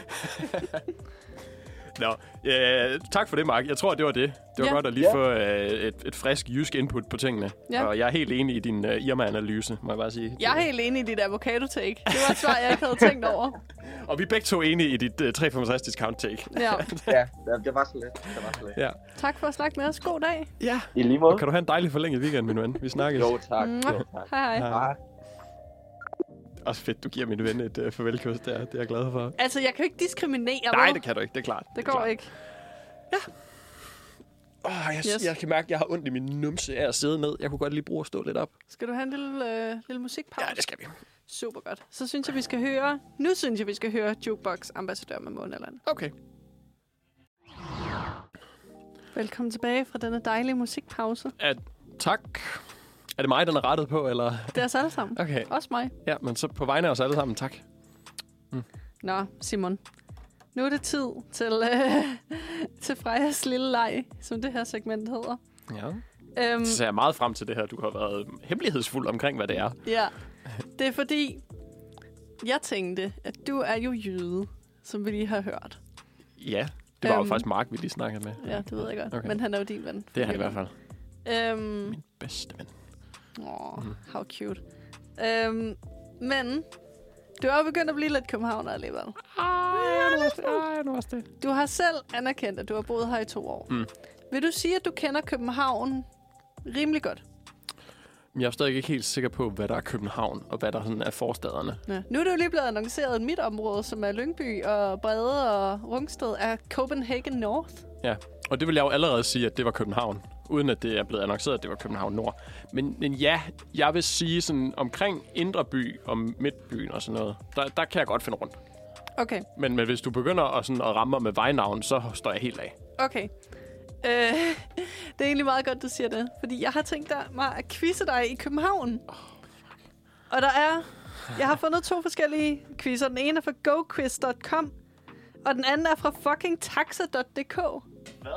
Nå, øh, tak for det, Mark. Jeg tror, det var det. Det var Ja. godt at lige Ja. få øh, et, et frisk jysk input på tingene. Ja. Og jeg er helt enig i din øh, Irma-analyse, må jeg bare sige. Jeg er helt enig i dit avocado-take. Det var et svar, jeg ikke havde tænkt over. Og vi er begge to enige i dit øh, 365 discount take. Ja. ja det- det var så lidt. Det var så lidt. Ja. Tak for at snakke med os. God dag. ja. I lige Og måde. kan du have en dejlig forlænget weekend, min ven? Vi snakkes. Jo, tak. Jo, tak. Hej hej. Hej. Også fedt, du giver min ven et øh, farvelkys der. Det er jeg glad for. Altså, jeg kan jo ikke diskriminere. Nej, vel? det kan du ikke. Det er klart. det går ikke. Oh, jeg, yes. Yes. jeg kan mærke, at jeg har ondt i min numse af at sidde ned. Jeg kunne godt lige bruge at stå lidt op. Skal du have en lille, øh, lille musikpause? Ja, det skal vi. Super godt. Så synes jeg, vi skal høre... Nu synes jeg, vi skal høre Jukebox Ambassadør med Måneland. Okay. Velkommen tilbage fra denne dejlige musikpause. At, tak. Er det mig, den er rettet på, eller? Det er os alle sammen. Okay. Også mig. Ja, men så på vegne af os alle sammen, tak. Nå, Simon. Nu er det tid til, øh, til Frejas lille leg, som det her segment hedder. Ja. Øhm, Så ser jeg meget frem til det her. Du har været hemmelighedsfuld omkring, hvad det er. ja. Det er fordi, jeg tænkte, at du er jo jyde, som vi lige har hørt. Ja, det var jo Øhm. faktisk Mark, vi lige snakkede med. Ja, det ved jeg godt. Okay. Okay. Men han er jo din ven. Det er han i hvert fald. Øhm, Min bedste ven. Åh, mm. how cute. Øhm, men du er jo begyndt at blive lidt københavner alligevel. Ej, nu også det. Du har selv anerkendt, at du har boet her i to år. Mm. Vil du sige, at du kender København rimelig godt? Men jeg er stadig ikke helt sikker på, hvad der er København, og hvad der sådan er forstaderne. Ja. Nu er det jo lige blevet annonceret, at mit område, som er Lyngby og Brede og Rungsted, er Copenhagen North. Ja, og det vil jeg jo allerede sige, at det var København, uden at det er blevet annonceret, at det var København Nord. Men, men ja, jeg vil sige sådan omkring Indre By og Midtbyen og sådan noget, der, der kan jeg godt finde rundt. Okay, Men, men hvis du begynder at, sådan, at ramme mig med vejnavn, så står jeg helt af. okay. Øh, det er egentlig meget godt, du siger det. Fordi jeg har tænkt dig- mig at quizze dig i København. Og der er... Jeg har fundet to forskellige quizzer. Den ene er fra goquiz.com, og den anden er fra fucking taxa.dk. Hvad?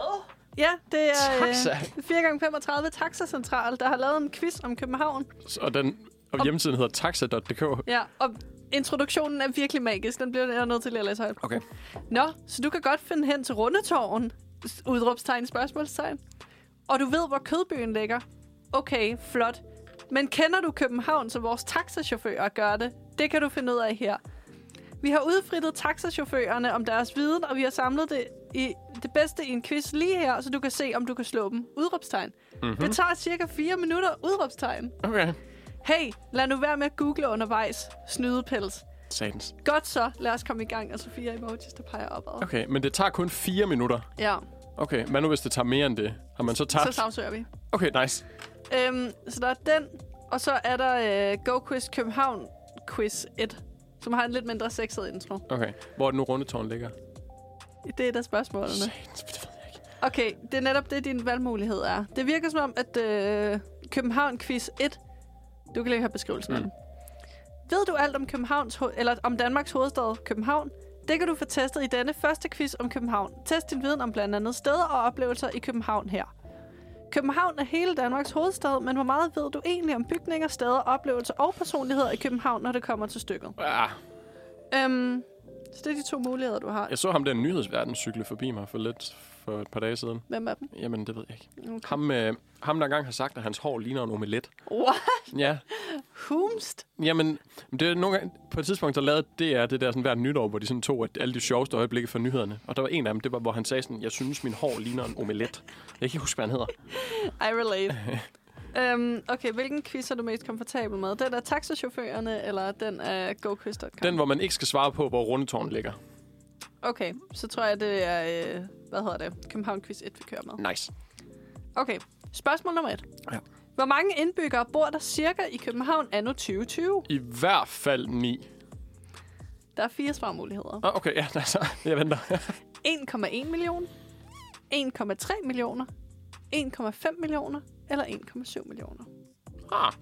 Ja, det er Taxa? øh, 4x35 Taxacentral, der har lavet en quiz om København. Så- Og den og hjemmesiden hedder taxa.dk. Ja, og introduktionen er virkelig magisk. Den bliver jeg nødt til lige at læse højt. Okay. Nå, så du kan godt finde hen til Rundetårn, s- udråbstegn, spørgsmålstegn. Og du ved, hvor kødbyen ligger. Okay, flot. Men kender du København, så vores taxachauffører gør det? Det kan du finde ud af her. Vi har udfrittet taxachaufførerne om deres viden, og vi har samlet det, i det bedste i en quiz lige her, så du kan se, om du kan slå dem. Udråbstegn. Mm-hmm. Det tager cirka 4 minutter. Udråbstegn. Okay. Hey, lad nu være med at google undervejs. Snydepels. Satans. Godt så, lad os komme i gang. Og så fire emojis, der peger opad. Okay. Okay, men det tager kun fire minutter. Ja, Okay, hvad nu hvis det tager mere end det? Har man så så tabt? sagsøger vi. Okay, nice. Øhm, så der er den, og så er der øh, Go Quiz København Quiz 1, som har en lidt mindre sexet intro. Okay, hvor er det nu rundetårn ligger? Det er der spørgsmålene. Satans, det ved jeg ikke. Okay, det er netop det, din valgmulighed er. Det virker som om, at øh, København Quiz 1... Du kan lige høre beskrivelsen mm. af den. Ved du alt om, Københavns, ho- eller om Danmarks hovedstad, København? Det kan du få testet i denne første quiz om København. Test din viden om blandt andet steder og oplevelser i København her. København er hele Danmarks hovedstad, men hvor meget ved du egentlig om bygninger, steder, oplevelser og personligheder i København, når det kommer til stykket? Ah, Øhm, så det er de to muligheder, du har. jeg så ham der nyhedsverden cykle forbi mig for lidt for et par dage siden. Hvem er dem? Jamen, det ved jeg ikke. Okay. Ham, øh, ham der engang har sagt, at hans hår ligner en omelet. What? Ja, Humst? jamen, det er nogle gange, på et tidspunkt, der lavede DR det der sådan hvert nytår, hvor de sådan tog at alle de sjoveste øjeblikke fra nyhederne. Og der var en af dem, det var, hvor han sagde sådan, jeg synes, min hår ligner en omelet. Jeg kan ikke huske, hvad han hedder. I relate. øhm, okay, hvilken quiz er du mest komfortabel med? Den er taxachaufførerne, eller den er goquiz.com? Den, hvor man ikke skal svare på, hvor rundetårn ligger. Okay, så tror jeg, det er... Øh, hvad hedder det? København Quiz 1, vi kører med. Nice. Okay, spørgsmål nummer et. Ja. Hvor mange indbyggere bor der cirka i København anno 2020? I hvert fald ni. Der er fire svarmuligheder. Ah, okay, ja, altså, jeg venter. 1,1 million, 1,3 millioner, 1,5 millioner eller 1,7 millioner. Ah.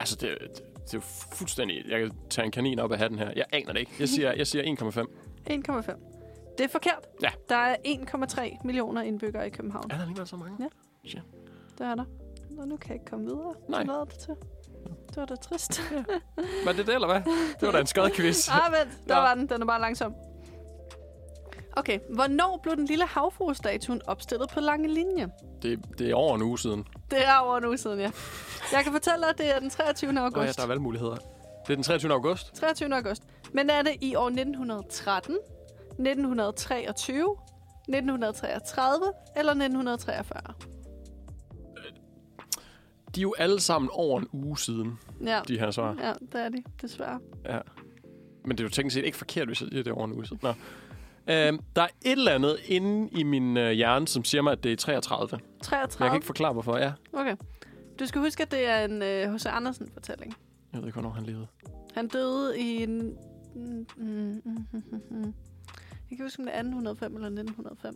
Altså, det, det, det er jo fuldstændig... Jeg kan tage en kanin op af hatten her. Jeg aner det ikke. Jeg siger, jeg siger 1,5. 1,5. Det er forkert. Ja. Der er 1,3 millioner indbyggere i København. Er der alligevel så mange? Ja. Det er der. Nå, nu kan jeg ikke komme videre. Nej. Så lader det til. Det var da trist. Var det det, eller hvad? Det var da en skadquiz. ah, vent. Der Nå. var den. Den er bare langsom. Okay. Hvornår blev den lille havfruestatuen opstillet på lange linje? det, det er over en uge siden. Det er over en uge siden, ja. Jeg kan fortælle dig, at det er den 23. Nå ja, august. der er valgmuligheder. Det er den 23. august. 23. august. Men er det i år 1913, 1923, 1933 eller 1943? De er jo alle sammen over en uge siden, Ja, de her svar. ja det er de, desværre. Ja. Men det er jo teknisk set ikke forkert, hvis jeg siger, det er over en uge siden. Nå. Øhm, der er et eller andet inde i min øh, hjerne, som siger mig, at det er 33. Men jeg 33? kan ikke forklare, hvorfor. Ja, Okay. Du skal huske, at det er en øh, H.C. Andersen-fortælling. jeg ved ikke, hvornår han levede. Han døde i en... Mm, mm, mm, mm, mm. Jeg kan huske, om det er 1805 eller 1905.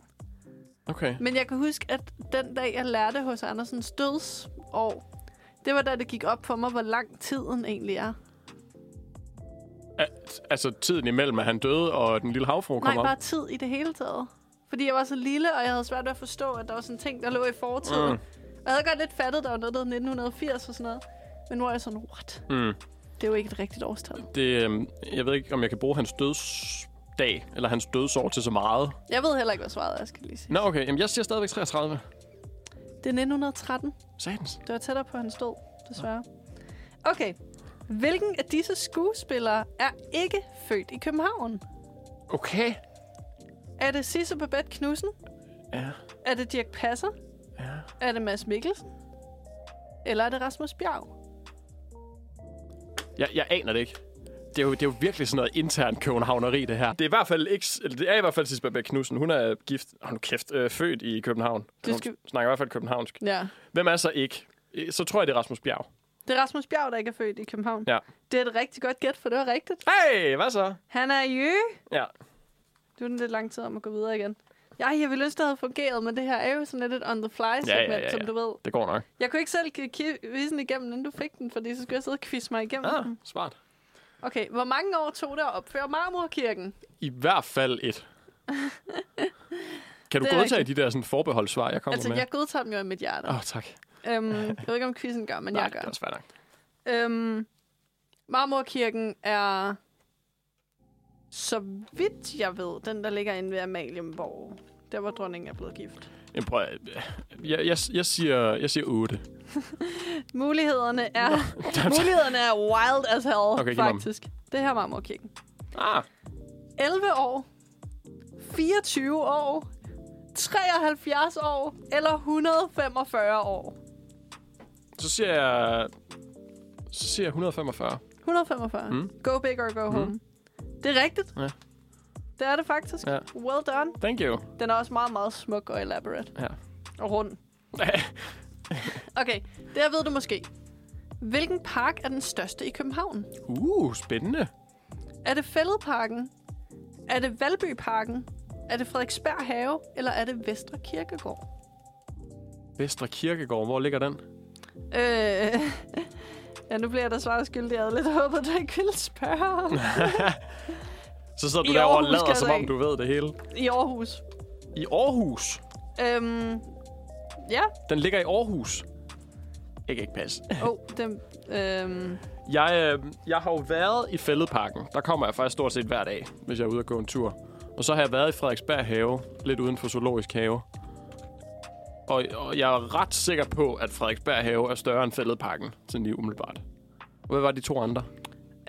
Okay. Men jeg kan huske, at den dag, jeg lærte hos Andersens dødsår, det var da det gik op for mig, hvor lang tiden egentlig er. Al- altså tiden imellem, at han døde, og den lille havfru Nej, kom bare op. tid i det hele taget. Fordi jeg var så lille, og jeg havde svært ved at forstå, at der var sådan ting, der lå i fortiden. Mm. Mm. Og jeg havde godt lidt fattet, der var noget, der hed 1980 og sådan noget. Men nu er jeg sådan, what? Mm. Det er jo ikke et rigtigt årstal. Det, øhm, jeg ved ikke, om jeg kan bruge hans dødsdag, eller hans dødsår til så meget. Jeg ved heller ikke, hvad svaret er, skal jeg lige sige. Nå, okay. Jamen, jeg siger stadigvæk 33. Det er 1913. Satans. Det var tættere på hans død, desværre. Okay. Hvilken af disse skuespillere er ikke født i København? Okay. Er det Sisse Babette Knudsen? Ja. Er det Dirk Passer? Ja. Er det Mads Mikkelsen? Eller er det Rasmus Bjerg? Jeg, jeg aner det ikke. Det er, jo, det er jo virkelig sådan noget intern københavneri, det her. Det er i hvert fald ikke, eller det er i hvert fald Sisbeth Bech Knudsen. Hun er gift, oh, nu kæft, øh, født i København. Du Hun skal- snakker i hvert fald københavnsk. Ja. Hvem er så ikke? Øh, Så tror jeg, det er Rasmus Bjerg. Det er Rasmus Bjerg, der ikke er født i København. Ja. Det er et rigtig godt gæt, for det var rigtigt. Hey, hvad så? Han er i Jø. Ja. Du er den lidt lang tid om at gå videre igen. Ja, jeg ville ønske, det havde fungeret, men det her er jo sådan lidt et on the fly segment, ja, ja, ja, ja. som du ved. Det går nok. Jeg kunne ikke selv quizzen igennem, inden du fik den, fordi så skulle jeg sidde og quizze mig igennem Ah, den. smart. Okay, hvor mange år tog det at opføre Marmorkirken? I hvert fald et. Kan du Det er godtage de der sådan, forbeholdssvar, jeg kommer altså, med? jeg godtager dem jo i mit hjerte. Åh, oh, tak. Øhm, jeg ved ikke, om quizzen gør, men Nej, jeg det er gør. også fair nok. Øhm, Marmorkirken er, så vidt jeg ved, den, der ligger inde ved Amalienborg. Der, hvor dronningen er blevet gift. Jamen, prøv, at- jeg, jeg, jeg, siger, jeg siger 8. Mulighederne er, mulighederne er wild as hell, Okay, okay, giv mig dem. faktisk. Det her er Marmorkirken. Ah, 11 år, 24 år, 73 år eller 145 år. så siger jeg... Så siger jeg 145. 145. Mm. Mm. Go big or go home. Det er rigtigt. Ja. Det er det faktisk. Ja. Well done. Thank you. Den er også meget, meget smuk og elaborate. Ja. Og rund. Okay, det her ved du måske. Hvilken park er den største i København? uh, spændende. Er det Fælledparken? Er det Valbyparken? Er det Frederiksberg Have? Eller er det Vestre Kirkegård? Vestre Kirkegård, hvor ligger den? Øh... Ja, nu bliver jeg da svaret skyldig. Jeg havde lidt håbet, du ikke ville spørge. Så sidder du I derovre og Aarhus, lader, skal som jeg om da du ved det hele. I Aarhus. I Aarhus. Øhm... Ja. Den ligger i Aarhus. Jeg kan ikke passe. Åh, oh, den... Øhm... Jeg, øh, jeg har jo været i Fælledparken. Der kommer jeg faktisk stort set hver dag, hvis jeg er ude og gå en tur. Og så har jeg været i Frederiksberg Have, lidt uden for Zoologisk Have. Og, og jeg er ret sikker på, at Frederiksberg Have er større end Fælledparken, sådan lige umiddelbart. Hvad var de to andre?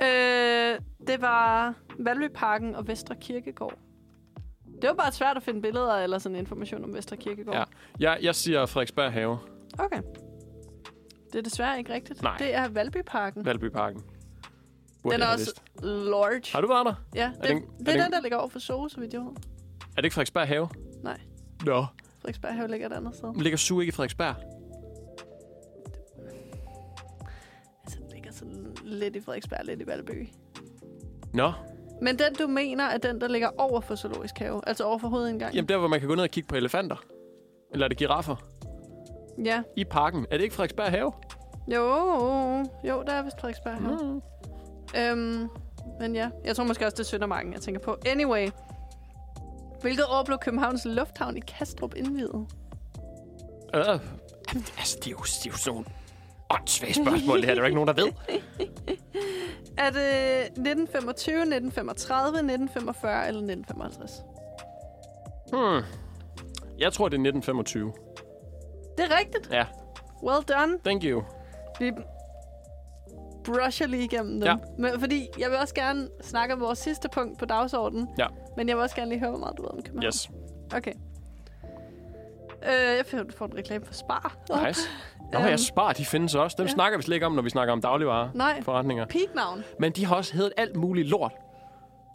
Øh, det var Valbyparken og Vestre Kirkegård. Det var bare svært at finde billeder eller sådan information om Vestre Kirkegård. Ja. Jeg, jeg siger Frederiksberg Have, Okay. Det er desværre ikke rigtigt. Nej. Det er Valbyparken. Valbyparken. Burde jeg Den er have også vidst. large. Har du været der? Ja, det, den- det, er er den- den, der ligger over for Zoo, så vidt jeg ved. Er det ikke Frederiksberg Have? Nej, Nå. Frederiksberg Have ligger et andet sted. Ligger Su ikke i Frederiksberg? Altså, den ligger sådan lidt i Frederiksberg, lidt i Valby. Nå. Men den, du mener, er den, der ligger over for zoologisk have. Altså over for hovedindgangen. Jamen der, hvor man kan gå ned og kigge på elefanter. Eller er det giraffer? Ja. I parken. Er det ikke Frederiksberg Have? Jo, jo, der er vist Frederiksberg her. Mm. Øhm, men ja, jeg tror måske også, det er Søndermarken, jeg tænker på. Anyway. Hvilket år blev Københavns Lufthavn i Kastrup indvidet? Øh. Jamen, det, altså, det er jo, det er jo sådan nogle åndssvage spørgsmål, det her. Der er jo ikke nogen, der ved. Er det 1925, 1935, 1945 eller 1955? Hmm. Jeg tror, det er 1925. Det er rigtigt. Ja, Well done. thank you. Vi brusher lige igennem dem. Ja. Men, fordi jeg vil også gerne snakke om vores sidste punkt på dagsordenen. Ja. Men jeg vil også gerne lige høre, hvor meget du ved om København. Yes. Okay. Øh, jeg får, får en reklame for Spar. Nice. Nå, jeg sparer, de findes også. Dem øhm. ja. snakker vi slet ikke om, når vi snakker om dagligvarer. Nej. Forretninger. Peaknavn. Men de har også heddet alt muligt lort.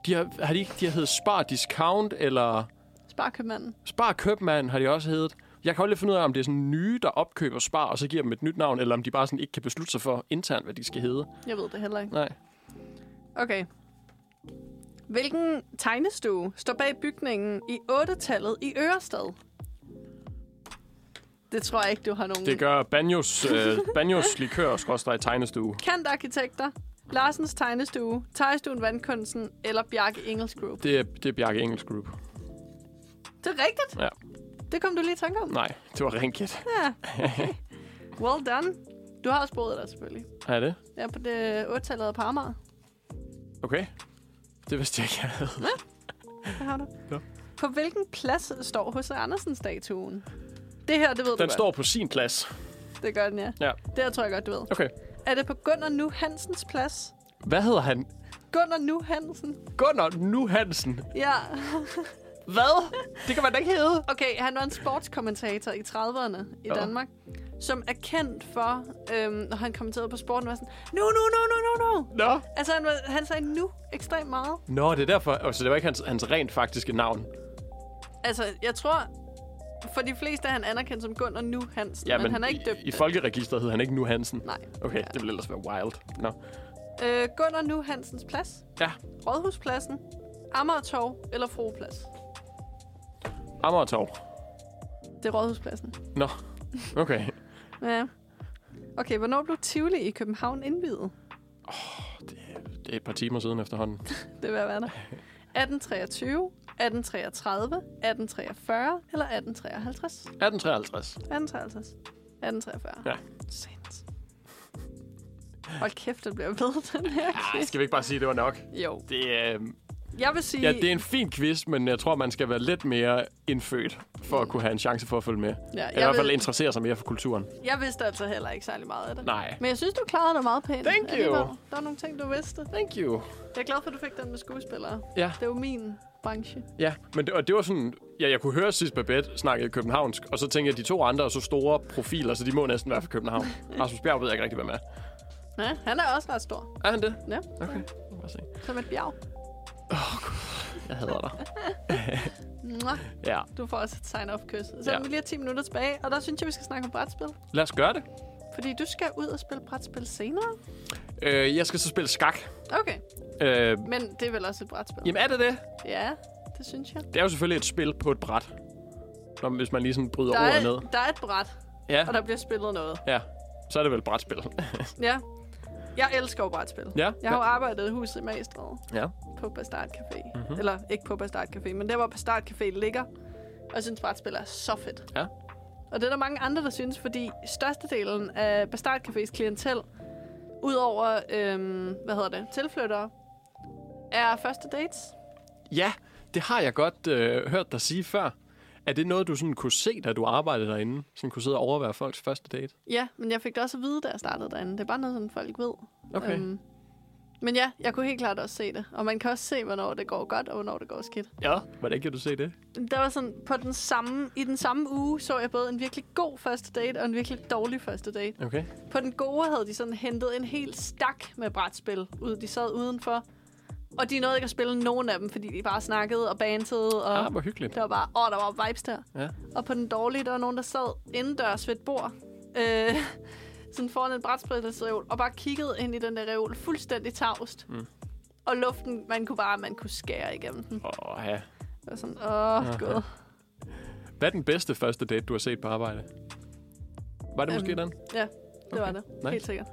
De har, har de, ikke- de har heddet Spar Discount, eller Sparkøbmanden. Spar Købmand har de også heddet. Jeg kan jo lidt finde ud af, om det er sådan nye, der opkøber Spar, og så giver dem et nyt navn, eller om de bare sådan ikke kan beslutte sig for internt, hvad de skal hedde. Jeg ved det heller ikke. Nej. Okay. Hvilken tegnestue står bag bygningen i 8-tallet i Ørestad? Det tror jeg ikke, du har nogen... Det gør Banjos, øh, Banjos likør, skråstrej tegnestue. Kendt arkitekter, Larsens tegnestue, Tejstuen Vandkunsten eller Bjarke Engels Group. Det er, det er Bjarke Engels Group. Det er rigtigt. Ja. Det kom du lige i tanke om. Nej, det var rinket. Ja. Well done. Du har også boet der selvfølgelig. Er det? Ja, på det 8-tallet på Amager. Okay. Det vidste jeg ikke, jeg havde. Det har du. Ja. På hvilken plads står H.C. Andersen-statuen? Det her, det ved du Den godt. står på sin plads. Det gør den, ja. Ja. Det her tror jeg godt, du ved. Okay. Er det på Gunnar Nu Hansens plads? Hvad hedder han? Gunnar Nu Hansen? Gunnar Nu Hansen. Ja. Hvad? Det kan man da ikke hedde. Okay, han var en sportskommentator i 30'erne i Nå. Danmark, som er kendt for, øhm, når han kommenterede på sporten, var sådan, nu, nu, nu, nu, nu, nu. Nå. Altså, han, var, han sagde nu ekstremt meget. Nå, det er derfor. Altså, det var ikke hans, hans rent faktiske navn. Altså, jeg tror, for de fleste er han anerkendt som Gunnar Nu Hansen, Ja, men, han er ikke døbt. i, i det. folkeregisteret hed han ikke Nu Hansen. Nej. Okay, det ville ellers være wild. Nå. Øh, Gunnar Nu Hansens plads, Ja, Rådhuspladsen, Amagertorv eller Froplads? Amagertorv. Det er Rådhuspladsen. Nå, okay. Ja. Okay, hvornår blev Tivoli i København indvidet? Det er et par timer siden efterhånden. Det vil jeg være der. 1823, 1833, 1843 eller 1853? 1853. 1853. 1843. Ja. Sandt. Hold kæft, det bliver ved, den her Ej, quiz. skal vi ikke bare sige, at det var nok? Jo. Det, øh, Jeg vil sige... ja, det er en fin quiz, men jeg tror, man skal være lidt mere indfødt, for at kunne have en chance for at følge med. Ja, I jeg hvert fald vil- interessere sig mere for kulturen. Jeg vidste altså heller ikke særlig meget af det. Nej. Men jeg synes, du klarede dig meget pænt. Thank you. alligevel. Der var nogle ting, du vidste. Thank you. Jeg er glad for, at du fik den med skuespillere. Ja. Det er jo min branche. Ja, men det, og det var sådan... Ja, jeg kunne høre sidst Babette snakkede københavnsk, og så tænkte jeg, at de to andre er så store profiler, så de må næsten være fra København. Rasmus Bjerg ved jeg ikke rigtig, hvad med. Ja, han er også ret stor. Er han det? Ja, Okay. Lad os se. som et bjerg. Jeg hader dig. Mwah. Ja, Du får også et sign-off-kys. Ja. Så ja. vi lige har 10 minutter tilbage, og der synes jeg, vi skal snakke om brætspil. lad os gøre det. Fordi du skal ud og spille brætspil senere. Øh, jeg skal så spille skak. Okay, Øh, men det er vel også et brætspil? jamen, er det det? Ja, det synes jeg. Det er jo selvfølgelig et spil på et bræt. Når, hvis man lige sådan bryder Der ordet er, ned. der er et bræt, Ja, og der bliver spillet noget. ja. Så er det vel et brætspil. Ja. Jeg elsker jo brætspil. Ja, Jeg har jo ja. arbejdet i huset i Magestræde ja. Mhm. på Bastard Café. Mm-hmm. Eller ikke på Bastard Café, men der hvor Bastard Café ligger. Og jeg synes, brætspil er så fedt. Ja. Og det er der mange andre, der synes, fordi størstedelen af Bastard Cafés klientel, udover, øhm, hvad hedder det, tilflyttere, er første dates. Ja, det har jeg godt øh, hørt dig sige før. Er det noget, du sådan kunne se, da du arbejdede derinde? Sådan kunne sidde og overvære folks første date? Ja, men jeg fik det også at vide, da jeg startede derinde. Det er bare noget, sådan folk ved. Okay. Øhm, men ja, jeg kunne helt klart også se det. Og man kan også se, hvornår det går godt, og hvornår det går skidt. Ja. Hvordan kan du se det? Der var sådan, på den samme, i den samme uge så jeg både en virkelig god første date, og en virkelig dårlig første date. Okay. På den gode havde de sådan hentet en hel stak med brætspil ud. De sad udenfor, og de nåede ikke at spille nogen af dem, fordi de bare snakkede og bantede. Og Ah, hvor hyggeligt. der var bare, åh, der var vibes der. Ja. Og på den dårlige, der var nogen, der sad indendørs ved et bord. Øh, sådan foran en brætspilsreol, og bare kiggede ind i den der reol fuldstændig tavst. Mm. og luften, man kunne bare, man kunne skære igennem den. Åh, ja. Det var sådan, åh, oh, god. Hvad er den bedste første date, du har set på arbejde? Var det måske Øhm, den? Ja, det var Okay, det. nice. Helt sikkert.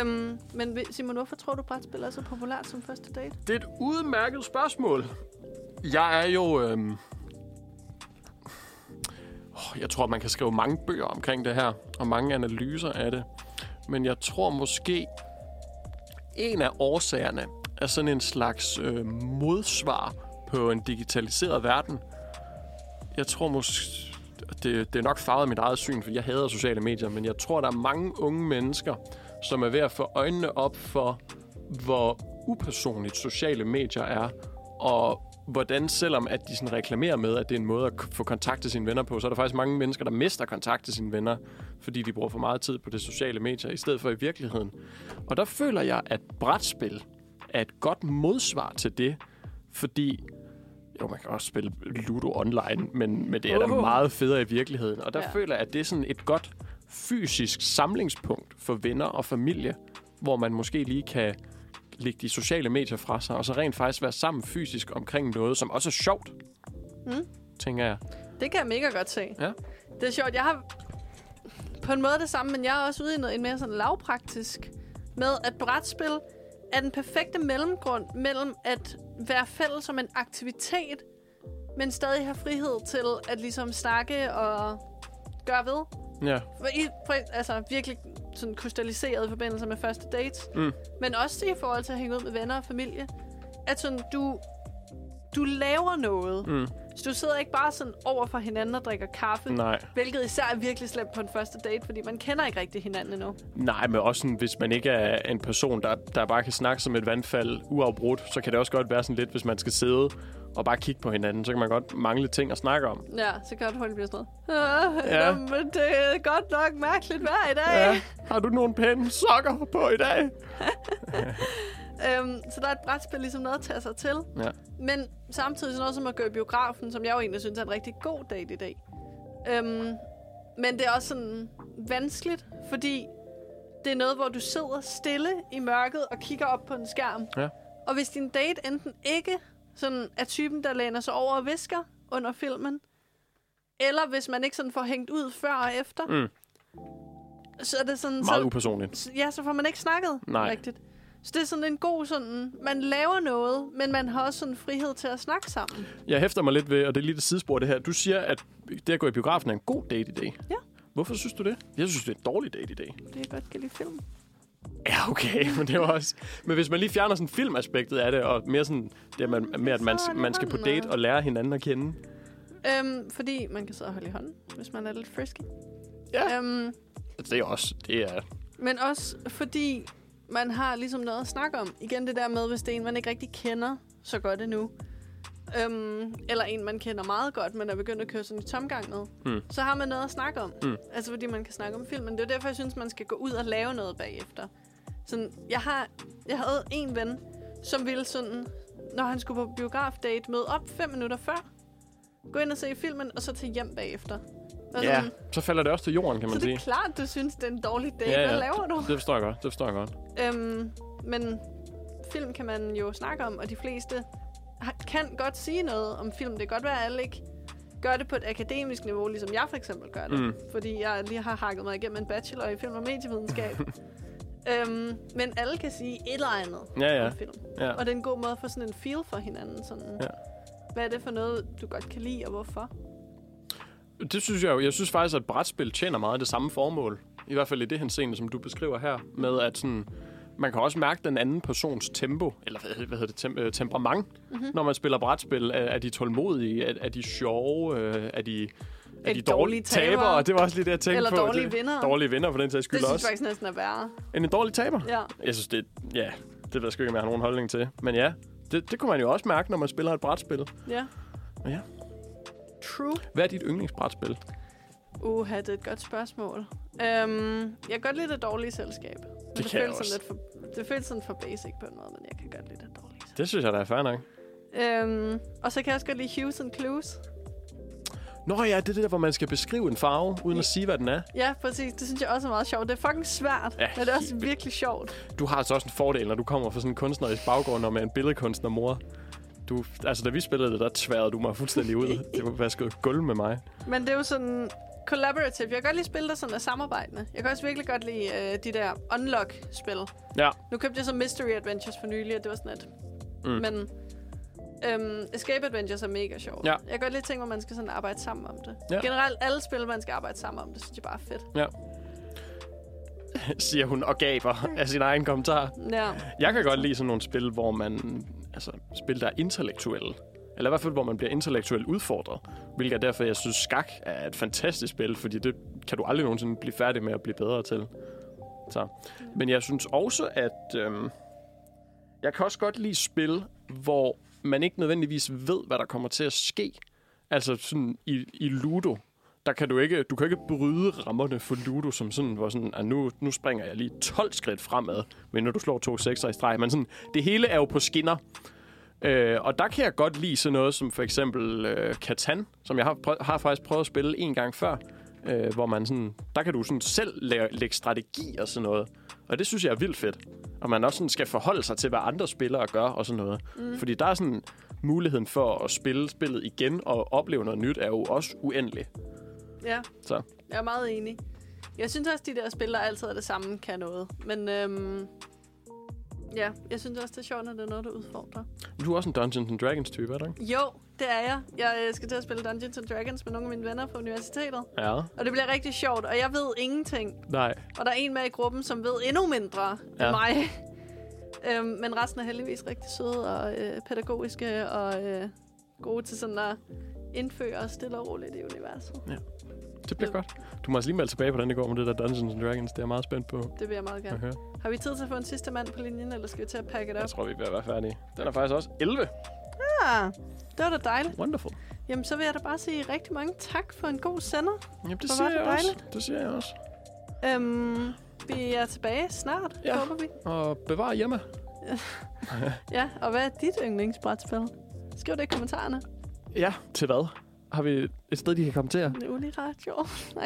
Øhm, men vi- Simon, hvorfor tror du, brætspil er så populært som første date? Det er et udmærket spørgsmål. Jeg er jo... Øhm... åh, Jeg tror, man kan skrive mange bøger omkring det her, og mange analyser af det. Men jeg tror måske, en af årsagerne er sådan en slags øh, modsvar på en digitaliseret verden. Jeg tror måske... Det, det er nok farvet af mit eget syn, for jeg hader sociale medier, men jeg tror, der er mange unge mennesker, som er ved at få øjnene op for, hvor upersonligt sociale medier er, og hvordan selvom at de sådan reklamerer med, at det er en måde at k- få kontakt til sine venner på, så er der faktisk mange mennesker, der mister kontakt til sine venner, fordi de bruger for meget tid på det sociale medier, i stedet for i virkeligheden. Og der føler jeg, at brætspil er et godt modsvar til det, fordi jo, man kan også spille Ludo online, men, men det er da Åh. meget federe i virkeligheden. Og der Ja. ja. føler jeg, at det er sådan et godt fysisk samlingspunkt for venner og familie, hvor man måske lige kan lægge de sociale medier fra sig, og så rent faktisk være sammen fysisk omkring noget, som også er sjovt. Mm. Tænker jeg. Det kan jeg mega godt se. Ja. Det er sjovt. Jeg har på en måde det samme, men jeg er også ude i noget en mere sådan lavpraktisk med, at brætspil er den perfekte mellemgrund mellem at være fælles som en aktivitet, men stadig have frihed til at ligesom snakke og gøre ved. Ja. For i, for, altså virkelig sådan krystalliseret i forbindelse med første dates. Mm. Men også i forhold til at hænge ud med venner og familie. At sådan, du, du laver noget. Mm. Så du sidder ikke bare sådan over for hinanden og drikker kaffe. Nej. Hvilket især er virkelig slemt på en første date, fordi man kender ikke rigtig hinanden endnu. Nej, men også sådan, hvis man ikke er en person, der, der bare kan snakke som et vandfald uafbrudt, så kan det også godt være sådan lidt, hvis man skal sidde og bare kigge på hinanden, så kan man godt mangle ting at snakke om. Ja, så kan det hurtigt blive sådan noget. Ja. Ja. Nå, men det er godt nok mærkeligt vejr i dag. Ja. Har du nogle pæne sokker på i dag? Øhm, så der er et brætspil ligesom noget at tage sig til. Ja. Men samtidig sådan noget som at gå i biografen, som jeg jo egentlig synes er en rigtig god dag i dag. Øhm, men det er også sådan vanskeligt, fordi det er noget, hvor du sidder stille i mørket og kigger op på en skærm. Ja. Og hvis din date enten ikke sådan er typen, der læner sig over og visker under filmen, eller hvis man ikke sådan får hængt ud før og efter, Mm. så er det sådan... Meget så, upersonligt. så- ja, så får man ikke snakket Nej. rigtigt. Så det er sådan en god sådan, man laver noget, men man har også sådan frihed til at snakke sammen. Jeg hæfter mig lidt ved, og det er lidt et sidespor det her. Du siger, at det at gå i biografen er en god date i dag. Ja. Hvorfor synes du det? Jeg synes, det er en dårlig date i dag. Det er godt kan lide film. Ja, okay, men det var også... Men hvis man lige fjerner sådan filmaspektet af det, og mere sådan, det at man, mere at man, man skal på date og lære hinanden at kende. Øhm, fordi man kan sidde og holde i hånden, hvis man er lidt frisky. Ja. Øhm, Det er også... Det er... men også fordi man har ligesom noget at snakke om. Igen det der med, hvis det er en, man ikke rigtig kender så godt endnu. Øhm, eller en, man kender meget godt, men er begyndt at køre sådan i tomgang med. Mm. Så har man noget at snakke om. Mm. Altså fordi man kan snakke om filmen. Det er jo derfor, jeg synes, man skal gå ud og lave noget bagefter. Sådan, jeg, har, jeg havde en ven, som ville sådan, når han skulle på biografdate, møde op fem minutter før. Gå ind og se filmen, og så tage hjem bagefter. Og Ja, sådan, så falder det også til jorden, kan så man det er sige. klart, du synes, det er en dårlig date. Ja, ja. Hvad laver du? Det forstår jeg godt, det forstår jeg godt. Øhm, men film kan man jo snakke om, og de fleste har- kan godt sige noget om film. Det kan godt være, at alle ikke gør det på et akademisk niveau, ligesom jeg for eksempel gør det. Mm. Mm. Fordi jeg lige har hakket mig igennem en bachelor i film- og medievidenskab. øhm, men alle kan sige et eller andet Ja, ja. om film. Ja. Og det er en god måde at få sådan en feel for hinanden. Sådan, Ja. Hvad er det for noget, du godt kan lide, og hvorfor? Det synes jeg jo. Jeg synes faktisk, at brætspil tjener meget det samme formål. I hvert fald i det henseende, som du beskriver her. Med at sådan, man kan også mærke den anden persons tempo, eller hvad, hvad hedder det, tem- øh, temperament, mm-hmm. Mhm. når man spiller brætspil. Er, er de tålmodige? Er, er de sjove? Øh, Er de, er Er de de dårlige dårlige tabere? tabere? Det var også lige det, jeg tænkte Eller på. dårlige det, vindere? Dårlige vinder, for den sags skyld Det synes også. jeg faktisk næsten er værre. En, en dårlig taber? Ja. Jeg synes, det Ja, det ved jeg sgu ikke, om jeg har nogen holdning til. Men ja, det, det kunne man jo også mærke, når man spiller et brætspil. ja. Ja. True. Hvad er dit yndlingsbrætspil? Uha, det er et godt spørgsmål. Øhm, jeg kan godt lide det dårlige selskab. Men Det, kan jeg føles også. Sådan lidt for, det føles sådan for basic på en måde, men jeg kan godt lide det dårlige selskab. Det synes jeg, der er fair nok. Øhm, og så kan jeg også godt lide Hughes and Clues. Nå ja, det er det der, hvor man skal beskrive en farve, uden at sige, hvad den er. Ja, præcis. Det synes jeg også er meget sjovt. Det er fucking svært, Ja, ja, men det er også helt vildt. virkelig sjovt. Du har altså også en fordel, når du kommer fra sådan en kunstnerisk baggrund og med en billedkunstnermor. Du, altså, da vi spillede det, der tværede du mig fuldstændig ud. Det var vasket gulv med mig. Men det er jo sådan collaborative. Jeg kan godt lide spil, der sådan er samarbejdende. Jeg kan også virkelig godt lide øh, de der unlock-spil. Ja, Nu købte jeg så Mystery Adventures for nylig, og det var sådan et. Mm. Men øhm, Escape Adventures er mega sjovt. Ja. Jeg kan godt lide ting, hvor man skal sådan arbejde sammen om det. Ja. Ja. Generelt alle spil, man skal arbejde sammen om det, synes jeg bare er fedt. ja. Siger hun og gaber af sin egen kommentar. Ja. Jeg kan godt lide sådan nogle spil, hvor man... Altså, spil, der er intellektuelle. Eller i hvert fald, hvor man bliver intellektuelt udfordret. Hvilket er derfor, jeg synes, skak er et fantastisk spil, fordi det kan du aldrig nogensinde blive færdig med at blive bedre til. Så. Men jeg synes også, at... Øhm, jeg kan også godt lide spil, hvor man ikke nødvendigvis ved, hvad der kommer til at ske. Altså sådan i, i Ludo, der kan du ikke, du kan ikke bryde rammerne for Ludo som sådan, hvor sådan, at nu, nu springer jeg lige 12 skridt fremad, men når du slår to sekser i streg, men sådan, det hele er jo på skinner. Øh, og der kan jeg godt lide sådan noget som for eksempel øh, Catan, som jeg har, prø- har faktisk prøvet at spille en gang før, øh, hvor man sådan, der kan du sådan selv læ- lægge strategi og sådan noget. Og det synes jeg er vildt fedt. Og man også sådan skal forholde sig til, hvad andre spillere gør og sådan noget. Mm. Fordi der er sådan muligheden for at spille spillet igen og opleve noget nyt, er jo også uendelig. ja, Så jeg er meget enig. Jeg synes også, de der spil, der altid er det samme, kan noget. Men øhm, ja, jeg synes også, det er sjovt, når det er noget, der udfordrer. du er også en Dungeons and Dragons type, er du ikke? Jo, det er jeg. Jeg øh, skal til at spille Dungeons and Dragons med nogle af mine venner på universitetet. Ja. Og det bliver rigtig sjovt, og jeg ved ingenting. Nej. Og der er en med i gruppen, som ved endnu mindre Ja. ja. end mig. øhm, men resten er heldigvis rigtig søde og øh, pædagogiske og øh, gode til sådan at indføre os stille og roligt i universet. Det bliver godt. Du må altså lige melde tilbage, hvordan det går med det der Dungeons and Dragons. Det er jeg meget spændt på Det vil jeg meget gerne. at høre. Har vi tid til at få en sidste mand på linjen, eller skal vi til at pakke det op? Jeg tror, vi er ved at være færdige. Den er faktisk også 11. Ja, det var da dejligt. Wonderful. Jamen, så vil jeg da bare sige rigtig mange tak for en god sender. Jamen, det Hvor siger var det jeg også. Det siger jeg også. Øhm, vi er tilbage snart, Ja. ja. håber vi. Og bevar hjemme. Ja, og hvad er dit yndlingsbrætspil? Skriv det i kommentarerne. Ja, til hvad? Har vi et sted, de kan kommentere? Det er Uniradio,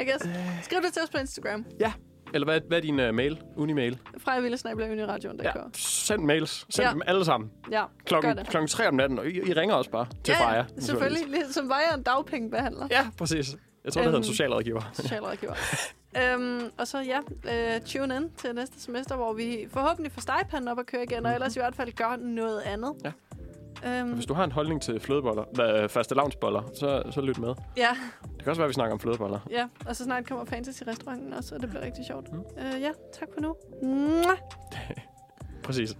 I guess. Skriv det til os på Instagram. Ja. Eller hvad, hvad er din uh, mail? Unimail? Freja Villesnabler Uniradion, der Ja. kører. Send mails. Send ja. Ja. dem alle sammen. Ja, gør Klokken, det. klokken 3 om natten. Og I, I ringer også bare til ja, Freja. ja, selvfølgelig. Ligesom var jeg en dagpengebehandler. Ja, præcis. Jeg tror, det hedder en Øhm. socialrådgiver. Socialrådgiver. øhm, og så ja, øh, tune in til næste semester, hvor vi forhåbentlig får stegpanden op at køre igen, og ellers i hvert fald gør noget andet. Mhm. Ja. Øhm, Hvis du har en holdning til flødeboller, hvad, faste lavnsboller, så, så lyt med. ja, Det kan også være, at vi snakker om flødeboller. ja, og så snart kommer Mhm. Fantasy-restauranten også, og det bliver rigtig sjovt. Mm. Øh, ja, tak for nu. Mwah! Præcis.